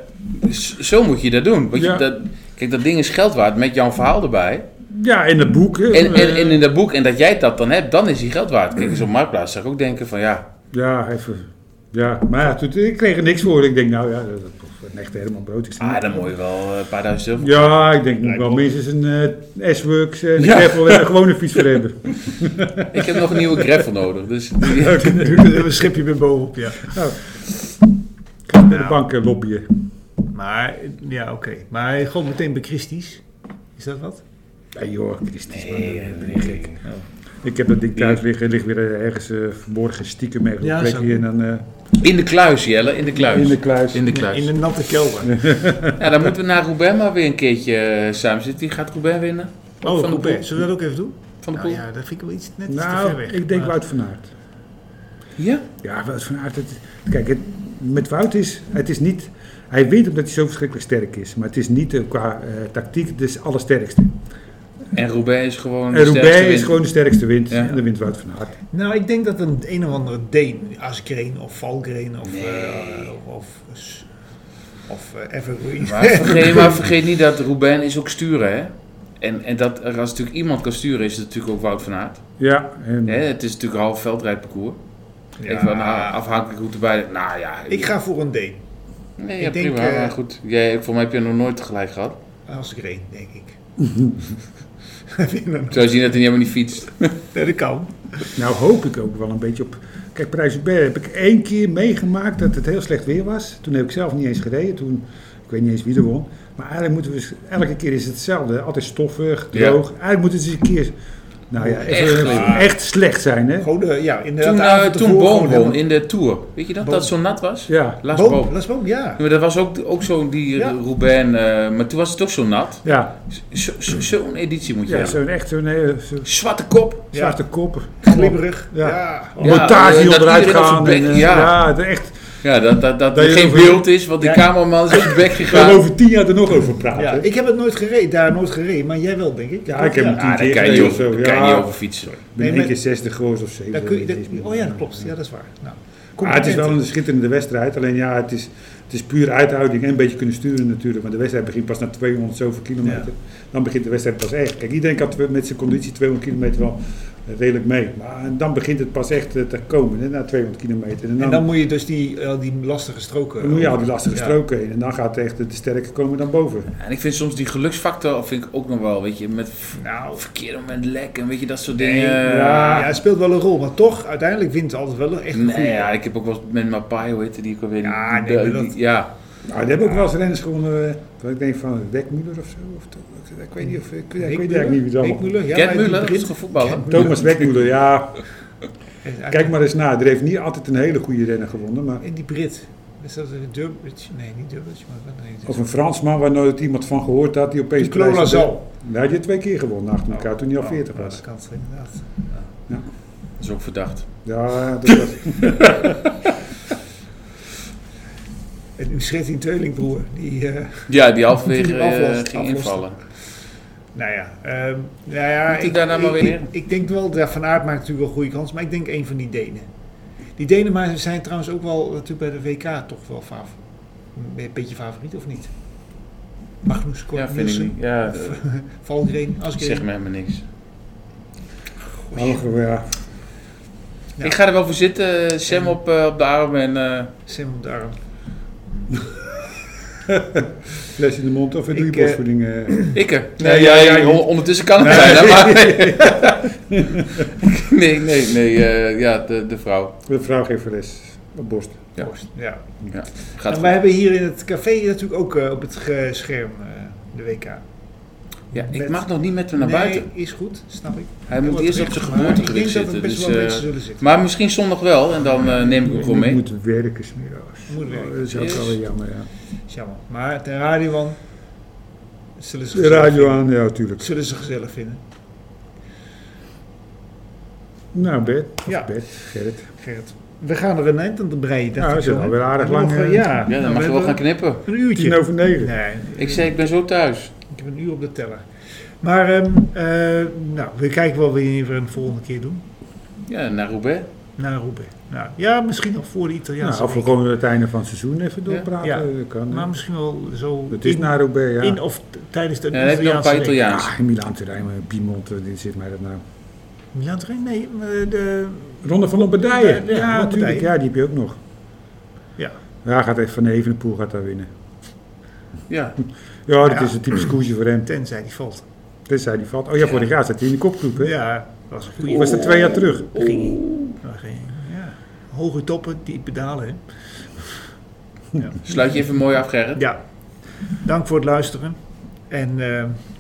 [SPEAKER 3] s- zo moet je dat doen. Want
[SPEAKER 4] Ja.
[SPEAKER 3] je, dat, kijk, dat ding is geld waard met jouw verhaal erbij.
[SPEAKER 4] ja, in het boek. eh,
[SPEAKER 3] En, en,
[SPEAKER 4] eh,
[SPEAKER 3] en in dat boek, en dat jij dat dan hebt, dan is die geld waard. Kijk, zo'n marktplaats zou ik ook denken van ja,
[SPEAKER 4] Ja, even. Ja, maar ja, toen, eh, ik kreeg er niks voor. Ik denk, nou ja, dat is een echte Herman Brood. Ik zie
[SPEAKER 3] ah, dan moet je wel eh, een paar duizend euro.
[SPEAKER 4] Ja, ik denk moet ik wel
[SPEAKER 2] Lijkt me
[SPEAKER 4] minstens een eh, S-Works, eh, een
[SPEAKER 3] Ja.
[SPEAKER 4] gravel en een gewone fiets voor hebben.
[SPEAKER 3] Ik heb nog een nieuwe gravel nodig. Dus die-
[SPEAKER 2] een schipje weer bovenop, ja.
[SPEAKER 4] Ik ga bij de banken lobbyen.
[SPEAKER 2] Maar, ja, oké. Maar gewoon meteen bij Christies. Is dat wat?
[SPEAKER 4] Nee joh, Christus, man,
[SPEAKER 3] Nee,
[SPEAKER 4] eh,
[SPEAKER 3] nee,
[SPEAKER 4] ben ik gek. Ik heb dat ding thuis liggen, ligt weer eh, ergens eh, verborgen stiekem ergens op
[SPEAKER 2] Ja,
[SPEAKER 4] een
[SPEAKER 2] zo.
[SPEAKER 4] plekje en dan eh,
[SPEAKER 3] in de kluis, Jelle, in de kluis.
[SPEAKER 4] in de kluis.
[SPEAKER 3] In de
[SPEAKER 2] In
[SPEAKER 3] kluis.
[SPEAKER 2] een natte kelder.
[SPEAKER 3] Ja, dan moeten we naar Roubaix maar weer een keertje eh, samen zitten. Die gaat Roubaix winnen.
[SPEAKER 2] Oh,
[SPEAKER 3] Van de
[SPEAKER 2] goed, hè.
[SPEAKER 3] Poel.
[SPEAKER 2] Zullen we dat ook even doen?
[SPEAKER 3] Van de
[SPEAKER 2] Nou
[SPEAKER 3] pool.
[SPEAKER 2] ja, dat vind ik wel iets net iets te ver
[SPEAKER 4] Nou,
[SPEAKER 2] weg.
[SPEAKER 4] ik denk
[SPEAKER 2] maar-
[SPEAKER 4] Wout van Aert.
[SPEAKER 3] ja?
[SPEAKER 4] Ja, Wout van Aert. het- kijk, het, met Wout is het is niet. Hij wint omdat hij zo verschrikkelijk sterk is. Maar het is niet eh, qua eh, tactiek de allersterkste.
[SPEAKER 3] En Roubaix is gewoon.
[SPEAKER 4] En
[SPEAKER 3] de sterkste
[SPEAKER 4] Roubaix is
[SPEAKER 3] wind.
[SPEAKER 4] gewoon de sterkste wint.
[SPEAKER 3] Ja.
[SPEAKER 4] En dan wint Wout van Aert.
[SPEAKER 2] Nou, ik denk dat een een of andere Deen, Asgreen of Valgreen of,
[SPEAKER 3] Nee.
[SPEAKER 2] eh, of, of, of eh, Evergreen.
[SPEAKER 3] Maar vergeet, maar vergeet niet dat Roubaix is ook sturen, hè? En, en dat er als natuurlijk iemand kan sturen, is het natuurlijk ook Wout van Aert.
[SPEAKER 4] Ja, en,
[SPEAKER 3] Hè, het is natuurlijk half veldrijdparcours.
[SPEAKER 2] Ja.
[SPEAKER 3] Even aan- afhankelijk hoe het erbij... Nou ja,
[SPEAKER 2] Ik ga voor een Deen,
[SPEAKER 3] nee,
[SPEAKER 2] ik
[SPEAKER 3] ja,
[SPEAKER 2] denk,
[SPEAKER 3] prima,
[SPEAKER 2] eh,
[SPEAKER 3] maar goed. Jij, voor mij heb je nog nooit gelijk gehad.
[SPEAKER 2] Asgreen, denk ik. Winnen.
[SPEAKER 3] Zo zie je dat hij niet helemaal niet fietst.
[SPEAKER 2] Nee, dat kan.
[SPEAKER 4] nou hoop ik ook wel een beetje op. Kijk, Parijs heb ik één keer meegemaakt dat het heel slecht weer was. Toen heb ik zelf niet eens gereden. Toen, ik weet niet eens wie er won. Maar eigenlijk moeten we eens- elke keer is het hetzelfde. Altijd stoffig,
[SPEAKER 3] Ja.
[SPEAKER 4] droog. Eigenlijk moeten ze eens een keer. Nou ja,
[SPEAKER 3] Echt
[SPEAKER 4] even-
[SPEAKER 3] slecht.
[SPEAKER 4] echt slecht zijn, hè?
[SPEAKER 2] Gewoon, eh, ja, inderdaad.
[SPEAKER 3] Toen,
[SPEAKER 2] de
[SPEAKER 3] eh
[SPEAKER 2] avond
[SPEAKER 3] toen
[SPEAKER 2] ervoor
[SPEAKER 3] Boom
[SPEAKER 2] gewoon
[SPEAKER 3] won
[SPEAKER 2] helemaal-
[SPEAKER 3] in de Tour. Weet je dat
[SPEAKER 2] Boom.
[SPEAKER 3] dat zo nat was?
[SPEAKER 4] Ja.
[SPEAKER 3] Laas
[SPEAKER 2] Boom,
[SPEAKER 3] Boom.
[SPEAKER 2] Las Boom, ja.
[SPEAKER 3] Ja, Maar dat was ook, ook zo die
[SPEAKER 2] Ja.
[SPEAKER 3] eh, Roubaix, eh, maar toen was het ook zo nat.
[SPEAKER 4] Ja,
[SPEAKER 3] Zo- zo- Zo'n editie moet je
[SPEAKER 4] Ja,
[SPEAKER 3] hebben.
[SPEAKER 4] zo'n echt zo'n eh, zo'n
[SPEAKER 3] Zwarte kop.
[SPEAKER 4] zwarte kop.
[SPEAKER 2] Glibberig. Ja.
[SPEAKER 4] Ja.
[SPEAKER 2] ja.
[SPEAKER 3] Ja,
[SPEAKER 4] Rotatie
[SPEAKER 3] eh, dat
[SPEAKER 4] onderuit
[SPEAKER 3] iedereen op
[SPEAKER 4] gaan.
[SPEAKER 3] zijn
[SPEAKER 4] en,
[SPEAKER 3] bek-
[SPEAKER 4] eh,
[SPEAKER 3] ja.
[SPEAKER 4] ja. het echt.
[SPEAKER 3] Ja, dat, dat, dat
[SPEAKER 4] Dat
[SPEAKER 3] er
[SPEAKER 4] je
[SPEAKER 3] geen
[SPEAKER 4] over-
[SPEAKER 3] beeld is, want die
[SPEAKER 2] Ja.
[SPEAKER 3] cameraman is op zijn bek
[SPEAKER 4] We gaan
[SPEAKER 3] gegaan.
[SPEAKER 4] over tien jaar er nog over praten.
[SPEAKER 2] Ja,
[SPEAKER 4] Ja,
[SPEAKER 2] ik heb het nooit gereden, daar nooit gereden, maar jij wel, denk ik.
[SPEAKER 4] Ja, ik heb hem
[SPEAKER 3] Ah, daar
[SPEAKER 4] keer
[SPEAKER 3] kan je
[SPEAKER 4] gereden
[SPEAKER 3] niet
[SPEAKER 4] of zo,
[SPEAKER 3] over, daar kan je
[SPEAKER 2] Ah.
[SPEAKER 4] ja.
[SPEAKER 3] niet over fietsen.
[SPEAKER 4] Ik
[SPEAKER 2] Nee,
[SPEAKER 4] ben
[SPEAKER 2] maar-
[SPEAKER 4] één keer 60 geworden of 70.
[SPEAKER 2] Daar kun je,
[SPEAKER 4] weet ik niet
[SPEAKER 2] dat-
[SPEAKER 4] meer.
[SPEAKER 2] oh ja, dat klopt. Ja, dat is waar. Nou,
[SPEAKER 4] Maar het is wel een schitterende wedstrijd. Alleen ja, het is, het is puur uithouding en een beetje kunnen sturen natuurlijk. Maar de wedstrijd begint pas na 200 zoveel kilometer.
[SPEAKER 2] Ja.
[SPEAKER 4] Dan begint de wedstrijd pas echt. Kijk, iedereen kan twe- met zijn conditie 200 kilometer wel eh, redelijk mee. Maar en dan begint het pas echt eh, te komen, hè, na 200 kilometer. En dan,
[SPEAKER 2] En dan moet je dus die, eh, die lastige stroken...
[SPEAKER 4] dan moet je al die lastige
[SPEAKER 2] Ja.
[SPEAKER 4] stroken heen. En dan gaat echt de de sterke komen dan boven.
[SPEAKER 3] En ik vind soms die geluksfactor vind ik ook nog wel, weet je, met v-
[SPEAKER 2] Nou,
[SPEAKER 3] verkeerd moment lek en weet je, dat soort
[SPEAKER 2] Nee,
[SPEAKER 3] dingen.
[SPEAKER 4] ja.
[SPEAKER 2] ja, het speelt wel een rol, maar toch, uiteindelijk wint het altijd wel echt een
[SPEAKER 3] Nee,
[SPEAKER 2] goede.
[SPEAKER 3] ja, ik heb ook wel eens met Mapai, hoe heette die ook alweer?
[SPEAKER 2] Ja,
[SPEAKER 3] Die-
[SPEAKER 2] nee, maar
[SPEAKER 3] die-
[SPEAKER 2] dat-
[SPEAKER 3] die- ja.
[SPEAKER 4] Nou, die hebben ook wel eens renners gewonnen. eh, Dat ik denk van Wekmuller of zo. Of, toch? ik weet niet of... Ik, weet- ik weet eigenlijk niet wie het allemaal...
[SPEAKER 2] Muller, ja,
[SPEAKER 3] Gerd
[SPEAKER 2] hij
[SPEAKER 3] Muller, dat
[SPEAKER 2] begint.
[SPEAKER 3] is toch voetballer?
[SPEAKER 4] Thomas Wekmuller, ja.
[SPEAKER 2] eh, Hij-
[SPEAKER 4] Kijk maar eens na. Er heeft niet altijd een hele goede renner gewonnen, maar...
[SPEAKER 2] En die Brit. Is dat een Durbridge? Nee, niet Durbridge, maar wat nee,
[SPEAKER 4] Of een Fransman waar nooit iemand van gehoord had, die opeens...
[SPEAKER 2] Nicolas
[SPEAKER 4] prijzen-
[SPEAKER 2] Zal.
[SPEAKER 4] Nou, die had twee keer gewonnen achter elkaar toen hij al 40
[SPEAKER 2] Oh,
[SPEAKER 4] was.
[SPEAKER 2] Dat kan het inderdaad.
[SPEAKER 3] Dat is ook verdacht.
[SPEAKER 4] Ja, dat was...
[SPEAKER 2] En nu schreef die tweelingbroer. Die, eh,
[SPEAKER 3] Ja, die halverwege
[SPEAKER 2] Die hem aflost-
[SPEAKER 3] eh, ging
[SPEAKER 2] aflost.
[SPEAKER 3] invallen.
[SPEAKER 2] nou ja, ehm, nou ja
[SPEAKER 3] Moet hij daar nou maar weer
[SPEAKER 2] ik,
[SPEAKER 3] in?
[SPEAKER 2] ik denk wel, dat Van Aert maakt natuurlijk wel goede kans, maar ik denk één van die Denen. Die Denen maar zijn trouwens ook wel natuurlijk bij de WK toch wel fav een beetje favoriet, of niet? Magnus Kort,
[SPEAKER 3] Ja, vind ik niet. Ja,
[SPEAKER 2] Valgren, Asgreen.
[SPEAKER 3] zeg me helemaal niks.
[SPEAKER 4] Oh, ja.
[SPEAKER 2] Ja.
[SPEAKER 3] Ik ga er wel voor zitten, Sam op, eh, op de arm en... eh,
[SPEAKER 2] Sam op de arm.
[SPEAKER 4] Fles in de mond of doe je
[SPEAKER 2] Ik, eh,
[SPEAKER 4] borstvoeding? eh?
[SPEAKER 3] Ik er?
[SPEAKER 4] Nee,
[SPEAKER 3] Nee, ja,
[SPEAKER 4] jij
[SPEAKER 3] ja,
[SPEAKER 4] niet.
[SPEAKER 3] on- ondertussen kan het zijn, hè, maar... nee, nee, nee, eh, ja, de, de vrouw
[SPEAKER 4] De vrouw geeft fles op borst.
[SPEAKER 3] Ja.
[SPEAKER 2] Borst, ja.
[SPEAKER 3] gaat
[SPEAKER 2] en
[SPEAKER 3] goed.
[SPEAKER 2] wij hebben hier in het café natuurlijk ook eh, op het ge- scherm eh, de WK.
[SPEAKER 3] Ja, ik
[SPEAKER 2] met-
[SPEAKER 3] mag nog niet met hem naar buiten.
[SPEAKER 2] Nee, is goed, snap ik.
[SPEAKER 3] Hij moet
[SPEAKER 2] Wordt
[SPEAKER 3] eerst op
[SPEAKER 2] terecht,
[SPEAKER 3] zijn
[SPEAKER 2] maar
[SPEAKER 3] geboortegeluk
[SPEAKER 2] Ik denk dat
[SPEAKER 3] zitten,
[SPEAKER 2] we best
[SPEAKER 3] dus,
[SPEAKER 2] wel
[SPEAKER 3] eh,
[SPEAKER 2] mensen zullen zitten.
[SPEAKER 3] Maar misschien zondag wel, en dan eh, neem ik ook wel
[SPEAKER 4] Je
[SPEAKER 3] mee.
[SPEAKER 4] moet werken, smiddags.
[SPEAKER 2] Moet werken.
[SPEAKER 4] Oh, Dat is ook
[SPEAKER 3] Yes.
[SPEAKER 4] wel jammer, ja.
[SPEAKER 2] Is jammer. Maar de radio aan, zullen ze
[SPEAKER 4] De
[SPEAKER 2] gezellig,
[SPEAKER 4] radio aan, ja, tuurlijk.
[SPEAKER 2] zullen ze gezellig vinden.
[SPEAKER 4] Nou, Bert.
[SPEAKER 2] Ja.
[SPEAKER 4] Ja. Bert, Gerrit.
[SPEAKER 2] Gerrit, we gaan er een eind aan te breien. dacht
[SPEAKER 4] Nou,
[SPEAKER 2] ik
[SPEAKER 4] we zijn
[SPEAKER 2] zo, hè?
[SPEAKER 4] alweer aardig
[SPEAKER 2] Nog,
[SPEAKER 4] lang,
[SPEAKER 2] eh,
[SPEAKER 4] eh,
[SPEAKER 2] ja,
[SPEAKER 3] Ja, dan mag je wel gaan knippen.
[SPEAKER 2] Een uurtje.
[SPEAKER 4] Tien over negen.
[SPEAKER 2] Nee,
[SPEAKER 3] Ik zei, ik ben zo thuis.
[SPEAKER 2] ik heb een uur op de teller. Maar, ehm, eh, nou, we kijken wel weer even een volgende keer doen.
[SPEAKER 3] Ja, naar Roubaix.
[SPEAKER 2] Naar Roubaix. Nou, ja, misschien nog voor de Italiaanse
[SPEAKER 4] nou, of we
[SPEAKER 2] week.
[SPEAKER 4] gewoon het einde van het seizoen even
[SPEAKER 3] Ja.
[SPEAKER 4] doorpraten.
[SPEAKER 2] Ja.
[SPEAKER 4] dat kan.
[SPEAKER 2] Maar
[SPEAKER 4] hè.
[SPEAKER 2] misschien wel zo
[SPEAKER 4] het is
[SPEAKER 2] in,
[SPEAKER 4] naar Roubaix, ja.
[SPEAKER 2] in of t- tijdens de
[SPEAKER 3] Ja, dan heb je nog een paar
[SPEAKER 2] Italiaanse week.
[SPEAKER 3] Italiaans.
[SPEAKER 4] ja, in Milaan terrein, eh, Piemont, eh, dit zit mij dat nou.
[SPEAKER 2] Milaan Torijn? Nee, eh, de,
[SPEAKER 4] Ronde van Lombardije.
[SPEAKER 2] Ja,
[SPEAKER 4] Ja,
[SPEAKER 2] Lombardije.
[SPEAKER 4] natuurlijk. Ja, die heb je ook nog.
[SPEAKER 2] Ja.
[SPEAKER 4] Ja, gaat even van Evenepoel gaat daar winnen.
[SPEAKER 3] Ja,
[SPEAKER 4] Ja, dat
[SPEAKER 2] Ja.
[SPEAKER 4] is een typisch koersje voor hem.
[SPEAKER 2] tenzij die valt.
[SPEAKER 4] Tenzij die valt. Oh ja, vorig jaar zat hij in de kopgroep, hè?
[SPEAKER 2] Ja, dat was een goede.
[SPEAKER 4] Was dat twee jaar terug?
[SPEAKER 2] Ja, geen- ja. Hoge toppen, die pedalen. Hè?
[SPEAKER 3] sluit je even mooi af, Gerrit.
[SPEAKER 2] Ja. Dank voor het luisteren. En eh, we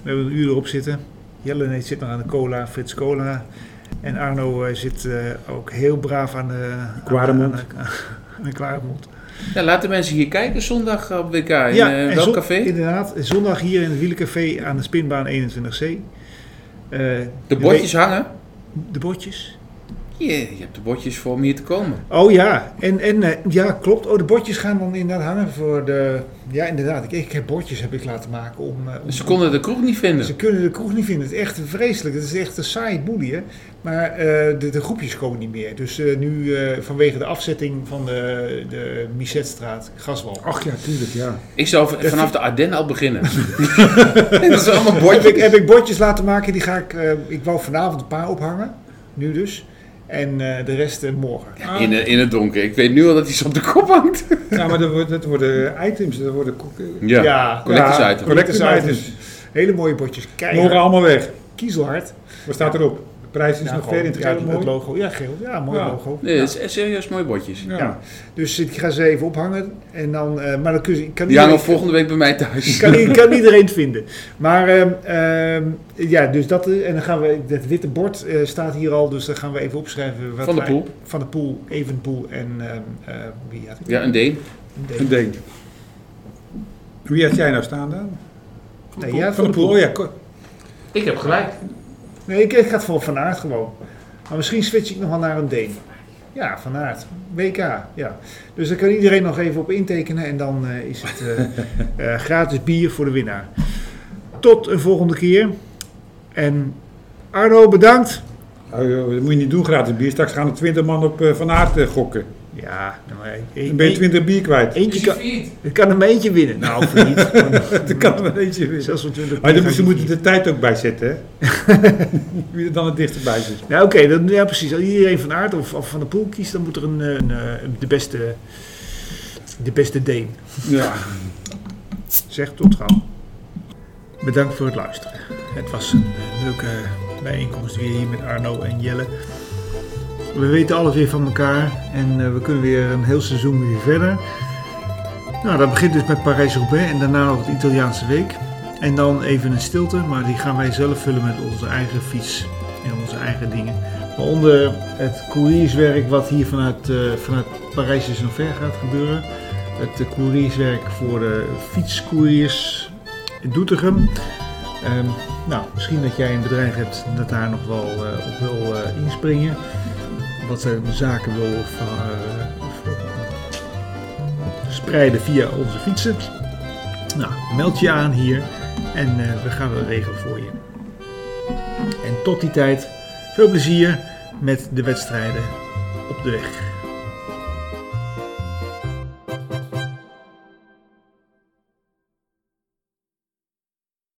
[SPEAKER 2] hebben een uur erop zitten. Jelle nee, zit nog aan de cola, Frits Cola. En Arno eh, zit eh, ook heel braaf aan de... aan de-
[SPEAKER 4] Kware mond.
[SPEAKER 2] Aan de, aan de kware mond.
[SPEAKER 3] Ja, laten mensen hier kijken zondag op WK. In
[SPEAKER 2] Ja,
[SPEAKER 3] eh,
[SPEAKER 2] en
[SPEAKER 3] welk
[SPEAKER 2] zon-
[SPEAKER 3] café?
[SPEAKER 2] Inderdaad, zondag hier in het wielencafé aan de spinbaan 21C. Eh,
[SPEAKER 3] De bordjes hangen.
[SPEAKER 2] De bordjes.
[SPEAKER 3] Jee, je hebt de bordjes voor om hier te komen.
[SPEAKER 2] Oh ja, en, en eh, ja, klopt. Oh, de bordjes gaan dan inderdaad hangen voor de... Ja, inderdaad. Ik, ik heb bordjes heb ik laten maken om... eh, om
[SPEAKER 3] Ze konden de kroeg niet
[SPEAKER 2] Ze
[SPEAKER 3] vinden.
[SPEAKER 2] kunnen de kroeg niet vinden. Het is echt vreselijk. Het is echt een saaie boelie, hè. Maar eh, de, de groepjes komen niet meer. Dus eh, nu eh, vanwege de afzetting van de, de Misetstraat, Gaswal.
[SPEAKER 4] Ach ja, tuurlijk, ja.
[SPEAKER 3] Ik zou v- vanaf de Ardennen al beginnen. dat is allemaal
[SPEAKER 2] Heb ik,
[SPEAKER 3] bordjes.
[SPEAKER 2] heb ik bordjes laten maken, die ga ik... eh, ik wou vanavond een paar ophangen, nu dus. En eh, de rest eh, morgen.
[SPEAKER 3] In, de- in het donker. Ik weet nu al dat hij ze op de kop hangt.
[SPEAKER 4] Ja, maar dat, wordt- dat worden items, dat worden ko- eh,
[SPEAKER 3] Ja. Collectors
[SPEAKER 4] ja,
[SPEAKER 3] items.
[SPEAKER 4] collectors
[SPEAKER 2] Collectors
[SPEAKER 4] items.
[SPEAKER 2] hele mooie bordjes.
[SPEAKER 4] Morgen
[SPEAKER 2] Keihard,
[SPEAKER 4] allemaal weg.
[SPEAKER 2] kiezelhard.
[SPEAKER 4] Wat staat erop? De prijs is
[SPEAKER 2] Ja,
[SPEAKER 4] nog
[SPEAKER 2] gewoon,
[SPEAKER 4] ver in het
[SPEAKER 2] ja,
[SPEAKER 4] geel,
[SPEAKER 2] het
[SPEAKER 4] mooi.
[SPEAKER 2] logo. Ja, geel. Ja, mooi
[SPEAKER 4] Ja.
[SPEAKER 2] logo.
[SPEAKER 3] Nee,
[SPEAKER 2] Ja.
[SPEAKER 3] het is eh, serieus mooie bordjes.
[SPEAKER 2] Ja.
[SPEAKER 4] Ja.
[SPEAKER 2] Dus ik ga ze even ophangen. En dan, eh, maar dan kun je, ik kan
[SPEAKER 3] Die hangen
[SPEAKER 2] iedereen-
[SPEAKER 3] volgende week bij mij thuis.
[SPEAKER 2] Ik kan, ik kan iedereen het vinden. Maar ehm, ehm, ja, dus dat. eh, En dan gaan we. Dat witte bord eh, staat hier al, dus dan gaan we even opschrijven. Wat
[SPEAKER 3] Van de
[SPEAKER 2] wij-
[SPEAKER 3] poel.
[SPEAKER 2] Van de pool, Evenpoel en. ehm, eh, wie had ik?
[SPEAKER 3] Ja, een D.
[SPEAKER 4] Een ding. Wie had jij nou staan dan?
[SPEAKER 2] Nee, ja, van de
[SPEAKER 4] Poel.
[SPEAKER 2] pool.
[SPEAKER 4] Oh ja, ko-
[SPEAKER 3] Ik heb gelijk.
[SPEAKER 2] Nee, ik, ik ga het voor Van Aert gewoon. Maar misschien switch ik nog wel naar een Deen. Ja, Van Aert. WK, ja. Dus daar kan iedereen nog even op intekenen en dan eh, is het eh, eh, gratis bier voor de winnaar. Tot een volgende keer. En Arno, bedankt.
[SPEAKER 4] Nou, joh, dat moet je niet doen gratis bier. Straks gaan er 20 man op eh, Van Aert eh, gokken.
[SPEAKER 2] Ja, nou, eh,
[SPEAKER 4] Dan ben je 20 bier kwijt.
[SPEAKER 2] eentje kan, er kan hem eentje winnen. Nou, of niet.
[SPEAKER 4] Oh, Dat kan er wel eentje weer.
[SPEAKER 2] Zelfs van 20
[SPEAKER 4] Maar dan moet-
[SPEAKER 2] gaat
[SPEAKER 4] ze
[SPEAKER 2] niet
[SPEAKER 4] moeten de tijd ook bij zetten, hè? Wie er dan het dichtst bij zit.
[SPEAKER 2] Nou oké, dan- ja, precies. Als iedereen van Aert of, of van de Poel kiest, dan moet er een, eh, een, eh, de, beste, de beste Deen.
[SPEAKER 4] Ja.
[SPEAKER 2] Zeg tot gauw. Bedankt voor het luisteren. Het was een eh, leuke bijeenkomst weer hier met Arno en Jelle. We weten alles weer van elkaar en eh, we kunnen weer een heel seizoen weer verder. Nou, dat begint dus met Parijs-Roubaix en daarna nog de Italiaanse week. En dan even een stilte, maar die gaan wij zelf vullen met onze eigen fiets en onze eigen dingen. Waaronder het courierswerk wat hier vanuit, eh, vanuit Parijs is ver gaat gebeuren het eh, courierswerk voor de fietscouriers in Doetinchem. Ehm, nou, misschien dat jij een bedrijf hebt dat daar nog wel eh, op wil eh, inspringen. Wat zij met zaken wil of, eh, of, eh, spreiden via onze fietsen. Nou, meld je aan hier en eh, we gaan dat regelen voor je. En tot die tijd, veel plezier met de wedstrijden op de weg.